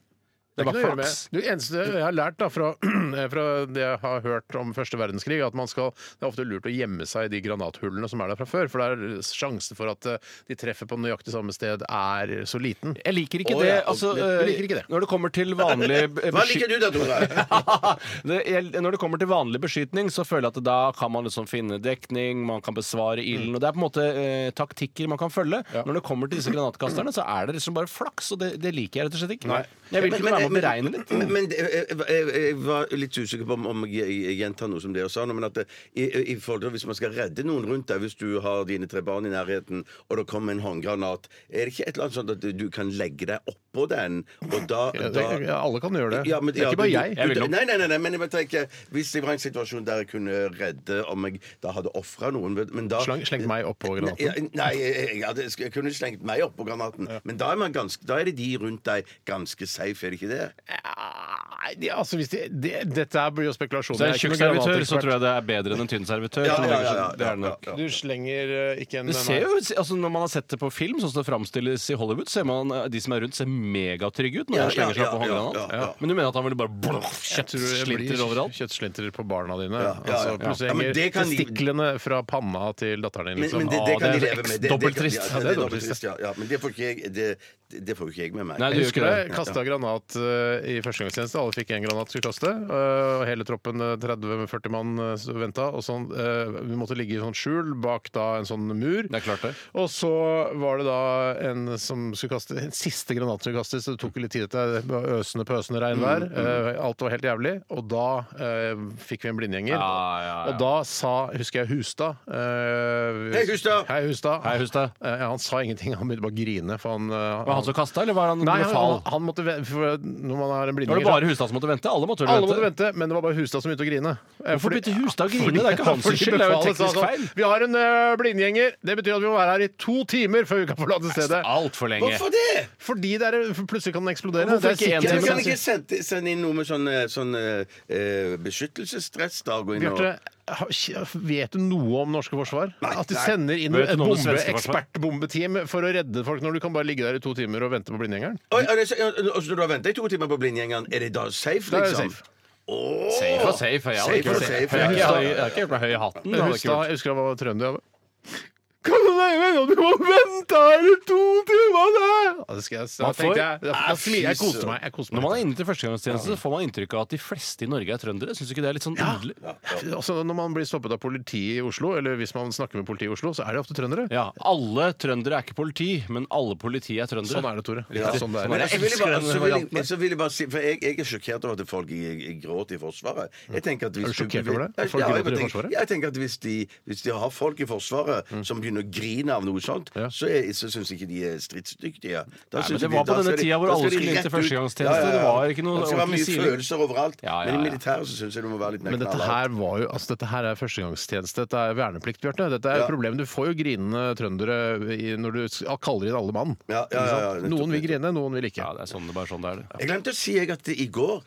S5: Det er
S4: Det er ikke
S5: bare
S4: noe å gjøre
S5: flaks.
S4: med. Det eneste jeg har lært da, fra, <clears throat> eh, fra det jeg har hørt om første verdenskrig, er at man skal, det er ofte lurt å gjemme seg i de granathullene som er der fra før. For det er sjansen for at eh, de treffer på nøyaktig samme sted, er så liten.
S5: Jeg liker ikke
S3: Å,
S5: det.
S3: ja.
S5: Altså,
S4: Du
S5: eh,
S4: liker ikke det.
S5: Når det kommer til vanlig eh,
S3: Hva liker du da, Tore?
S5: <laughs> det, jeg, når det kommer til vanlig beskytning, så føler jeg at da kan man liksom finne dekning, man kan besvare
S3: Mm.
S5: ilden, og det er på en måte eh, taktikker man kan følge. Når det kommer til disse granatkasterne, så er det liksom bare flaks, og det, det liker jeg rett og slett ikke. Jeg vil
S3: Men-
S5: ikke
S3: men-
S5: være med å
S3: men-
S5: beregne litt.
S3: Men, men det- eh, jeg, jeg, jeg var litt usikker på om, om jeg, jeg gjentar noe som dere sa. nå, Men at det, i, i forhold til hvis man skal redde noen rundt deg, hvis du har dine tre barn i nærheten, og det kommer en håndgranat, er det ikke et eller annet sånt at du kan legge deg oppå den, og da,
S4: Ja, det,
S3: da
S4: ja, alle kan gjøre det.
S3: Ja, men-
S4: det er
S3: ja,
S4: ikke bare
S3: du-
S4: jeg.
S3: du-
S5: vil nok-
S3: nei, nei, nei, nei, men jeg bare tenker Hvis jeg var i en situasjon der jeg kunne redde om jeg da hadde ofra noen vet- men da,
S4: Slang- slengt meg opp på granaten?
S3: Nei, ja, Nei, jeg, jeg, hadde- jeg kunne slengt meg opp på granaten. Men da er, man ganske, da er det de rundt deg ganske safe, er det ikke det?
S4: Nei, det, altså hvis de, det, Dette her blir jo spekulasjon.
S5: Hvis det er en
S4: Jeg
S5: tjukk
S4: ikke noen
S5: servitør, så
S4: granatekspert.
S5: tror jeg det er bedre enn en tynn servitør.
S3: Ja,
S5: som
S3: ja,
S5: lager
S3: ja,
S5: sånn-
S3: ja,
S5: det er det
S3: ja,
S5: nok.
S3: ja.
S4: Du slenger eh, ikke en
S5: Det ser jo ut, altså Når man har sett det på film, sånn som det framstilles i Hollywood, ser man eh, de som er rundt, ser megatrygge ut når
S3: Ja,
S5: han slenger seg
S3: ja,
S5: på
S3: ja,
S5: håndgranaten.
S3: ja, ja.
S5: Ja. Men du mener at han ville bare bluff,
S4: Jeg tror
S5: <laughs>
S4: det blir
S5: kjøttslinter overalt?
S4: Kjøttslintrer på barna dine.
S3: ja, ja.
S4: Altså, plutselig
S3: Ja, men
S4: henger
S3: det kan de-
S4: testiklene fra panna til datteren din.
S3: Men,
S4: Liksom.
S3: men det,
S4: Ah,
S3: det kan de
S4: er
S3: leve med. Det- det-
S4: dobbelt
S3: ja,
S4: trist.
S3: det-
S4: Ja,
S3: det er dobbelt trist,
S4: trist.
S3: ja. ja. Men det får ikke jeg, det, det får ikke jeg med meg.
S5: Nei,
S4: Jeg
S5: du-
S4: husker
S5: gjør
S4: det.
S5: ikke
S4: Kasta granat eh, i førstegangstjeneste. Alle fikk én granat skulle kaste. eh, og hele troppen, eh, 30-40 mann, uh, venta. Og sånn, eh, vi måtte ligge i sånn skjul bak da en sånn mur.
S5: Det er klart det.
S4: Og så var det da en som skulle kaste en siste granat som skulle kastes. så Det tok jo litt tid etter det var øsende pøsende regnvær.
S5: Mm,
S4: eh, alt var helt jævlig. Og da eh, fikk vi en blindgjenger.
S5: Ja, ja, ja.
S4: Og da sa, husker jeg, Hustad eh,
S3: Hei, Hustad!
S4: Hei, Hustad!
S5: Hei, Hustad.
S4: Eh, han sa ingenting, han begynte bare å grine. For han, eh,
S5: Var det han som kasta, eller var det han
S4: Nei,
S5: med
S4: han,
S5: fall?
S4: han, han måtte ve- for Når man har en
S5: Var det
S4: blindgjenger
S5: bare Hustad som måtte vente? Alle måtte vel
S4: alle måtte vente, men det var bare Hustad som begynte å grine. Eh,
S5: Hvorfor
S4: fordi-
S5: begynte Hustad å grine?
S4: <laughs> Fordi-
S5: Det er ikke hans
S4: fordi
S5: skyld, det er jo en
S4: befalet sa
S5: teknisk
S4: sånn,
S5: feil.
S4: Vi har en ø, blindgjenger. Det betyr at vi må være her i to timer før vi kan forlate stedet.
S5: Altfor lenge.
S3: Hvorfor det?
S4: Fordi det er, for plutselig kan den eksplodere.
S5: Hvorfor
S4: Det er
S5: ikke en
S3: Kan
S4: sikkert-
S5: time?
S3: kan ikke sende, sende inn noe med sånn, eh, sånn eh, beskyttelsesstress? Da, gå inn og-
S4: Bjarte, ha- vet du noe om norske forsvar?
S3: Nei,
S4: At de
S3: nei.
S4: sender inn
S5: Vet du
S4: et
S5: noe om det
S4: bombe,
S5: svenske forsvar?
S4: ekspertbombetime for å redde folk når du kan bare ligge der i to timer og vente på blindgjengeren?
S3: Oi, er det så- og så du har venta i to timer på blindgjengeren, er det da safe,
S4: Da er det
S3: liksom?
S4: safe.
S3: Åh!
S5: Safe og safe. Jeg hadde
S3: Safe
S5: ikke
S3: og
S5: gjort det.
S3: safe,
S5: Jeg
S3: ja.
S5: hadde ikke- jeg hadde ikke gjort meg høy i hatten. det hadde jeg ikke
S4: Hustad,
S5: gjort.
S4: jeg husker han var trønder. jeg bare, Kan du mene at du må vente her i to timer? da?" Ja, det skal jeg, da
S5: Man får-
S4: tenkte jeg, da, da,
S3: Æ, fy
S4: smi- jeg koste
S3: søren.
S4: meg. Jeg koste meg.
S5: Når man er inne til førstegangstjeneste, så får man inntrykk av at de fleste i Norge er trøndere. Syns du ikke det er litt sånn ille?
S4: Altså, når man blir stoppet av politiet i Oslo, eller hvis man snakker med politiet i Oslo, så er det ofte trøndere.
S5: Ja, alle trøndere er ikke politi, men alle politi er trøndere.
S4: Sånn er det, Tore. Ja, sånn det er.
S3: Men jeg, vil
S5: elsker den
S3: bare, så vil jeg,
S5: varianten der.
S3: så vil jeg bare si, for jeg, jeg er sjokkert over at folk i- i- gråter i Forsvaret. Jeg tenker at hvis
S4: Er du sjokkert
S3: vil-
S4: over det? At folk
S3: Ja, jeg
S4: gråter i
S3: tenker-
S4: Forsvaret?
S3: ja, Jeg tenker at hvis de, hvis de har folk i Forsvaret
S5: Mm.
S3: som begynner å grine av noe sånt,
S4: Ja.
S3: så, er- så syns ikke de er stridsdyktige. Da
S5: Nei, men
S3: synes
S5: det
S3: jeg de-
S5: var på
S3: da
S5: denne
S3: skal de-
S5: tida hvor
S3: da
S5: alle
S3: skal de
S5: skulle inn
S3: rett
S5: til
S3: ut.
S5: førstegangstjeneste. Det var ikke noe
S3: Det skal være
S5: ordentlig
S3: mye
S5: siling.
S3: følelser overalt.
S5: Ja, ja,
S3: Men i
S5: ja.
S3: militæret så syns jeg du må være litt mer
S4: Men dette
S3: knallhard.
S4: her var jo altså dette her er førstegangstjeneste. Dette er verneplikt, Bjarte. Dette er jo
S3: Ja.
S4: problemet. Du får jo grinende trøndere i, når du s- kaller inn alle mann.
S3: Ja, ja, ja, ja,
S4: Ikke sant?
S3: nettopp,
S4: noen vil
S3: nettopp.
S4: grine, noen vil ikke.
S5: Ja, det er sånn det bare sånn det er. det.
S3: Jeg glemte å si jeg at i går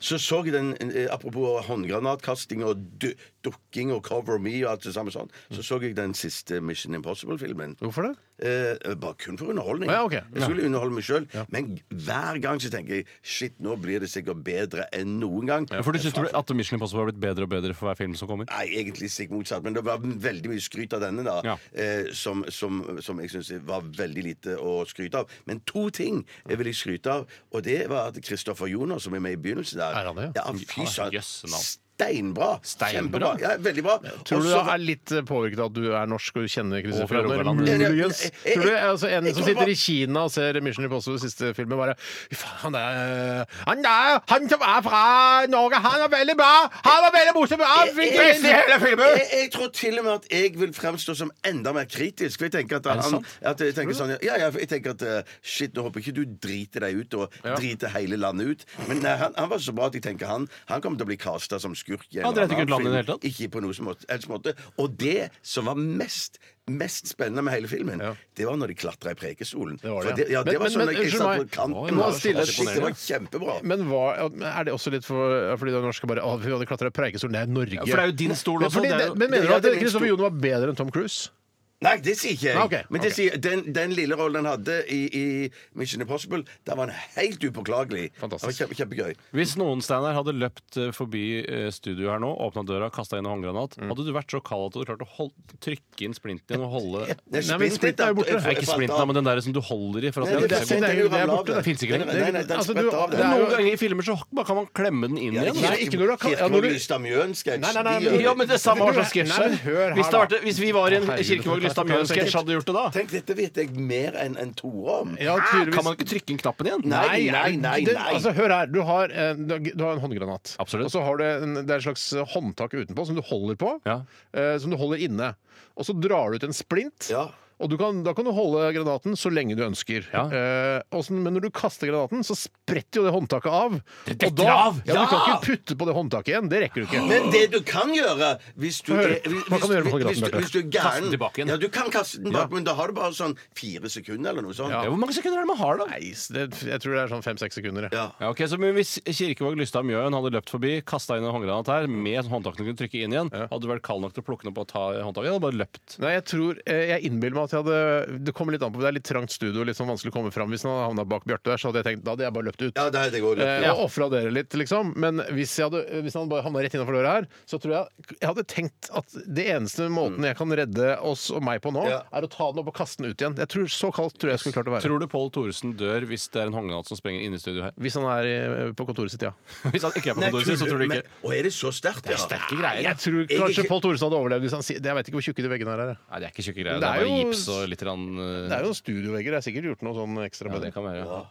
S3: så så jeg den, eh, Apropos håndgranatkasting og du, dukking og Cover Me og alt det samme sånn, så så jeg den siste Mission Impossible-filmen.
S4: Hvorfor det?
S3: Eh, bare kun for underholdning.
S4: Ja, ok.
S3: Jeg skulle underholde meg sjøl. Men hver gang så tenker jeg shit, nå blir det sikkert bedre enn noen gang.
S5: For du syns at Mission Impossible har blitt bedre og bedre for hver film som kommer?
S3: Nei, egentlig stikk motsatt, men det var veldig mye skryt av denne, da.
S5: Ja.
S3: Eh, som, som, som jeg syns var veldig lite å skryte av. Men to ting jeg vil jeg skryte av, og det var at Kristoffer Joner, som er med i begynnelsen der
S4: Er han det, ja?
S3: Ja, fy søren.
S5: Jøsse navn.
S3: Steinbra! Kjempebra.
S5: Steinbra?
S3: Ja, veldig bra.
S4: Tror du
S3: Også-
S4: det er litt eh, påvirket av at du er norsk og kjenner Kristoffer
S5: fra
S4: Joner?
S5: Rogaland.
S4: Muligens.
S3: Jeg- jeg- jeg-
S4: Tror du altså, en
S3: jeg
S4: som
S3: tror
S4: sitter
S3: bare-
S4: i Kina og ser Mission Impossible siste filmen, bare Fy faen, han er Han der, han som er fra Norge, han er veldig bra! Han er veldig morsom! Han
S3: Jeg-
S4: fikk
S3: jeg-
S4: best i hele filmen!
S3: Jeg, jeg tror til og med at jeg vil fremstå som enda mer kritisk. For jeg tenker at,
S5: det
S3: han,
S5: sant?
S3: at jeg tenker sånn Ja, ja, for jeg tenker at eh, shit, nå håper jeg ikke du driter deg ut og driter hele landet ut. Men nei, han, han var så bra at jeg tenker han Han kommer til å bli kasta som skurk. i en
S5: Han dreit
S3: eller annen
S5: ikke ut landet i det hele
S3: film.
S5: tatt?
S3: Ikke på noe som måte, helst måte. Og det som var mest Mest spennende med hele filmen, det var når de klatra i Preikestolen.
S4: Det var det,
S3: For
S4: ja.
S3: ja, det
S4: Men-
S3: var
S4: men-
S3: sånn
S4: men,
S3: at jeg
S4: unnskyld
S3: satt
S4: meg.
S3: på kanten.
S4: Oi, nå
S3: og-
S4: stille-
S3: Shit, det var kjempebra.
S4: Men hva, er det også litt for, fordi det norske bare Å, vi hadde klatra i Preikestolen, det er Norge.
S5: for det er jo din stol
S4: Men
S5: også,
S4: fordi
S5: det er
S4: det-
S5: jo-
S4: Men mener
S3: Ja,
S4: du at
S3: det er min
S4: Kristoffer
S3: stol.
S4: Joner var bedre enn Tom Cruise?
S3: Nei, det sier ikke jeg.
S4: Nei, Ah, ok,
S3: Men det
S4: ok.
S3: sier, den, den lille rollen han hadde i, i Mission Impossible, der var han helt upåklagelig.
S4: Fantastisk.
S3: Det var kjempe, kjempegøy.
S5: Hvis noen Steinar hadde løpt eh, forbi eh, studio her nå, åpna døra, kasta inn en håndgranat, hadde du vært så kald at du hadde klart å hold- trykke inn splinten igjen og holde
S3: Nei,
S4: Nei, men Splinter er jo borte.
S3: jeg-
S5: Nei,
S3: jeg-
S5: ikke
S3: jeg-
S5: splinten, da, men den der som du holder i. For at
S3: Nei,
S5: den-
S3: det er
S4: det er-
S3: den
S4: det er
S3: ramler av,
S4: borte,
S3: den.
S4: det
S5: finnes ikke
S3: Nei,
S5: lenger.
S3: Nei, nei, den
S4: Altså, du-
S3: spretter av,
S4: det er
S3: den.
S4: jo-
S5: Noen ganger i filmer så bare kan man klemme den inn igjen.
S4: Nei, ikke når du har kalt- ja, når
S3: Kirkevåg
S4: du-
S3: Lystad Mjøen-sketsj.
S4: Nei, nei, nei,
S3: de
S4: men-
S3: gjør-
S5: Ja, men det er samme hva slags sketsj
S4: Nei, men hør her,
S5: Hvis, det
S4: da.
S5: hadde vært- hvis vi var i en
S4: Herregud,
S5: Kirkevåg Lystad Mjøen-sketsj, hadde du gjort det da?
S3: Tenk, dette vet jeg mer enn en toer om.
S4: Ja,
S5: Hæ? Kan
S4: tydeligvis.
S5: man ikke trykke inn knappen igjen?
S3: Nei, nei, nei,
S4: Det,
S3: nei.
S4: altså, hør her. Du har en, du har en håndgranat.
S5: Absolutt.
S4: Og så har du en, det er et slags håndtak utenpå som du holder på.
S5: Ja.
S4: eh, som du holder inne. Og så drar du ut en splint.
S3: Ja.
S4: Og du kan, da kan du holde granaten så lenge du ønsker. Eh, og så- men når du kaster granaten, så spretter jo det håndtaket av. Det
S5: detter av!
S4: Ja, Du kan
S5: Ja!
S4: ikke putte på det håndtaket igjen. Det rekker du ikke.
S3: Men det du kan gjøre hvis du,
S4: Hva
S3: er-
S4: gjør-
S3: hvis,
S4: hva kan du gjøre på
S3: hvis-
S4: granaten,
S3: hvis,
S4: Bjarte?
S3: hvis du er
S5: Kaste den
S3: gæren
S5: tilbake igjen.
S3: Ja, du kan kaste den bak, men da har du bare sånn fire sekunder eller noe sånt.
S5: Ja, hvor mange sekunder er det man har, da?
S4: Nei, s- det, jeg tror det er sånn fem-seks sekunder. jeg.
S3: Ja.
S5: Ja, ok, så men Hvis Kirkevåg Lystad Mjøen hadde løpt forbi, kasta inn en håndgranat her, med sånn håndtaket du kunne trykke inn igjen, hadde du vært kald nok til å plukke den opp og ta håndtaket? Hadde bare løpt.
S4: Nei, jeg tror, eh, jeg innbiller meg at jeg hadde Det kommer litt an på, det er litt trangt studio, litt sånn vanskelig å komme fram. Hvis han hadde havna bak Bjarte der, så hadde jeg tenkt da hadde jeg bare løpt ut.
S3: Ja, det hadde jeg også løpt.
S4: Eh, og ofra dere litt, liksom. Men hvis, jeg hadde, hvis han bare havna rett innafor døra her, så tror jeg jeg hadde tenkt at det eneste måten jeg kan redde oss og meg på nå,
S3: Ja.
S4: er å ta den opp og kaste den ut igjen. Jeg tror, så kaldt tror jeg jeg skulle klart å være.
S5: Tror du Pål Thoresen dør hvis det er en håndgranat som sprenger inne i studio her? <laughs>
S4: Hvis han er i- på kontoret sitt, ja.
S5: Hvis han ikke er på
S3: Nei,
S5: kontoret sitt, så tror du
S3: men-
S5: ikke
S3: Og er det så sterkt? Ja.
S5: Sterke greier.
S4: Jeg tror
S3: Jeg-
S4: kanskje
S3: jeg-
S4: Pål Thoresen hadde overlevd hvis han sier Jeg veit ikke hvor tjukke de veggene her er. jeg.
S5: Nei, det er ikke tjukke greier.
S4: Det
S5: Det
S4: er
S5: er bare
S4: jo-
S5: gips og litt rann, eh,
S4: Det er jo noen studiovegger. Det er sikkert gjort noe sånn ekstra
S5: ja, det
S4: med det.
S5: kan være.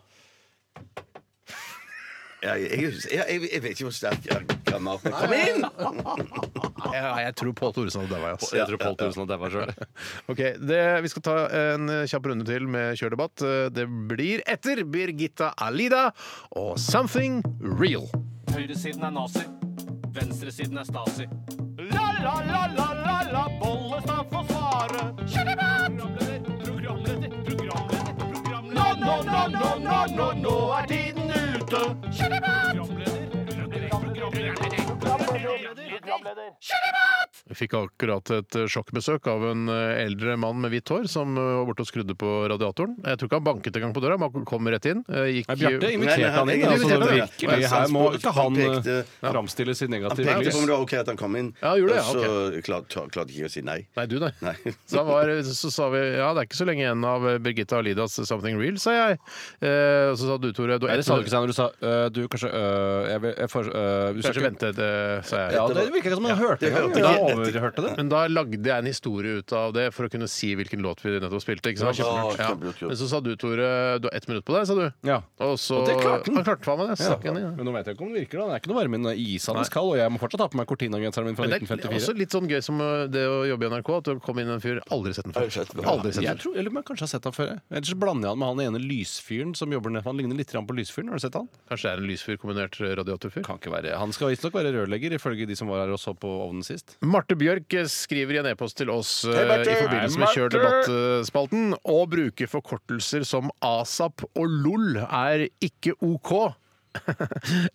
S3: Ja, jeg, jeg, jeg, jeg vet ikke hvor sterkt ja, granaten er. Kom inn!
S4: Jeg, jeg tror Pål Thoresen hadde daua, ass.
S5: Jeg tror Pål Thoresen har daua sjøl.
S4: <laughs> Ok, det, Vi skal ta en kjapp runde til med kjørdebatt. Det blir etter Birgitta Alida og Something Real.
S6: Høyresiden er nazi, venstresiden er stasi. La, la, la, la, la, la, Bollestad får svare. Programleder, programleder, programleder, programleder. Nå, nå, nå, nå, nå, nå, nå er tiden ute. Programleder, programleder, programleder, programleder.
S4: Vi fikk akkurat et sjokkbesøk av en eldre mann med hvitt hår som var borte og skrudde på radiatoren. Jeg Jeg tror ikke han banket engang på døra, men han kom rett inn. Eh, Gikk,
S5: Bjarte
S3: Nei, nei,
S5: inviterte han inn.
S3: han
S5: Altså,
S4: inviterte han, ja.
S5: virkelig,
S3: Han
S5: her må ikke han eh,
S3: pekte-
S5: framstilles i negativt
S3: Pekte på om
S5: lys.
S3: det var OK at han kom inn,
S4: Ja, gjorde det,
S3: og så klarte klarte ikke å si nei.
S4: Nei, du, nei.
S3: Nei.
S4: <laughs> Så, han var, så sa vi ja, det er ikke så lenge igjen av Birgitta Alidas 'Something Real', sa jeg. Eh, og så sa du, Tore du,
S5: Nei, det sa du ikke, Steinar. Du sa øh, du kanskje øh, jeg, vil- jeg får, øh, du skal
S4: Kanskje
S5: ikke-
S4: vente, det, sa jeg.
S5: Ja, det virka ikke som han hørte det. engang.
S3: hørte ikke.
S5: Han overhørte det.
S4: Men da lagde jeg en historie ut av det for å kunne si hvilken låt vi nettopp spilte. ikke sant?
S3: Det var kjempelurt.
S4: Ja.
S3: Kjempelurt, kjempelurt.
S4: Men så sa du, Tore, du har ett minutt på deg, sa du.
S5: Ja.
S4: Og så
S5: Og det klarte han.
S4: han. klarte faen meg det. stakk han i, ja.
S5: Men nå vet jeg ikke om det virker. da Det er ikke noe varme. Den er isende kald, og jeg må fortsatt ha på meg Cortina-genseren min fra
S4: Men det er også
S5: 1954.
S4: litt sånn gøy som uh, det å jobbe i NRK, at det kom inn en fyr Aldri sett den før.
S3: Aldri sett den før.
S4: Aldri sett
S5: Jeg
S4: den før.
S5: tror, eller men Kanskje jeg har sett han før. jeg. Ellers så blander jeg han med han ene lysfyren som jobber nede. Han ligner litt grann på lysfyren. Har du sett han?
S4: Kanskje det er en lysfyr kombinert radiatorfyr.
S5: Kan ikke være. Han skal visstnok være rørlegger, ifølge de som var her og så på ovnen sist.
S4: Marte Bjørk skriver i en e-post til oss uh,
S3: Hei, Marte!
S4: i forbindelse med
S5: Hei,
S4: Kjør
S5: Marte!
S4: debatt-spalten å bruke forkortelser som ASAP og LOL er ikke OK. <laughs>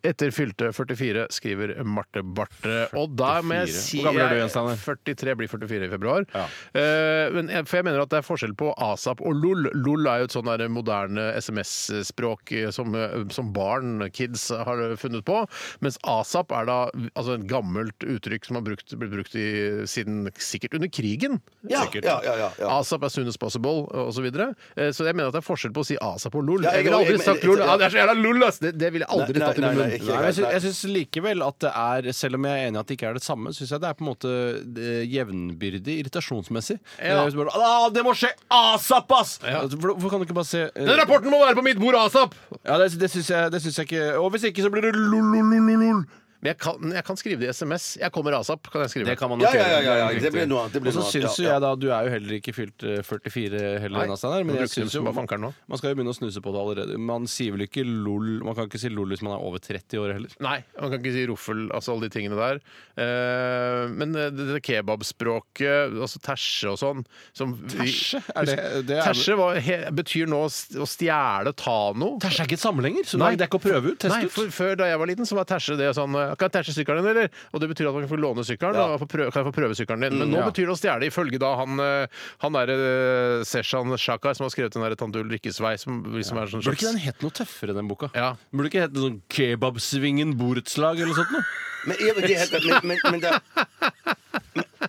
S4: Etter fylte 44, skriver Marte Barthe. Og da må jeg
S5: 44.
S4: si
S5: Hvor gammel er du igjen, Steinar?
S4: 43 blir 44 i februar.
S5: Ja.
S4: Eh, men jeg, for jeg mener at det er forskjell på ASAP og LOL. LOL er jo et sånn der moderne SMS-språk eh, som, eh, som barn, kids, har funnet på. Mens ASAP er da altså et gammelt uttrykk som har brukt, blitt brukt i, siden sikkert under krigen.
S3: Ja,
S4: Sikkert.
S3: ja, ja, ja, ja.
S4: ASAP as soon as possible, osv. Så, videre. Eh, så jeg mener at det er forskjell på å si ASAP og LOL.
S3: Ja, jeg-
S4: jeg ville aldri
S3: jeg-
S4: sagt
S3: jeg-
S4: LOL! Ja, det er så jævla LOL, ass! Det, det ville jeg aldri
S3: Nei,
S4: tatt i
S3: nei,
S4: min
S3: nei,
S4: munn.
S3: ikke
S5: Nei,
S3: greit,
S5: men jeg sy-
S3: nei.
S5: jeg syns likevel at det er, selv om jeg er enig i at det ikke er det samme, syns jeg det er på en måte eh, jevnbyrdig irritasjonsmessig.
S4: Ja.
S5: Eh, hvis du bare, «Ah, det må skje asap, ass! Hvor- Hvorfor kan du ikke bare se eh,
S4: Den rapporten må være på mitt bord ASAP!
S5: Ja, det, det syns jeg, det syns jeg ikke. Og hvis ikke, så blir det lol-lol-lol-lol.
S4: Men jeg kan, jeg kan skrive det i SMS. Jeg kommer ASAP, kan jeg skrive.
S5: Det kan man
S3: Ja,
S5: nok
S3: ja, ja,
S5: gjøre.
S3: ja, ja.
S5: helt
S3: Det blir
S5: riktig.
S3: noe annet, det blir
S5: Og så
S3: noe annet,
S5: syns jo
S3: ja, ja.
S5: jeg da, du er jo heller ikke fylt eh, 44 heller
S4: Nei,
S5: ennå, Steinar,
S4: man
S5: men jeg
S4: bruker dem
S5: syns jo
S4: som bare fankeren nå.
S5: man skal jo begynne å snuse på det allerede. Man sier vel ikke lol Man kan ikke si lol hvis man er over 30 år heller.
S4: Nei, man kan ikke si ruffel, altså alle de tingene der. Eh, men det, det kebabspråket, altså terse og sånn som vi-
S5: Terse? Er det- det er-
S4: Terse var, he, betyr nå st- å stjele, ta noe.
S5: Det er ikke et sammenhenger, så
S4: Nei.
S5: det er ikke å prøve ut.
S4: Nei,
S5: Test
S4: for
S5: ut.
S4: Før da jeg var liten, så var terse det sånn eh, Kan jeg terse sykkelen din, eller? Og det betyr at man kan få låne sykkelen.
S3: Ja.
S4: Og få prøve, kan jeg få prøve sykkelen din? Men nå
S5: ja.
S4: betyr det å stjele, ifølge da han, eh, han derre eh, Seshan Shakar som har skrevet den derre Tante Ulrikkes vei, som liksom er sånn
S5: Burde ikke den hett noe tøffere, den boka?
S4: Ja.
S5: Burde ikke hett noe sånn Kebabsvingen borettslag eller sånt noe?
S3: Men, ja, men, det er helt- men, men, men, det-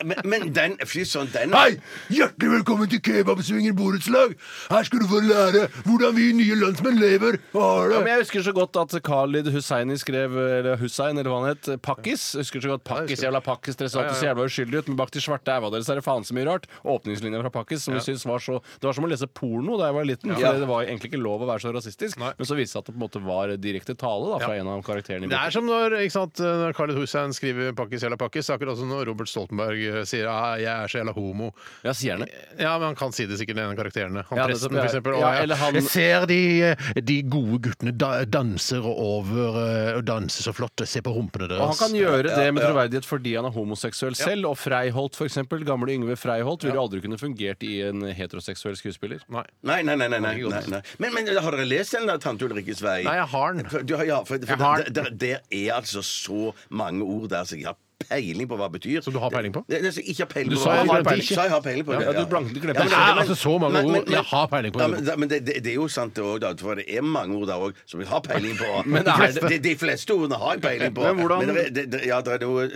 S3: men, men den Fy søren, den
S4: Hei! Hjertelig velkommen til Kebabsvinger borettslag! Her skal du få lære hvordan vi nye landsmenn lever og har
S5: Ja,
S4: det!
S5: men jeg husker så godt at Khalid Husseini skrev Eller Hussein, eller hva han het. Pakkis. Jeg husker så godt Pakkis, jævla Pakkis. Dere så alltid så jævla uskyldige ut, men bak de svarte æva deres er det faen så mye rart. Åpningslinja fra Pakkis som vi synes var så Det var som å lese porno da jeg var liten.
S3: Ja.
S5: For det var egentlig ikke lov å være så rasistisk, men så viste det seg at det på en måte var direkte tale da fra en av karakterene i
S4: Det er
S5: boken.
S4: som når ikke sant, når Khalid Hussein skriver 'Pakkis jævla pakkis', det er akkurat som når Robert Stoltenberg ikke sier ah, 'jeg er så jævla homo'.
S5: Ja, sier han det?
S4: Ja, men han kan si det sikkert, den ene karakteren. Han
S5: Ja,
S4: presten,
S5: nettopp, ja.
S4: for eksempel. Å,
S5: Ja,
S4: ja.
S5: eller han-
S4: Jeg ser de, eh, de gode guttene da, danser og over eh, og danser så flott. Se på rumpene deres.
S5: Og han kan gjøre det med troverdighet fordi han er homoseksuell selv. Og Freiholt, f.eks. Gamle Yngve Freiholt ville jo aldri kunne fungert i en heteroseksuell skuespiller.
S4: Nei.
S3: Nei, nei, nei. nei, nei, nei, nei. Men, men har dere lest den der Tante Ulrikkes vei?
S4: Nei, jeg har den.
S3: For- Du, har- ja, for, for
S4: Jeg har
S3: der,
S4: den.
S3: der, der er altså så mange ord der som jeg har peiling på hva det betyr.
S4: Som du har peiling på?
S3: Det, det, som jeg ikke har peiling
S4: Du
S3: på
S4: sa
S3: hva
S4: jeg
S3: det
S4: glemte
S3: betyr.
S4: ikke.
S3: Sa jeg har peiling på det,
S5: Ja, du blank- du glemte ikke.
S3: Ja, men-
S5: Det er
S3: men-
S4: altså så mange
S3: men-
S4: ord.
S3: men-
S4: Jeg har peiling på
S3: ja,
S4: det.
S3: Men, da- men det, det, det er jo sant, det òg, for det er mange ord der òg som jeg har peiling på.
S4: <laughs>
S5: Men
S3: de,
S5: er
S3: fleste,
S5: det-
S3: de, de fleste ordene har jeg peiling på.
S5: Men hvordan-
S3: det, er- det, det, ja, det er noe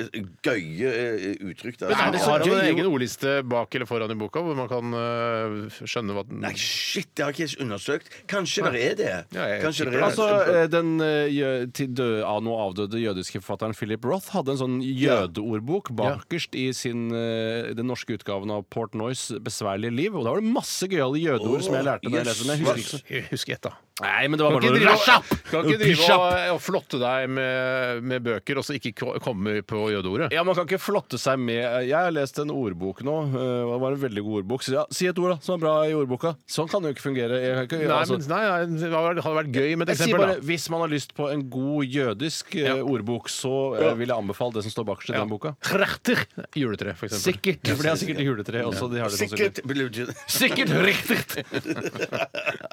S3: gøye eh, uttrykk der.
S4: Men
S5: det
S4: har
S5: så
S4: han en
S5: gøy?
S4: egen ordliste bak eller foran i boka, hvor man kan eh, skjønne hva den
S3: Nei, shit, det har ikke jeg undersøkt. Kanskje det er det.
S4: Ja, jeg
S3: Kanskje det er
S5: Altså, eh, Den eh, jø- til dø- av nå avdøde jødiske forfatteren Philip Roth hadde en sånn jødeordbok bakerst i sin, eh, den norske utgaven av Portnoys 'Besværlige liv'. Og da var det masse gøyale
S4: eh,
S5: jødeord som jeg lærte. da jeg
S3: jøss.
S5: leste den. Jeg husker ikke så-
S4: Jeg husker ett, da.
S5: Nei, men det var
S4: Kan
S5: bare noe-
S4: ikke drive,
S5: Rush up!
S4: og- kan ikke
S5: Push
S4: drive
S5: up!
S4: og, og flotte deg med, med bøker, og så ikke ko- komme på jødeordet.
S5: Ja, Man kan ikke flotte seg med Jeg har lest en ordbok nå. øh, og Det var en veldig god ordbok. Så ja, si et ord da, som er bra i ordboka. Sånn kan det jo ikke fungere. Jeg kan ikke,
S4: Nei,
S5: altså,
S4: men, nei, nei, det hadde vært gøy med
S5: jeg
S4: et
S5: sier
S4: eksempel.
S5: bare,
S4: da.
S5: Hvis man har lyst på en god jødisk øh, ordbok, så øh, vil jeg anbefale det som står bakerst i den boka.
S4: Trerter juletre, for eksempel.
S5: Sikkert! For det er sikkert i juletreet også. De har det sannsynligvis.
S3: Sikkert betyr-
S5: Sikkert riktig!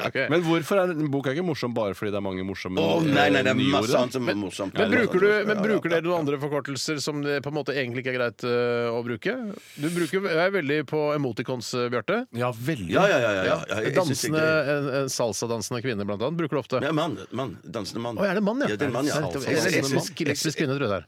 S4: Ok.
S5: Men hvorfor er en bok er ikke morsom bare fordi det er mange morsomme
S3: Å, nei, nei, det er
S5: øh, nye ord,
S3: masse
S5: da?
S3: annet som er morsomt.
S4: Men
S3: Ja,
S4: bruker,
S3: det er
S4: du,
S3: morsomt.
S4: men
S3: Ja, ja,
S4: bruker
S3: ja.
S4: dere noen andre forkortelser som det på en måte egentlig ikke er greit eh, å bruke? Du bruker, jeg er veldig på emoticons, eh, Bjarte.
S5: Ja, veldig.
S3: Ja, ja, ja. ja, ja. Jeg- jeg synes det
S4: Dansende,
S3: er gøy.
S4: en, en salsadansende kvinne, blant annet, bruker du ofte.
S3: Ja, mann. mann, Dansende mann.
S4: Å, er det en mann, ja?
S3: ja det er en mann, ja.
S4: Jeg- jeg-
S3: Jeg- jeg- jeg-
S4: Lesbisk, lesbisk kvinne, tror jeg det er.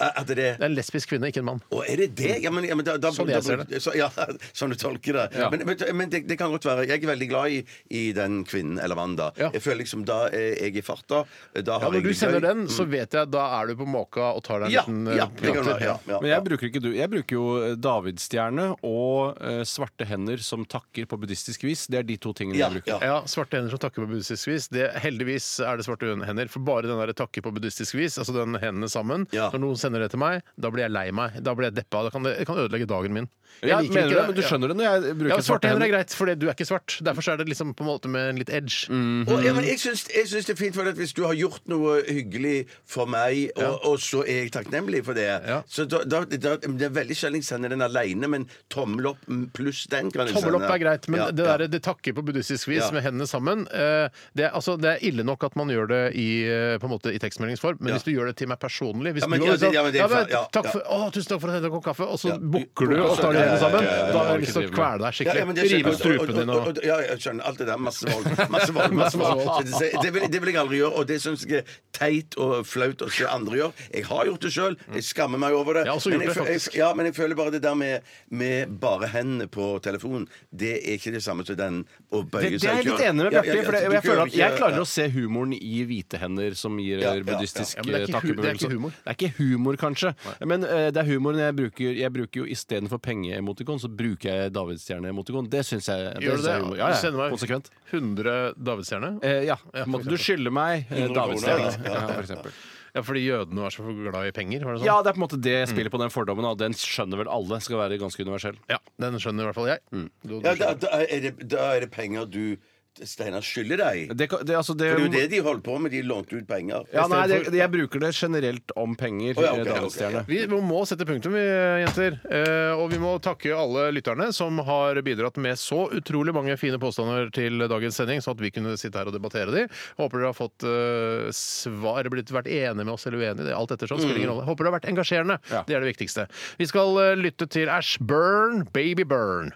S3: Er det det?
S4: Det er en lesbisk kvinne, ikke en mann.
S3: Å, er det det? Ja, men, ja, men da, da,
S4: Sånn
S3: da,
S4: jeg ser det.
S3: Så, ja, <laughs> sånn du tolker det.
S5: Ja.
S3: Men, men, men det, det kan godt være. Jeg er veldig glad i, i den kvinnen eller mannen, da.
S4: Ja.
S3: Jeg føler liksom da er jeg i farta. Da
S4: Ja,
S3: har
S4: når
S3: jeg
S4: du
S3: det
S4: sender
S3: gøy.
S4: den, så vet jeg da er du på måka og tar deg en
S3: Ja,
S4: liten eh,
S3: ja, det kan
S4: prater.
S3: være, ja, ja,
S5: Men
S3: ja.
S5: jeg bruker ikke du. Jeg bruker jo eh, davidsstjerne og eh, svarte hender som takker på buddhistisk vis. Det er de to tingene
S3: Ja,
S5: jeg bruker.
S3: ja.
S4: Ja, Svarte hender som takker på buddhistisk vis. Det, heldigvis er det svarte hender. For bare den der takker på buddhistisk vis, altså den hendene sammen
S3: Ja.
S4: Når noen sender det til meg, da blir jeg lei meg. Da blir jeg deppa. Det kan, det kan ødelegge dagen min. Jeg
S5: Ja,
S4: liker
S5: mener
S4: ikke
S5: du det? Men du skjønner det når jeg bruker
S4: Ja, svarte hender er greit, for du er ikke svart. Derfor så er det liksom på en måte med en litt edge.
S5: Mm.
S3: Og, ja, men jeg syns, jeg syns det er fint, for at hvis du har gjort noe hyggelig for meg, og, og så er jeg takknemlig for det
S4: Ja.
S3: Så da, da, da, Det er veldig sjelden jeg sender den aleine, men tommel opp mm, pluss den kan jeg
S4: Tommel opp
S3: sende.
S4: er greit, men
S3: Ja,
S4: det
S3: ja.
S4: der det takker på buddhistisk vis
S3: Ja.
S4: med hendene sammen eh, det, er, altså, det er ille nok at man gjør det i, eh, på en måte, i tekstmeldingsform, men
S3: Ja.
S4: hvis du gjør det til meg personlig hvis
S3: Ja, men
S4: du
S3: ja,
S4: hadde sagt,
S3: det- ja, men det er
S4: «Ja, men
S3: fa- ja,
S4: takk
S3: ja.
S4: for, å, 'Tusen takk for at jeg drakk kopp kaffe', og så
S3: Ja.
S4: bukker du og
S3: Ja,
S4: tar
S3: ja, ja,
S4: hendene sammen,
S3: ja, ja, ja, ja,
S4: da har
S5: orker
S4: jeg lyst til
S5: drive
S4: å
S5: med.
S4: kvele
S3: Ja,
S4: deg
S3: ja, men det
S4: skikkelig. Rive ut
S3: skjønner jeg.
S4: strupen din
S3: Og- og-
S4: og
S3: og- Ja, jeg skjønner alt det der. Masse vold. Masse vold, masse vold. Så Det, det, vil, det vil jeg aldri gjøre, og det syns jeg er teit og flaut å se andre gjøre. Jeg har gjort det sjøl,
S5: Mm.
S3: jeg skammer meg over det.
S4: Jeg har også
S3: men,
S4: gjort
S3: jeg,
S4: det,
S3: fø- jeg,
S4: faktisk.
S3: ja, men jeg føler bare det der med, med bare hendene på telefonen, det er ikke det samme som den å
S5: Det,
S3: bøye
S5: det er
S3: seg
S5: jeg litt enig med Bjarte. i,
S3: altså,
S5: for jeg, jeg føler at jeg klarer å
S3: å
S5: se humoren i hvite hender som gir
S3: Ja,
S5: eh,
S3: ja, ja.
S5: buddhistisk
S4: Ja,
S5: eh,
S4: men det er ikke hu- det er
S5: takkebevegelse.
S4: ikke humor.
S5: Det er ikke humor, kanskje. Men eh, det er humoren jeg bruker. Jeg bruker jo istedenfor pengeemotikon, så bruker jeg davidsstjerne-emotikon. Det syns jeg det
S4: Gjør
S5: synes
S4: du det?
S5: jeg er humor. Ja,
S4: Du sender
S5: ja,
S4: meg
S5: konsekvent.
S4: 100 davidsstjerner?
S5: Eh, ja.
S4: Ja, for
S5: Måtte du skylder meg eh, davidsstjerne, ja, for eksempel.
S4: Ja, fordi jødene var så glad i penger? Var det sånn?
S5: Ja, det er på en måte det jeg spiller på den fordommen, og den skjønner vel alle skal være ganske universell.
S4: Ja, Den skjønner i hvert fall jeg. Du- du
S3: Mm. ja, da,
S4: skjønner.
S3: da, er det, da er det penger du, Steinar, skylder deg.
S5: Det, kan- det, altså, det,
S3: For det er jo det de holdt på med. De lånte ut penger.
S5: ja, nei, det, det, jeg bruker det generelt om penger.
S3: Å, ja, ok,
S5: eh, davidsstjerne.
S4: Vi må sette punktum, vi jenter. Eh, og vi må takke alle lytterne som har bidratt med så utrolig mange fine påstander til dagens sending, sånn at vi kunne sitte her og debattere de. Håper dere har fått eh, svar, blitt vært enige med oss eller uenige. Det er Alt ettersom spiller ingen rolle. Håper det har vært engasjerende.
S5: Ja.
S4: Det er det viktigste. Vi skal eh, lytte til Ash Burn, Baby Burn.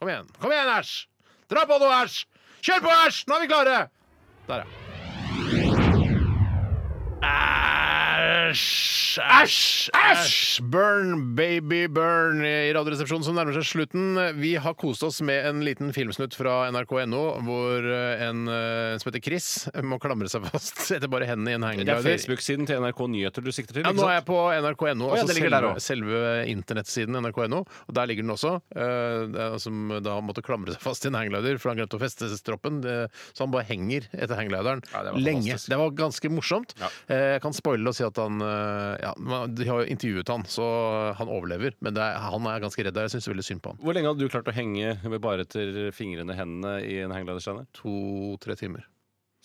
S4: Kom igjen. Kom igjen, Ash! Dra på noe, Ash! Kjør på, Ash! Nå er vi klare! Der, ja. Æsj! Æsj! Æsj! Burn, baby burn i Radioresepsjonen som nærmer seg slutten. Vi har kost oss med en liten filmsnutt fra nrk.no, hvor en eh, som heter Chris, må klamre seg fast <laughs> etter bare hendene i en
S5: Det er
S4: hangarglider.
S5: Facebook-siden til NRK Nyheter du sikter til?
S4: Ja,
S5: ikke
S4: nå er jeg
S5: sant?
S4: på nrk.no,
S5: Å ja,
S4: altså
S5: det ligger der
S4: selve,
S5: også.
S4: selve internettsiden nrk.no. Og der ligger den også. eh, det er som da måtte klamre seg fast til en hangglider, for han glemte å feste stroppen. Det, så han bare henger etter hangglideren
S5: Ja, det var
S4: lenge.
S5: fantastisk.
S4: Det var ganske morsomt. Eh, jeg kan spoile og si at han han eh, ja, men De har jo intervjuet han, så han overlever. Men det er, han er ganske redd der. Jeg syns veldig synd på han.
S5: Hvor lenge hadde du klart å henge med bare etter fingrene i hendene i en hangglidersteiner?
S4: To-tre timer.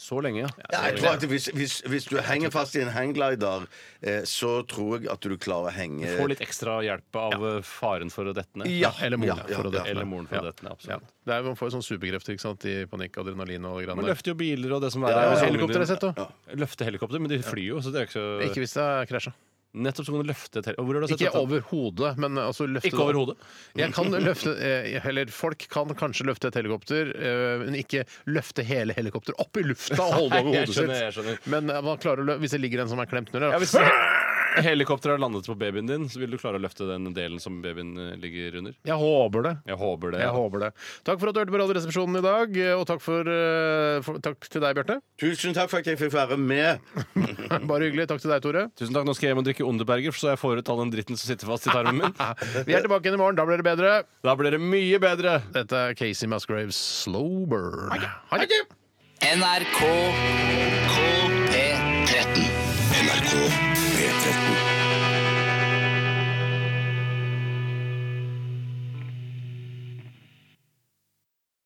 S5: Så lenge,
S3: Ja, Altså, jeg tror at hvis, hvis, hvis du henger fast i en hangglider, eh, så tror jeg at du klarer å henge
S5: Få litt ekstra hjelp av eh, faren for å dette ned.
S4: Ja, eller moren
S3: ja, ja,
S4: for å dette.
S5: Eller moren for å
S4: Ja.
S5: dette ned,
S4: Ja.
S5: absolutt.
S4: Det er, man får jo sånn superkrefter ikke sant? i panikk, adrenalin og
S5: Man
S4: greier.
S5: løfter jo sånn- biler og det som er
S4: Ja,
S5: der.
S4: ja, helikopter har jeg sånn- sett, da.
S5: Løfte helikopter, men de flyr jo, så det er ikke så
S4: Ikke hvis det er krasja.
S5: Nettopp så kan du løfte et hel... Hvor har du sett
S4: Ikke
S5: dette?
S4: over hodet, men altså løfte
S5: Ikke over hodet.
S4: Jeg kan løfte, eh, eller Folk kan kanskje løfte et helikopter, eh, men ikke løfte hele helikopteret opp i lufta og holde det over
S5: Nei, <laughs> jeg
S4: hodet
S5: skjønner, jeg
S4: sitt.
S5: skjønner.
S4: Men eh, man klarer å lø hvis det ligger en som er klemt under
S5: Ja,
S4: der.
S5: hvis he- helikopteret har landet på babyen din, så vil du klare å løfte den delen som babyen eh, ligger under?
S4: Jeg håper det.
S5: Jeg håper det.
S4: Jeg håper det. Takk for at du hørte på Radioresepsjonen i dag, og takk, for, eh, for, takk til deg, Bjarte. <laughs>
S3: Tusen takk for at jeg fikk være med.
S4: Bare hyggelig. Takk til deg, Tore.
S5: Tusen takk, nå skal jeg hjem og drikke Underberger, så jeg får ut all den dritten som sitter fast i tarmen min.
S4: Vi er tilbake igjen i morgen. Da blir det bedre.
S5: Da blir det mye bedre!
S4: Dette er Casey Musgraves Slow Burn. Ha det.
S8: NRK K P13.
S2: NRK P13.